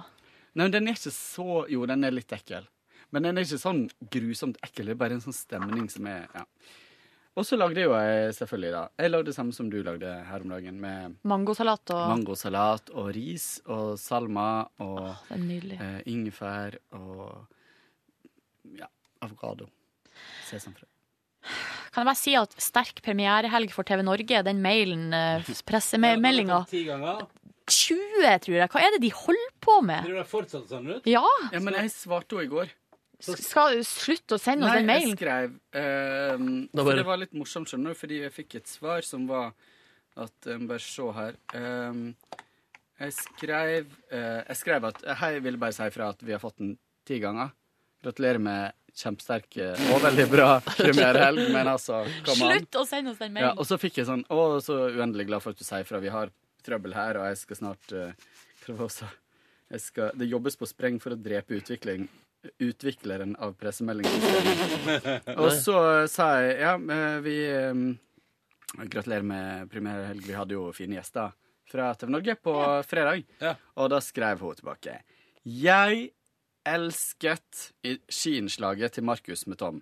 S12: Nei, men den er ikke så Jo, den er litt ekkel. Men den er ikke sånn grusomt ekkel. Det er bare en sånn stemning som er Ja. Og så lagde jo jeg selvfølgelig, da. Jeg lagde det samme som du lagde her om dagen, med
S2: Mangosalat og
S12: mangosalat og ris og salma og
S2: Det er nydelig.
S12: eh, ingefær og ja, avokado. Sesamfrø.
S2: Kan jeg bare si at sterk premierehelg for TV Norge, den mailen, eh, pressemeldinga
S1: Ti ganger.
S2: 20, tror jeg. Hva er det de holder på med?
S1: Tror du det fortsatte sånn ut?
S2: Ja!
S12: Ja, men jeg svarte henne i går.
S2: S- Skal du slutte å sende oss den
S12: Nei, jeg
S2: mailen?
S12: skrev ehm,
S3: Da
S12: For
S3: bare-
S12: det var litt morsomt, skjønner du, fordi jeg fikk et svar som var at eh, Bare se her. Ehm, jeg skrev eh, Jeg skrev at Hei, jeg ville bare si ifra at vi har fått den ti ganger. Gratulerer med kjempesterk eh, og veldig bra premierehelg, men altså, kom an.
S2: Slutt å sende oss den
S12: Ja,
S2: mailen.
S12: og så fikk jeg sånn Å, så uendelig glad for at du sier fra. Vi har trøbbel her, og jeg skal snart eh, Hva var det hun sa? Jeg skal, det jobbes på spreng for å drepe utvikling, utvikleren av pressemeldingssystemet. og så sa jeg ja, men vi eh, Gratulerer med premierehelg. Vi hadde jo fine gjester fra TV Norge på fredag. Og da skrev hun tilbake. Jeg elsket i- skiinnslaget til Markus med Tom.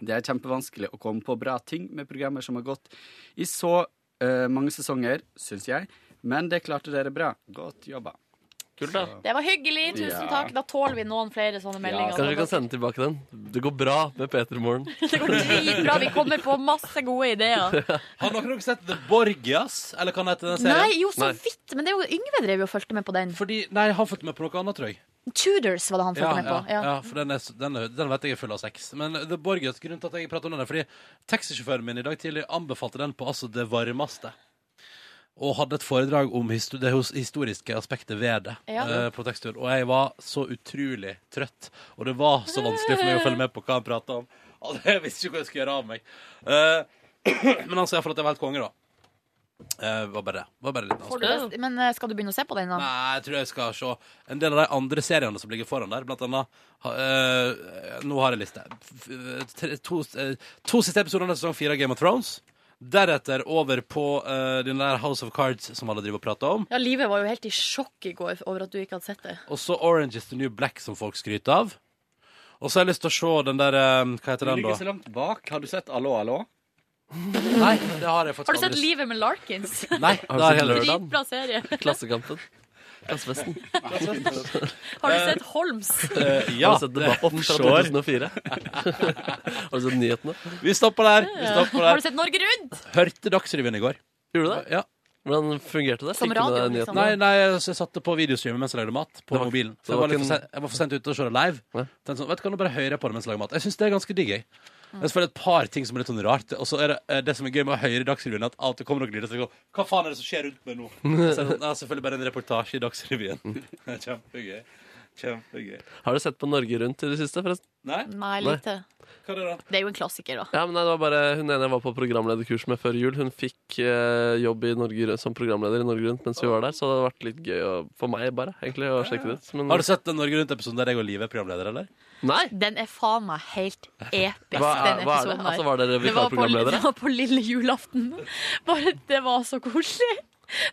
S12: Det er kjempevanskelig å komme på bra ting med programmer som har gått i så eh, mange sesonger, syns jeg. Men det klarte dere bra. Godt jobba.
S3: Kult, da.
S2: Det var hyggelig, tusen
S3: Ja.
S2: takk. Da tåler vi noen flere sånne meldinger.
S3: Kanskje vi kan sende tilbake den. Det går bra med Peter i morgen.
S2: Dritbra, vi kommer på masse gode ideer.
S1: Har noen av dere sett The Borgias? Eller kan det hete den serien?
S2: Nei, jo, så vidt. Men det er jo Yngve drev jo og fulgte med på den.
S1: Fordi, nei, han fulgte med på noe annet, tror jeg.
S2: Tudors var det han fulgte med på.
S1: ja,
S2: Ja.
S1: ja, for den, er, s- den, er, den vet jeg er full av sex. Men The Borgias, grunnen til at jeg prater om den, er fordi taxisjåføren min i dag tidlig anbefalte den på altså det varmeste. Og hadde et foredrag om histo det hos- historiske aspektet ved det.
S13: Ja.
S1: eh, på tekstturen. Og jeg var så utrolig trøtt. Og det var så vanskelig for meg å følge med på hva han prata om. Og jeg visste ikke hva jeg skulle gjøre av meg. Eh, men han sa iallfall at jeg var helt konge, da. Eh, var bare det. Var bare litt
S2: Får du det? Men eh, skal du begynne å se på den, da?
S1: Nei, jeg tror jeg skal se en del av de andre seriene som ligger foran der. Blant annet ha- eh, Nå har jeg liste. F- f- tre- To, eh, to siste episoder av sesong fire av Game of Thrones. Deretter over på eh, den der House of Cards som alle driver og prater om.
S2: Ja, Livet var jo helt i sjokk i går over at du ikke hadde sett det.
S1: Og så Orange is the New Black, som folk skryter av. Og så har jeg lyst til å se den der eh, Hva
S12: Du
S1: heter den,
S12: ligger
S1: da?
S12: så langt bak. Har du sett Allo, allo?
S1: Nei, det har jeg
S2: Har du sett Livet med Larkins?
S1: Nei,
S12: Har du sett Lørdagen?
S2: Dritbra serie.
S3: Klassekampen. Klassefesten.
S2: Har du sett Holms?
S1: Eh, ja.
S3: Har du sett debatten fra
S1: Offshore.
S3: 2004? Har du sett nyhetene?
S1: Vi stopper der. Vi stopper
S2: Har du
S1: der.
S2: sett Norge Rundt?
S1: Hørte Dagsrevyen i går.
S3: Gjorde du det?
S1: Ja.
S3: Hvordan fungerte det?
S2: Som
S3: Fikk du med
S2: radio,
S3: deg nyhetene?
S2: liksom.
S1: Nei, nei, jeg s- jeg satte på videostreamen mens jeg lagde mat. På
S3: Det var-
S1: mobilen.
S3: det
S1: Så jeg
S3: var
S1: var, litt
S3: ikke
S1: for
S3: en-
S1: sen, jeg var for sent ute og kjøre live. Tenkte Sånn, vet du, kan du bare høre på det mens jeg lager mat? Jeg syns det er ganske digg, jeg.
S2: Mm.
S1: Det er selvfølgelig et par ting som er litt sånn rart. Og så er det eh, det som er gøy med å høre i Dagsrevyen, at av og til kommer noen lyder som går Hva faen er det som skjer rundt meg nå? Så er det sånn, «Nei, selvfølgelig bare en reportasje i Dagsrevyen. Kjempegøy. Kjempegøy.
S3: Har du sett på Norge Rundt i det siste, forresten?
S1: Nei?
S2: Nei, lite. Det er jo en klassiker, da.
S3: Ja, men nei, det var bare Hun ene jeg var på programlederkurs med før jul, hun fikk eh, jobb i Norge, Rundt- som programleder i Norge Rundt mens vi var der, så det hadde vært litt gøy å, for meg bare, egentlig, å sjekke det ut. Men,
S1: Har du sett den Norge Rundt-episoden der jeg og Live er programleder, eller?
S3: Nei!
S2: Den er faen meg helt episk,
S1: Hva er-
S2: den
S1: hva er det?
S2: episoden
S1: Altså, var dere
S2: Det var på-
S1: vikarprogramledere?
S2: Det var på lille julaften. Bare, det var så koselig.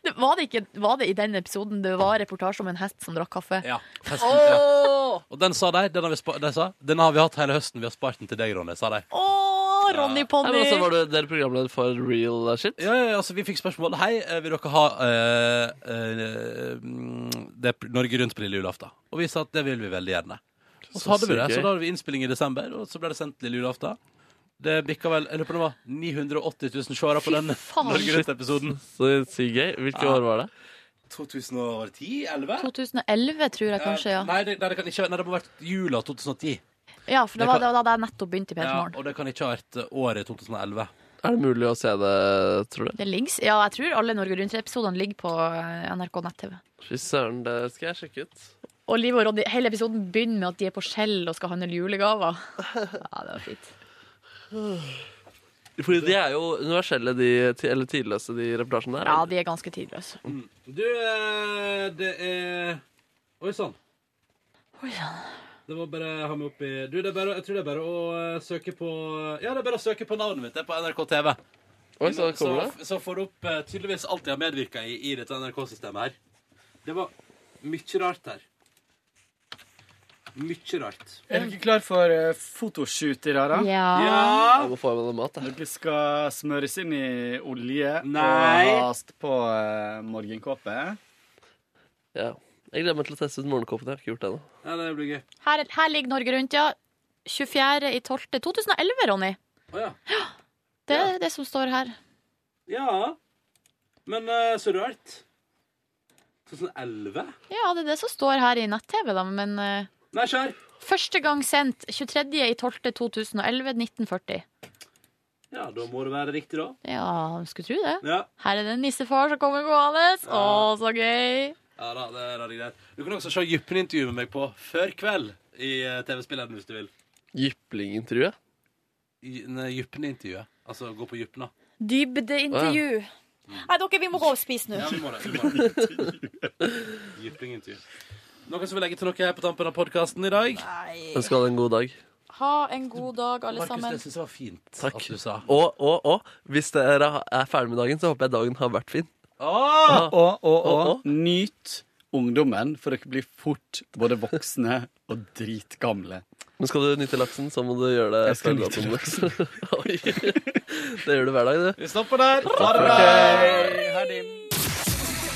S2: Det, var, det ikke, var det i den episoden det var reportasje om en hest som drakk kaffe?
S1: Ja. Festen, ja.
S2: Åh!
S1: Og den sa de. Den har vi, spa de sa, den har vi hatt hele høsten. Vi har spart den til deg, Ronny, sa de.
S2: Åh, Ronny
S3: Nei,
S2: Ponni!
S3: men
S1: altså,
S3: også var du, dere programleder for real eh, shit?
S1: Ja, ja, ja, altså vi fikk spørsmål Hei, eh, vil dere ha eh, eh, mm, det er Norge Rundt på lille julaften? Og vi sa at det vil vi veldig gjerne. Og så
S13: Så
S1: hadde vi det,
S13: sykt gøy.
S1: så da hadde vi innspilling i desember, og så ble det sendt lille julaften. Det bikka vel jeg lurer på om det var 980 000 seere på den
S2: faen.
S1: Norge Rundt-episoden.
S3: Så sykt gøy. Hvilke
S1: Ja.
S3: år var det?
S1: 2010-2011?
S2: 2011, tror jeg kanskje, ja.
S1: Eh, Nei, det, nei, det kan ikke, nei, det må ha vært jula 2010.
S2: Ja, for det
S1: det
S2: var,
S1: kan-
S2: det var da jeg nettopp begynte i P3
S1: Ja,
S2: Morgen.
S1: og det kan ikke ha vært eh, året 2011.
S3: Er det mulig å se det, tror du?
S2: Det ligger, ja, jeg tror alle Norge Rundt-episodene ligger på eh, NRK nett-TV.
S3: Fy søren, det skal jeg sjekke ut.
S2: Og Liv og Ronny, hele episoden begynner med at de er på Skjell og skal handle julegaver. Ja, det var fint.
S3: Fordi de er jo universelle, de, eller tidløse, de reportasjene der.
S2: Ja, de er ganske tidløse.
S1: Du, eh, det er Oi sann. Det var bare å ha meg opp i Du, det er bare, jeg tror det er bare å eh, søke på Ja, det er bare å søke på navnet mitt. Det er på NRK TV.
S3: Oi, så kommer det.
S1: så, så får du opp eh, tydeligvis alt jeg har medvirka i i dette NRK-systemet her. Det var mye rart her. Mye rart.
S12: Er dere klar for eh, fotoshoot i dag, da?
S1: Ja.
S3: Ja. Jeg må få i meg noe mat,
S12: Dere skal smøres inn i olje
S3: Nei.
S12: og hast på eh, morgenkåpe.
S3: Ja. Jeg gleder meg til å teste ut morgenkåpen. Jeg har ikke gjort det ennå.
S1: Ja, det blir gøy.
S2: Her, her ligger Norge rundt, ja. 24. i 12. 2011, Ronny.
S1: ja.
S2: Det er det som står her.
S1: Ja. Men eh, så rart. 2011?
S2: Ja, det er det som står her i nett-TV, da, men eh,
S1: Nei, kjør!
S2: Første gang sendt 23. i 12. 2011, 1940.
S1: Ja, da må det være riktig, da.
S2: Ja, du skulle tro det.
S1: Ja.
S2: Her er det en nissefar som kommer gående. Å, så gøy!
S1: Ja da, det er det greit. Du kan også se Jyppen-intervjuet med meg på før kveld i eh, TV-spilleren hvis du vil.
S3: Jyplingintervjuet?
S1: J- nei, Jyppen-intervjuet. Altså gå på Jyppen, da.
S13: Dybdeintervju. Nei, dere, vi må gå og spise nå.
S1: Ja, vi må det. Vi må det. Jyplingintervju. Noen som vil legge til noe her på tampen av podkasten i dag?
S3: Ønsker alle en god dag.
S2: Ha en god dag, alle sammen.
S1: syns det var fint.
S3: Takk. Og, og, og hvis dere er ferdig med dagen, så håper jeg dagen har vært fin.
S12: Og, og, og, nyt ungdommen, for dere blir fort både voksne og dritgamle.
S3: Men skal du nyte laksen, så må du gjøre det.
S12: Jeg skal
S3: før
S12: nyte
S3: datoen. Oi. Det gjør du hver dag, du.
S1: Vi stopper der.
S3: Ha det bra.